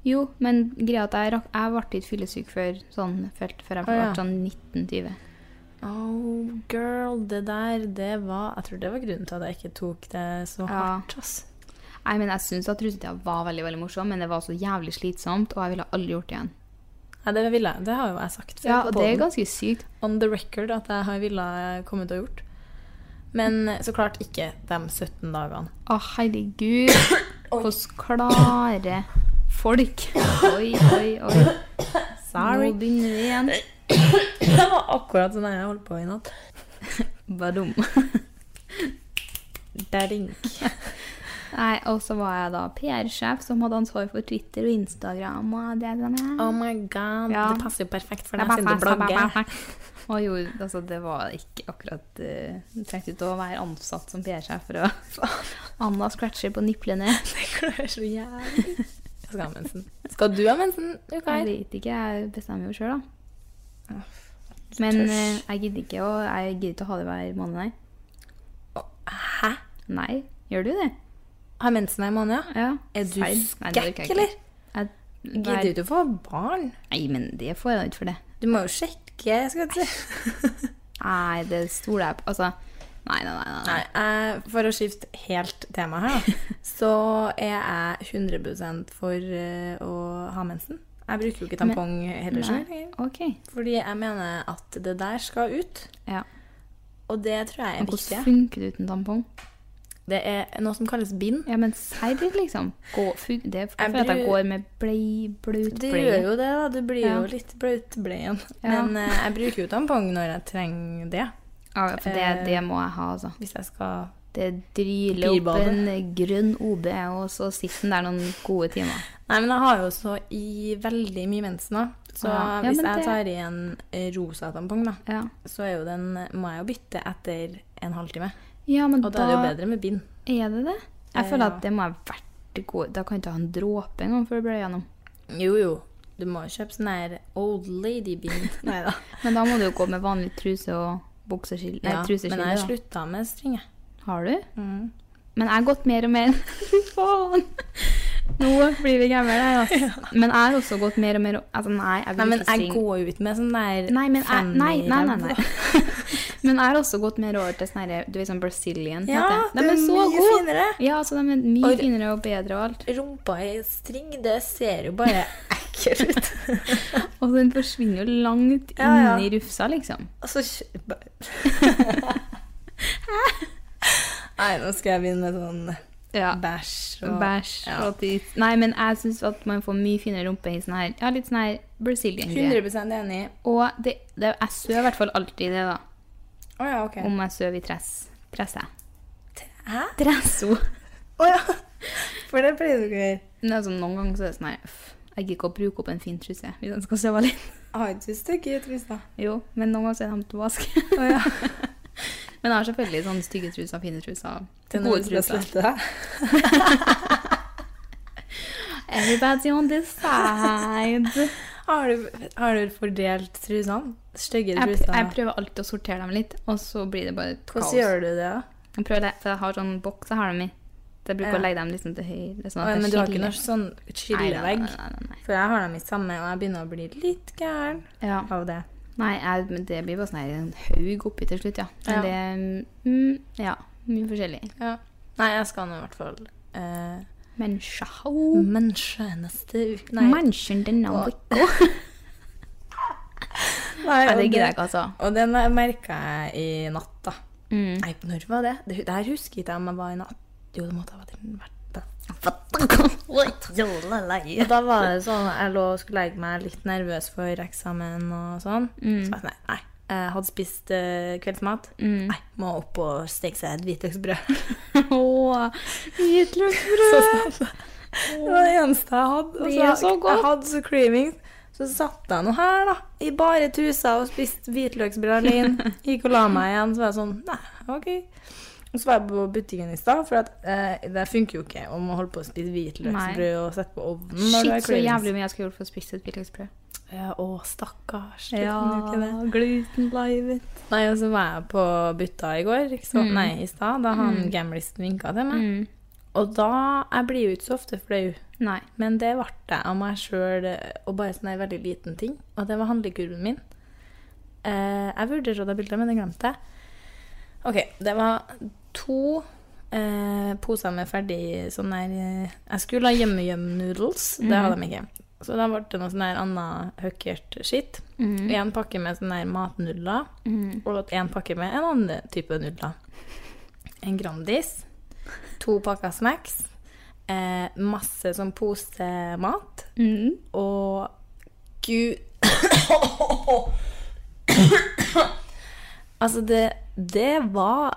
[SPEAKER 2] Jo, men greia at jeg, rakk, jeg ble ikke fyllesyk før, sånn, følte, før jeg ble
[SPEAKER 5] Å, ja.
[SPEAKER 2] sånn 1920.
[SPEAKER 5] Oh, girl, det der, det var Jeg tror det var grunnen til at jeg ikke tok det så
[SPEAKER 2] Ja.
[SPEAKER 5] hardt, ass.
[SPEAKER 2] Nei, men Jeg syns at russetida var veldig veldig morsom, men det var så jævlig slitsomt, og jeg ville aldri gjort det igjen.
[SPEAKER 5] Nei, det ville jeg. Det har jo jeg sagt før
[SPEAKER 2] Ja,
[SPEAKER 5] på
[SPEAKER 2] og det er
[SPEAKER 5] podden.
[SPEAKER 2] ganske sykt.
[SPEAKER 5] On the record at jeg har ville komme ut og gjort. Men eh, så klart ikke de 17 dagene.
[SPEAKER 2] Å, herregud. Hvordan klare folk Oi, oi, oi.
[SPEAKER 5] Sorry.
[SPEAKER 2] Nå begynner vi igjen.
[SPEAKER 5] Det var akkurat sånn jeg holdt på i natt.
[SPEAKER 2] Badum.
[SPEAKER 5] Derink.
[SPEAKER 2] Nei, Og så var jeg da PR-sjef som hadde ansvar for Twitter og Instagram. og det som er.
[SPEAKER 5] Oh my god,
[SPEAKER 2] Ja.
[SPEAKER 5] det passer jo perfekt for
[SPEAKER 2] Det
[SPEAKER 5] deg
[SPEAKER 2] var
[SPEAKER 5] siden du
[SPEAKER 2] fast, det var
[SPEAKER 5] blogger.
[SPEAKER 2] fast. Og jo, altså, det var ikke akkurat eh, Du trengte ikke å være ansatt som PR-sjef for å Anna scratcher på niplene.
[SPEAKER 5] Det klør så jævlig. Jeg skal ha mensen. Skal du ha mensen,
[SPEAKER 2] Jeg
[SPEAKER 5] Ukair?
[SPEAKER 2] vet ikke, jeg bestemmer jo sjøl, da. Men eh, jeg gidder ikke å, jeg gidder ikke å ha det hver måned, nei.
[SPEAKER 5] Hæ?
[SPEAKER 2] Nei, gjør du det?
[SPEAKER 5] Har mensen ei måned, ja?
[SPEAKER 2] Ja.
[SPEAKER 5] Er du
[SPEAKER 2] Nei, nei, det orker jeg
[SPEAKER 5] skekk,
[SPEAKER 2] ikke.
[SPEAKER 5] eller?
[SPEAKER 2] Jeg,
[SPEAKER 5] Gidder du ikke å få barn?
[SPEAKER 2] Nei, men det får jeg da ikke for det.
[SPEAKER 5] Du må jo sjekke, skal du si.
[SPEAKER 2] Nei, det stoler jeg på. Altså, nei, nei, nei. nei.
[SPEAKER 5] Nei, jeg, for å skifte helt tema her, da, så er jeg 100 for eh, å ha mensen. Jeg bruker jo ikke tampong heller sjøl,
[SPEAKER 2] Ok.
[SPEAKER 5] fordi jeg mener at det der skal ut.
[SPEAKER 2] Ja.
[SPEAKER 5] Og det tror jeg er
[SPEAKER 2] Men
[SPEAKER 5] viktig.
[SPEAKER 2] hvordan funker det uten tampong?
[SPEAKER 5] Det er noe som kalles bind.
[SPEAKER 2] Ja, men serr, liksom. Gå, fun det er
[SPEAKER 5] Jeg
[SPEAKER 2] for at jeg
[SPEAKER 5] bru-
[SPEAKER 2] går med blei, blaut
[SPEAKER 5] Det
[SPEAKER 2] blei.
[SPEAKER 5] gjør jo det, da. Du blir
[SPEAKER 2] Ja.
[SPEAKER 5] jo litt blautbleien.
[SPEAKER 2] Ja.
[SPEAKER 5] Men eh, jeg bruker jo tampong når jeg trenger det.
[SPEAKER 2] Ja, for det,
[SPEAKER 5] Eh,
[SPEAKER 2] det må jeg ha, altså.
[SPEAKER 5] Hvis jeg skal
[SPEAKER 2] Det dryler opp
[SPEAKER 5] Pirbade.
[SPEAKER 2] en grønn OB, og så sitter den der noen gode timer.
[SPEAKER 5] Nei, men jeg har jo så i veldig mye mensen nå. Så
[SPEAKER 2] Ah, ja,
[SPEAKER 5] hvis
[SPEAKER 2] men
[SPEAKER 5] jeg
[SPEAKER 2] det-
[SPEAKER 5] tar i en eh, rosa tampong, da,
[SPEAKER 2] Ja,
[SPEAKER 5] så er jo den, må jeg jo bytte etter en halvtime.
[SPEAKER 2] ja men
[SPEAKER 5] Og da
[SPEAKER 2] da
[SPEAKER 5] er det jo bedre med bind.
[SPEAKER 2] er det det.
[SPEAKER 5] Eh,
[SPEAKER 2] Jeg føler
[SPEAKER 5] ja.
[SPEAKER 2] at det må jeg vært god Da kan jeg ikke ha en dråpe engang for å blø gjennom.
[SPEAKER 5] Jo, jo. Du må jo kjøpe sånn her old lady-bind. Nei da.
[SPEAKER 2] Men da må du jo gå med vanlig truse og bukseskille.
[SPEAKER 5] Ja,
[SPEAKER 2] Nei,
[SPEAKER 5] men jeg Mm.
[SPEAKER 2] truseskille.
[SPEAKER 5] har
[SPEAKER 2] da.
[SPEAKER 5] slutta med string, jeg.
[SPEAKER 2] Har du? Men jeg har gått mer og mer Fy faen! Nå blir vi gamle her, altså. Men jeg har også gått mer og mer altså, Nei, jeg
[SPEAKER 5] Nei,
[SPEAKER 2] vil
[SPEAKER 5] men
[SPEAKER 2] ikke
[SPEAKER 5] jeg
[SPEAKER 2] synge.
[SPEAKER 5] går jo ut med sånn der
[SPEAKER 2] Nei, men jeg, nei, nei, nei, nei.
[SPEAKER 5] fanny-ræv.
[SPEAKER 2] Men jeg har også gått mer over til sånn her, du vet sånn Brazilian.
[SPEAKER 5] Ja,
[SPEAKER 2] heter
[SPEAKER 5] det
[SPEAKER 2] De
[SPEAKER 5] er
[SPEAKER 2] er så
[SPEAKER 5] mye
[SPEAKER 2] gode.
[SPEAKER 5] finere.
[SPEAKER 2] Ja, så de er mye
[SPEAKER 5] Og-
[SPEAKER 2] finere og bedre og alt.
[SPEAKER 5] Rumpa i string, det ser jo bare ekkelt ut.
[SPEAKER 2] Og den forsvinner jo langt
[SPEAKER 5] Ja, ja.
[SPEAKER 2] inni rufsa, liksom.
[SPEAKER 5] Og så Altså, kjø- bare- Nei, nå skal jeg begynne med sånn
[SPEAKER 2] Ja.
[SPEAKER 5] bæsj og
[SPEAKER 2] Bæsj
[SPEAKER 5] ja.
[SPEAKER 2] og tiss. Nei, men jeg syns at man får mye finere rumpe i sånn her, ja, litt sånn her Brazilian. greie.
[SPEAKER 5] 100 enig.
[SPEAKER 2] Og det, det, jeg sover i hvert fall alltid det, da.
[SPEAKER 5] Å ja, OK.
[SPEAKER 2] Om jeg sover i tress. Tresse.
[SPEAKER 5] Hæ?
[SPEAKER 2] Tresso.
[SPEAKER 5] Å ja. For det pleier du ikke å gjøre.
[SPEAKER 2] Men altså, noen ganger så er det sånn her «Uff, Jeg gidder ikke å bruke opp en fin truse hvis jeg skal sove alene.
[SPEAKER 5] Har ikke du stygge truser?
[SPEAKER 2] Jo, men noen ganger så er de til å vaske.
[SPEAKER 5] Å ja.
[SPEAKER 2] Men jeg har selvfølgelig sånne stygge truser, fine truser,
[SPEAKER 5] Det er noe
[SPEAKER 2] gode
[SPEAKER 5] du skal
[SPEAKER 2] truser.
[SPEAKER 5] slette deg.
[SPEAKER 2] Everybody on this side.
[SPEAKER 5] Har du, har du fordelt trusene? Stygge
[SPEAKER 2] Jeg,
[SPEAKER 5] truser?
[SPEAKER 2] jeg prøver alltid å sortere dem litt, og så blir det bare et kaos.
[SPEAKER 5] Hvordan gjør du det? da?
[SPEAKER 2] Jeg prøver det, for jeg har sånn boks jeg har dem i. Så jeg bruker
[SPEAKER 5] Ja.
[SPEAKER 2] å legge dem liksom til høyre. Sånn
[SPEAKER 5] Å
[SPEAKER 2] at
[SPEAKER 5] ja,
[SPEAKER 2] jeg
[SPEAKER 5] men du har ikke
[SPEAKER 2] skiller.
[SPEAKER 5] noe sånn
[SPEAKER 2] Nei, nei,
[SPEAKER 5] skillevegg?
[SPEAKER 2] nei, nei, nei,
[SPEAKER 5] For jeg har dem i samme, og jeg begynner å bli litt gæren
[SPEAKER 2] nei. Ja.
[SPEAKER 5] av det.
[SPEAKER 2] Nei, jeg, men det blir bare sånn her en haug oppi til slutt, ja.
[SPEAKER 5] Ja.
[SPEAKER 2] Men det mm, Ja, mye forskjellig.
[SPEAKER 5] Nei, jeg skal nå i hvert fall eh,
[SPEAKER 2] Men sjau
[SPEAKER 5] Menneske neste uke
[SPEAKER 2] Menschen denne
[SPEAKER 5] Og-
[SPEAKER 2] uka.
[SPEAKER 5] Nei,
[SPEAKER 2] Nei,
[SPEAKER 5] og
[SPEAKER 2] det
[SPEAKER 5] det-
[SPEAKER 2] gidder jeg ikke, altså.
[SPEAKER 5] Og den merka jeg i natt, da. Nei, når var det? Det, det her husker ikke jeg om jeg var i natt. Jo, det måtte ha vært i natt. Og da var det sånn Jeg lå og skulle legge meg litt nervøs for eksamen og sånn. Så var jeg sånn, nei, nei. Jeg hadde spist eh, kveldsmat. Nei, må opp og steke seg et hvitløksbrød.
[SPEAKER 2] Åh, Hvitløksbrød!
[SPEAKER 5] Det var det eneste jeg hadde. Og
[SPEAKER 2] Det er så godt.
[SPEAKER 5] Jeg hadde så craving. Så satt jeg nå her, da, i bare trusa og spiste hvitløksbrød alene. Gikk og la meg igjen. Så var jeg sånn Nei, OK. Og så var jeg på butikken i stad, for at, eh, det funker jo ikke om å holde på å spise hvitløksbrød og sette på ovnen. når du har
[SPEAKER 2] Shit, så
[SPEAKER 5] cravings.
[SPEAKER 2] jævlig mye jeg skulle gjort for å spise et hvitløksbrød.
[SPEAKER 5] Ja, å, stakkars.
[SPEAKER 2] Ja,
[SPEAKER 5] glutenlivet. Nei, og så var jeg på Butta i går, ikke
[SPEAKER 2] Mm.
[SPEAKER 5] sant? nei, i stad, da han gamlisten vinka til meg. Og da Jeg blir jo ikke så ofte flau,
[SPEAKER 2] Nei.
[SPEAKER 5] men det ble jeg av meg sjøl, og bare sånn en veldig liten ting, og det var handlekurven min. Eh, jeg vurderte å ta bilde, men det glemte jeg. OK, det var to eh, poser med ferdig sånn der eh, Jeg skulle ha hjemme-hjem-noodles, det hadde de ikke. Så da ble det noe sånn der annet høkkert skitt. En pakke med sånn der matnudler, og en pakke med en annen type nudler. En Grandis, to pakker snacks, eh, masse sånn posemat,
[SPEAKER 2] Mm.
[SPEAKER 5] og gud Altså, det, det var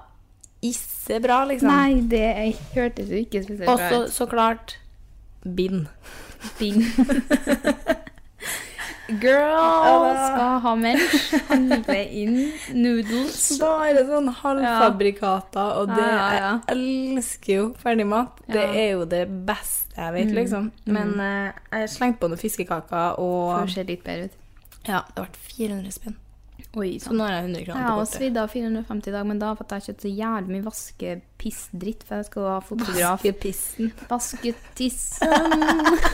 [SPEAKER 5] ikke bra, liksom.
[SPEAKER 2] Nei, det hørtes jo ikke spesielt
[SPEAKER 5] Og
[SPEAKER 2] bra
[SPEAKER 5] så,
[SPEAKER 2] ut.
[SPEAKER 5] så klart bind.
[SPEAKER 2] Bing. Girl skal ha mens. Handle inn noodles.
[SPEAKER 5] Bare sånn halvfabrikater, og det
[SPEAKER 2] Ja, ja, ja.
[SPEAKER 5] Jeg elsker jo ferdigmat. Det er jo det beste jeg
[SPEAKER 2] Mm.
[SPEAKER 5] vet, liksom. Men eh, jeg slengte på noen fiskekaker,
[SPEAKER 2] Får
[SPEAKER 5] og
[SPEAKER 2] se litt bedre ut.
[SPEAKER 5] ja, det ble 400 spenn.
[SPEAKER 2] Oi, sånn.
[SPEAKER 5] Så nå har jeg 100
[SPEAKER 2] Jeg
[SPEAKER 5] kroner
[SPEAKER 2] har
[SPEAKER 5] på
[SPEAKER 2] også
[SPEAKER 5] kortet.
[SPEAKER 2] svidd av 450 i dag, men da har jeg fått kjøpt så jævlig mye vaskepiss-dritt, for jeg skal ha fotograf.
[SPEAKER 5] Vaskepissen.
[SPEAKER 2] Vasketissen.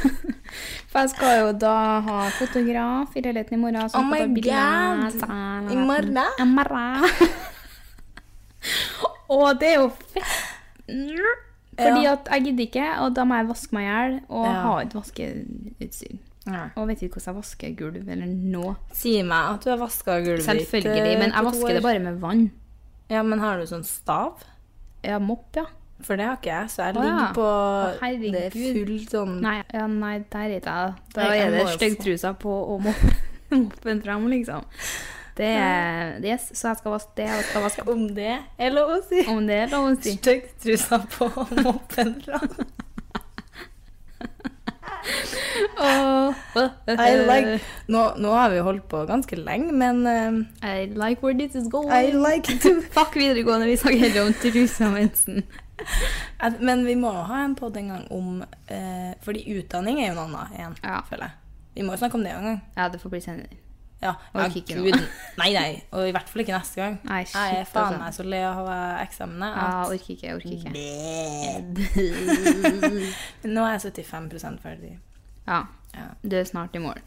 [SPEAKER 2] for jeg skal jo da ha fotograf i leiligheten i morgen. så
[SPEAKER 5] Oh
[SPEAKER 2] jeg får ta
[SPEAKER 5] my
[SPEAKER 2] bilder.
[SPEAKER 5] God! I morgen?
[SPEAKER 2] I morgen. Og det er jo fett. Fordi
[SPEAKER 5] Ja.
[SPEAKER 2] at jeg gidder ikke, og da må jeg vaske meg i hjel og
[SPEAKER 5] Ja.
[SPEAKER 2] ha et vaskeutstyr. Og vet ikke hvordan jeg vasker gulv eller nå.
[SPEAKER 5] Si meg at du har vaska gulvet ditt, eh,
[SPEAKER 2] Selvfølgelig, men
[SPEAKER 5] på
[SPEAKER 2] jeg
[SPEAKER 5] to år.
[SPEAKER 2] vasker det bare med vann.
[SPEAKER 5] Ja, men har du sånn stav?
[SPEAKER 2] Ja, mopp, ja.
[SPEAKER 5] For det har ikke jeg, så jeg
[SPEAKER 2] Å, ja.
[SPEAKER 5] ligger på
[SPEAKER 2] Å, herregud.
[SPEAKER 5] Det er full sånn
[SPEAKER 2] Nei, ja, nei der er det jeg. Da
[SPEAKER 5] Nei, jeg
[SPEAKER 2] er det
[SPEAKER 5] må jo
[SPEAKER 2] styggtrusa på og mopp- moppen fram, liksom. Det er yes, Så jeg skal vaske det. Jeg skal vaske
[SPEAKER 5] Om det er lov å si.
[SPEAKER 2] om det er lov å si.
[SPEAKER 5] Styggtrusa på og moppen fram. I like, Eh, nå, nå har vi holdt på ganske lenge, men eh,
[SPEAKER 2] I like where this is going.
[SPEAKER 5] I like to
[SPEAKER 2] Fuck videregående, vi snakker heller om trusa og mensen.
[SPEAKER 5] At- Men vi må ha en podd en gang om eh, Fordi utdanning er jo noe annet igjen,
[SPEAKER 2] Ja.
[SPEAKER 5] føler jeg. Vi må jo snakke om det en gang.
[SPEAKER 2] Ja, det får bli senere.
[SPEAKER 5] Ja,
[SPEAKER 2] Orker ikke nå.
[SPEAKER 5] Nei, nei. Og i hvert fall ikke neste gang.
[SPEAKER 2] Nei, shit,
[SPEAKER 5] jeg er faen
[SPEAKER 2] altså.
[SPEAKER 5] Mm. meg så le av eh, eksamenet
[SPEAKER 2] Ja,
[SPEAKER 5] at
[SPEAKER 2] orker ikke, orker ikke.
[SPEAKER 5] Nå er jeg 75 ferdig.
[SPEAKER 2] Ja.
[SPEAKER 5] Ja.
[SPEAKER 2] Du er snart i mål.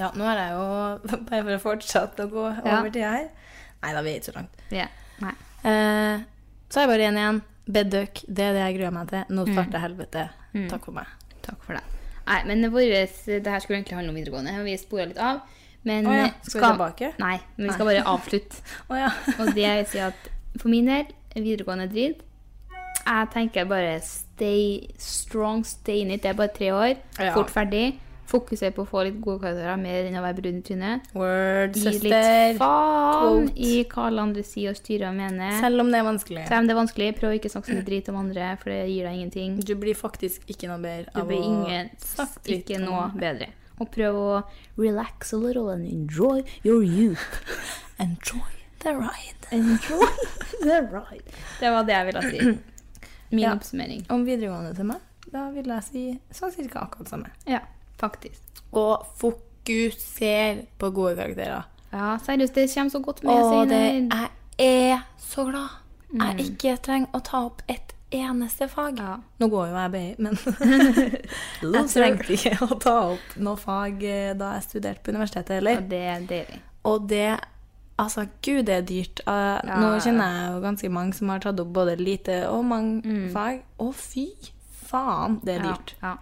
[SPEAKER 5] Ja, nå er jeg jo Bare for å fortsette å gå
[SPEAKER 2] Ja.
[SPEAKER 5] over til her. Nei da, vi er ikke så langt.
[SPEAKER 2] Ja. Nei.
[SPEAKER 5] Eh, så er jeg bare igjen igjen. Bedøk, det er det jeg gruer meg til. Nå
[SPEAKER 2] Mm.
[SPEAKER 5] starter helvete. Takk for meg.
[SPEAKER 2] Takk for det. Nei, men våres, det her skulle egentlig handle om videregående, og vi spora litt av. Men
[SPEAKER 5] Å ja,
[SPEAKER 2] eh,
[SPEAKER 5] skal vi tilbake?
[SPEAKER 2] Nei, men vi skal bare avslutte.
[SPEAKER 5] Å ja.
[SPEAKER 2] og det jeg vil si at for min del, videregående dritt. Jeg tenker bare stay strong, stay in it. Det er bare tre år.
[SPEAKER 5] Ja.
[SPEAKER 2] Fort ferdig. Fokusere på å få litt gode karakterer mer enn å være brun i trynet.
[SPEAKER 5] Word,
[SPEAKER 2] Gi
[SPEAKER 5] søster.
[SPEAKER 2] litt faen
[SPEAKER 5] Quote.
[SPEAKER 2] i hva alle andre sier og styrer og mener.
[SPEAKER 5] Selv om det er vanskelig.
[SPEAKER 2] Selv om det er vanskelig, prøv å ikke snakke så mye drit om andre, for det gir deg ingenting.
[SPEAKER 5] Du blir faktisk ikke noe bedre
[SPEAKER 2] Det
[SPEAKER 5] av
[SPEAKER 2] blir
[SPEAKER 5] å
[SPEAKER 2] ingen,
[SPEAKER 5] snakke dritt
[SPEAKER 2] ikke
[SPEAKER 5] om
[SPEAKER 2] noe
[SPEAKER 5] andre.
[SPEAKER 2] bedre. Og prøv å relax a little and enjoy your youth.
[SPEAKER 5] Enjoy the ride.
[SPEAKER 2] Enjoy the ride. Det var det jeg ville si. Min
[SPEAKER 5] Ja.
[SPEAKER 2] oppsummering.
[SPEAKER 5] Om videregående til meg, da vil jeg si sånn cirka akkurat samme.
[SPEAKER 2] Ja, faktisk.
[SPEAKER 5] Og fokuser på gode karakterer.
[SPEAKER 2] Ja, seriøst, det kommer så godt med
[SPEAKER 5] Og
[SPEAKER 2] seg.
[SPEAKER 5] det,
[SPEAKER 2] inn her.
[SPEAKER 5] jeg er så glad. Jeg ikke trenger å ta opp et eneste fag.
[SPEAKER 2] Mm. Ja.
[SPEAKER 5] Nå går jo jeg BI, men jeg trengte ikke å ta opp noe fag eh, da jeg studerte på universitetet heller.
[SPEAKER 2] Og det er deilig.
[SPEAKER 5] Og det Altså, gud, det er dyrt. Eh, Nå kjenner jeg jo ganske mange som har tatt opp både lite og mange fag. Å, fy faen, det er
[SPEAKER 2] Mm. Ja,
[SPEAKER 5] dyrt.
[SPEAKER 2] ja.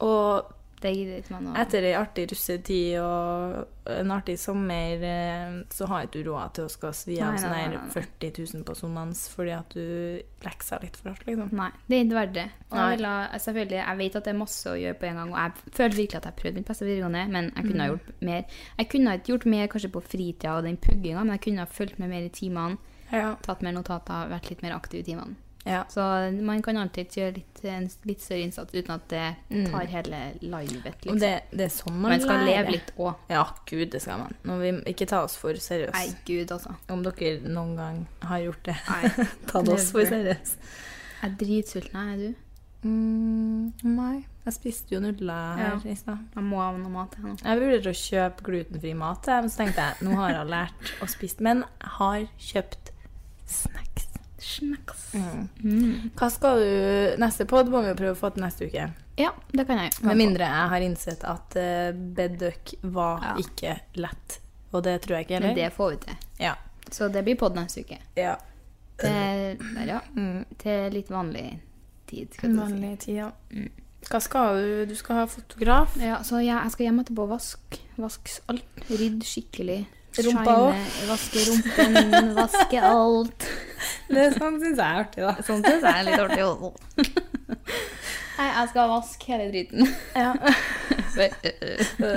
[SPEAKER 5] Og
[SPEAKER 2] Det gidder ikke man å
[SPEAKER 5] etter ei artig russetid og en artig sommer, eh, så har ikke du råd til å skal svi av
[SPEAKER 2] Nei,
[SPEAKER 5] sånn
[SPEAKER 2] nei, nei,
[SPEAKER 5] her
[SPEAKER 2] nei, nei.
[SPEAKER 5] 40 000 på sommerens fordi at du lekser litt for hardt, liksom.
[SPEAKER 2] Nei, det er ikke verdt det. Og
[SPEAKER 5] Nei.
[SPEAKER 2] jeg, vil ha, selvfølgelig, jeg vet at det er masse å gjøre på en gang, og jeg føler virkelig at jeg prøvde mitt beste videregående, men jeg kunne ha gjort mer. Jeg kunne ha ikke gjort mer kanskje på fritida og den pugginga, men jeg kunne ha fulgt med mer i timene,
[SPEAKER 5] Ja.
[SPEAKER 2] tatt mer notater, vært litt mer aktiv i timene.
[SPEAKER 5] Ja.
[SPEAKER 2] Så man kan alltid gjøre litt, en litt større innsats uten at det tar hele livet.
[SPEAKER 5] Mm.
[SPEAKER 2] Liksom.
[SPEAKER 5] Og det, det er sånn man,
[SPEAKER 2] man skal
[SPEAKER 5] lærer.
[SPEAKER 2] leve litt òg.
[SPEAKER 5] Ja, gud, det skal man. Nå vil vi ikke ta oss for seriøst.
[SPEAKER 2] Nei, gud, altså.
[SPEAKER 5] Om dere noen gang har gjort det.
[SPEAKER 2] Nei.
[SPEAKER 5] ta det oss for
[SPEAKER 2] never.
[SPEAKER 5] seriøst.
[SPEAKER 2] Jeg er dritsulten, jeg, er du.
[SPEAKER 5] Mm, nei. Jeg spiste jo nudler her i stad.
[SPEAKER 2] Jeg må ha noe mat. Jeg, nå.
[SPEAKER 5] Jeg vurderte å kjøpe glutenfri mat, jeg, men så tenkte jeg nå har jeg lært å spise. Men jeg har kjøpt snacks.
[SPEAKER 2] Snacks.
[SPEAKER 5] Mm.
[SPEAKER 2] Mm.
[SPEAKER 5] Hva skal du neste pod? Må vi jo prøve å få til neste uke.
[SPEAKER 2] Ja, det kan jeg.
[SPEAKER 5] Med mindre jeg har innsett at uh, bedduck var
[SPEAKER 2] Ja.
[SPEAKER 5] ikke lett. Og det tror jeg ikke
[SPEAKER 2] Men
[SPEAKER 5] heller.
[SPEAKER 2] det får vi til.
[SPEAKER 5] Ja.
[SPEAKER 2] Så det blir podd neste uke.
[SPEAKER 5] ja.
[SPEAKER 2] Til, der, ja. til litt vanlig tid. Skal jeg til å si.
[SPEAKER 5] Mm. tid, ja. Hva skal du? Du skal ha fotograf.
[SPEAKER 2] Ja, så jeg, jeg skal hjem etterpå og vaske. Vask alt. Rydd skikkelig.
[SPEAKER 5] Rumpa
[SPEAKER 2] Shine,
[SPEAKER 5] også.
[SPEAKER 2] Vaske rumpen, vaske alt.
[SPEAKER 5] Det sånn syns jeg er artig, da.
[SPEAKER 2] Sånt syns jeg er litt artig også. Nei, jeg skal vaske hele driten.
[SPEAKER 5] Ja.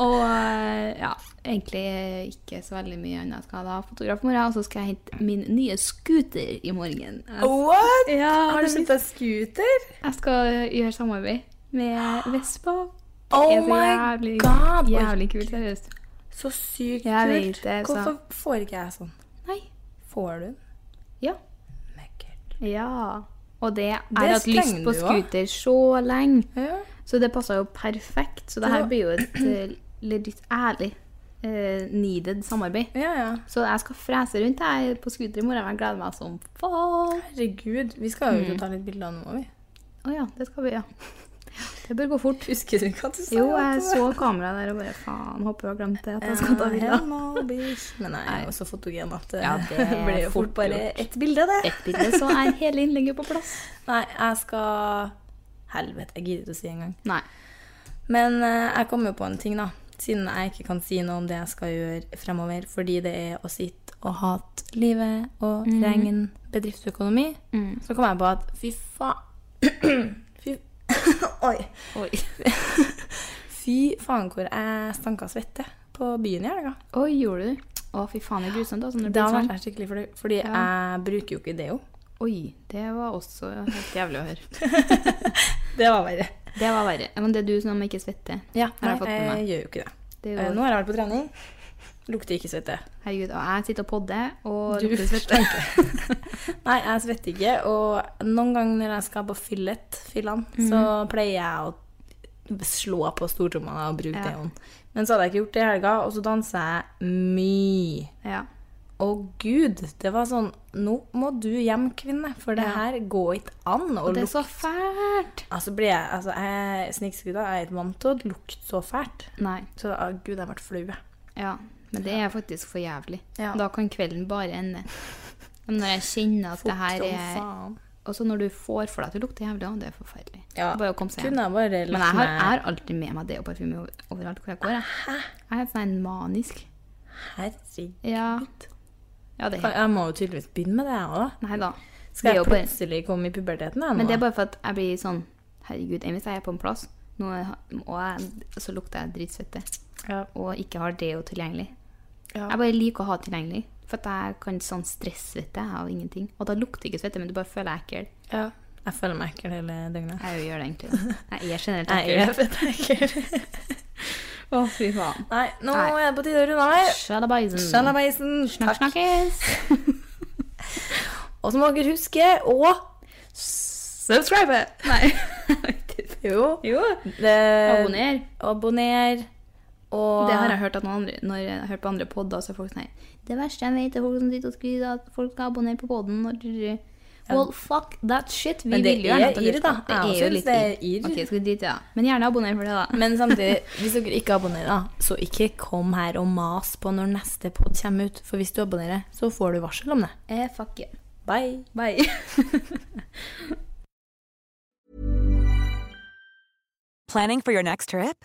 [SPEAKER 2] og eh, ja, egentlig ikke så veldig mye annet. Jeg skal ha da fotograf i morgen, og så skal jeg hente min nye scooter i morgen. Jeg,
[SPEAKER 5] What?
[SPEAKER 2] ja,
[SPEAKER 5] Har du kjøpt deg scooter?
[SPEAKER 2] jeg skal gjøre samarbeid med Vespa.
[SPEAKER 5] Oh
[SPEAKER 2] Det er så
[SPEAKER 5] my
[SPEAKER 2] jævlig,
[SPEAKER 5] god! Oi,
[SPEAKER 2] Jævlig kult, seriøst.
[SPEAKER 5] Så sykt
[SPEAKER 2] Jeg
[SPEAKER 5] kult.
[SPEAKER 2] vet det, så-
[SPEAKER 5] Hvorfor får ikke jeg sånn?
[SPEAKER 2] Nei.
[SPEAKER 5] Får du den?
[SPEAKER 2] Ja.
[SPEAKER 5] Mekkert.
[SPEAKER 2] Ja. Og det jeg har
[SPEAKER 5] Det
[SPEAKER 2] hatt lyst
[SPEAKER 5] slenger
[SPEAKER 2] på
[SPEAKER 5] du også.
[SPEAKER 2] scooter så lenge.
[SPEAKER 5] Ja.
[SPEAKER 2] Så det passa jo perfekt. Så det
[SPEAKER 5] Ja.
[SPEAKER 2] her blir jo et eh, litt ærlig eh, needed samarbeid.
[SPEAKER 5] ja, ja.
[SPEAKER 2] Så jeg skal frese rundt her på scooter i morgen. og Jeg gleder meg som faen.
[SPEAKER 5] Herregud. Vi skal
[SPEAKER 2] Mm.
[SPEAKER 5] jo ut og ta litt bilder nå, må vi.
[SPEAKER 2] Å ja, det skal vi, ja. Det bør gå fort.
[SPEAKER 5] Husker du hva du sa?
[SPEAKER 2] Jo, jeg så kameraet der og bare faen, håper du har glemt det. At jeg skal ta bilder.
[SPEAKER 5] Eh, Men jeg er jo så fotogen at det,
[SPEAKER 2] Ja, det er
[SPEAKER 5] blir jo fort
[SPEAKER 2] fort
[SPEAKER 5] bare
[SPEAKER 2] gjort.
[SPEAKER 5] ett bilde, det.
[SPEAKER 2] Ett bilde, så er hele innlegget på plass.
[SPEAKER 5] Nei, jeg skal Helvete, jeg gidder ikke å si engang.
[SPEAKER 2] Nei.
[SPEAKER 5] Men eh, jeg kom jo på en ting, da. Siden jeg ikke kan si noe om det jeg skal gjøre fremover. Fordi det er å sitte og hate livet og
[SPEAKER 2] Mm.
[SPEAKER 5] regn bedriftsøkonomi. Så kom jeg på at fy faen Fy Oi.
[SPEAKER 2] Oi.
[SPEAKER 5] Fy faen hvor jeg stanka svette på byen i helga.
[SPEAKER 2] Oi, gjorde du? Å, fy faen, det er grusomt. Altså, når det
[SPEAKER 5] Da
[SPEAKER 2] blir
[SPEAKER 5] ble
[SPEAKER 2] sånn.
[SPEAKER 5] jeg skikkelig flau, fordi jeg bruker jo ikke Deo.
[SPEAKER 2] Oi, det var også helt jævlig å høre.
[SPEAKER 5] Det var verre.
[SPEAKER 2] Det var verre. Men det er du som ikke svetter.
[SPEAKER 5] Ja,
[SPEAKER 2] Har
[SPEAKER 5] nei,
[SPEAKER 2] jeg fått med
[SPEAKER 5] jeg,
[SPEAKER 2] meg.
[SPEAKER 5] gjør jo ikke det.
[SPEAKER 2] Det er jo-
[SPEAKER 5] Eh, Nå har jeg vært på trening. Lukter ikke svette.
[SPEAKER 2] Herregud, og jeg sitter og podder og
[SPEAKER 5] Du
[SPEAKER 2] lukter svette.
[SPEAKER 5] Nei, jeg svetter ikke. Og noen ganger når jeg skal på fyllet, fyllan, så
[SPEAKER 2] Mhm.
[SPEAKER 5] pleier jeg å slå på stortrommene og bruke
[SPEAKER 2] Ja.
[SPEAKER 5] deoen. Men så hadde jeg ikke gjort det i helga, og så danser jeg mye.
[SPEAKER 2] Ja.
[SPEAKER 5] Å gud, det var sånn Nå må du hjem, kvinne, for det
[SPEAKER 2] Ja.
[SPEAKER 5] her går ikke an å
[SPEAKER 2] Og det er
[SPEAKER 5] lukte
[SPEAKER 2] så fælt.
[SPEAKER 5] Altså, blir jeg, altså, jeg snikskudda er ikke vant til å lukte så fælt.
[SPEAKER 2] Nei.
[SPEAKER 5] Så å, gud, jeg ble flau. jeg.
[SPEAKER 2] Ja, men det er faktisk for jævlig.
[SPEAKER 5] Ja.
[SPEAKER 2] Da kan kvelden bare ende. Men når jeg kjenner at det her
[SPEAKER 5] Som
[SPEAKER 2] er
[SPEAKER 5] faen.
[SPEAKER 2] Og så når du får for deg at det lukter jævlig, og det er forferdelig.
[SPEAKER 5] Ja.
[SPEAKER 2] Bare å komme seg hjem.
[SPEAKER 5] Kunne jeg bare
[SPEAKER 2] Men
[SPEAKER 5] latt
[SPEAKER 2] jeg har, jeg
[SPEAKER 5] meg
[SPEAKER 2] har alltid med meg det og parfyme over- overalt hvor jeg går. Jeg, jeg er helt sånn manisk.
[SPEAKER 5] Herregud.
[SPEAKER 2] Ja. ja, det er helt
[SPEAKER 5] Jeg må jo tydeligvis begynne med det, jeg òg.
[SPEAKER 2] Nei da. Det
[SPEAKER 5] Skal
[SPEAKER 2] er
[SPEAKER 5] jeg
[SPEAKER 2] jo bare,
[SPEAKER 5] plutselig komme i puberteten? Jeg, nå?
[SPEAKER 2] men det er bare for at jeg blir sånn Herregud, enn hvis jeg er på en plass, nå er, og jeg, så lukter jeg dritsvette,
[SPEAKER 5] ja.
[SPEAKER 2] og ikke har deo tilgjengelig.
[SPEAKER 5] Ja.
[SPEAKER 2] Jeg bare liker å ha tilgjengelig. For at jeg kan sånn stressvette av ingenting. Og da lukter ikke svette, men du bare føler jeg er ekkel.
[SPEAKER 5] ja. jeg føler meg ekkel hele døgnet.
[SPEAKER 2] Jeg gjør det egentlig. da. Jeg er generelt
[SPEAKER 5] Nei, jeg er
[SPEAKER 2] ekkel.
[SPEAKER 5] fett ekkel.
[SPEAKER 2] Å, fy faen.
[SPEAKER 5] Nei, nå
[SPEAKER 2] Nei.
[SPEAKER 5] er det på tide å runde av her.
[SPEAKER 2] Shalabaisen.
[SPEAKER 5] Sjalabaisen.
[SPEAKER 2] Snakk,
[SPEAKER 5] Takk.
[SPEAKER 2] snakkes.
[SPEAKER 5] Og så må dere huske å subscribe.
[SPEAKER 2] Nei.
[SPEAKER 5] Jo.
[SPEAKER 2] jo.
[SPEAKER 5] Det-
[SPEAKER 2] Abonner.
[SPEAKER 5] Abonner. Og
[SPEAKER 2] Det har jeg hørt at noen andre, når jeg har hørt på andre podder, så er folk sånn her, Det verste jeg vet, er folk som sitter og skriver at folk skal abonnere på podden. Og... Well, fuck that shit. Vi
[SPEAKER 5] Men det
[SPEAKER 2] vil jo gjerne at
[SPEAKER 5] er
[SPEAKER 2] dere
[SPEAKER 5] irr, da.
[SPEAKER 2] skal- Det er
[SPEAKER 5] Jeg også
[SPEAKER 2] jo
[SPEAKER 5] synes
[SPEAKER 2] litt
[SPEAKER 5] det
[SPEAKER 2] irr.
[SPEAKER 5] er irr.
[SPEAKER 2] Ok, skal vi drite i det, da. Men gjerne abonner for det, da.
[SPEAKER 5] Men samtidig, hvis dere ikke abonnerer, da, så ikke kom her og mas på når neste pod kommer ut. For hvis du abonnerer, så får du varsel om det.
[SPEAKER 2] eh, fuck yeah.
[SPEAKER 5] Bye.
[SPEAKER 2] Bye.
[SPEAKER 6] Planning for your next trip?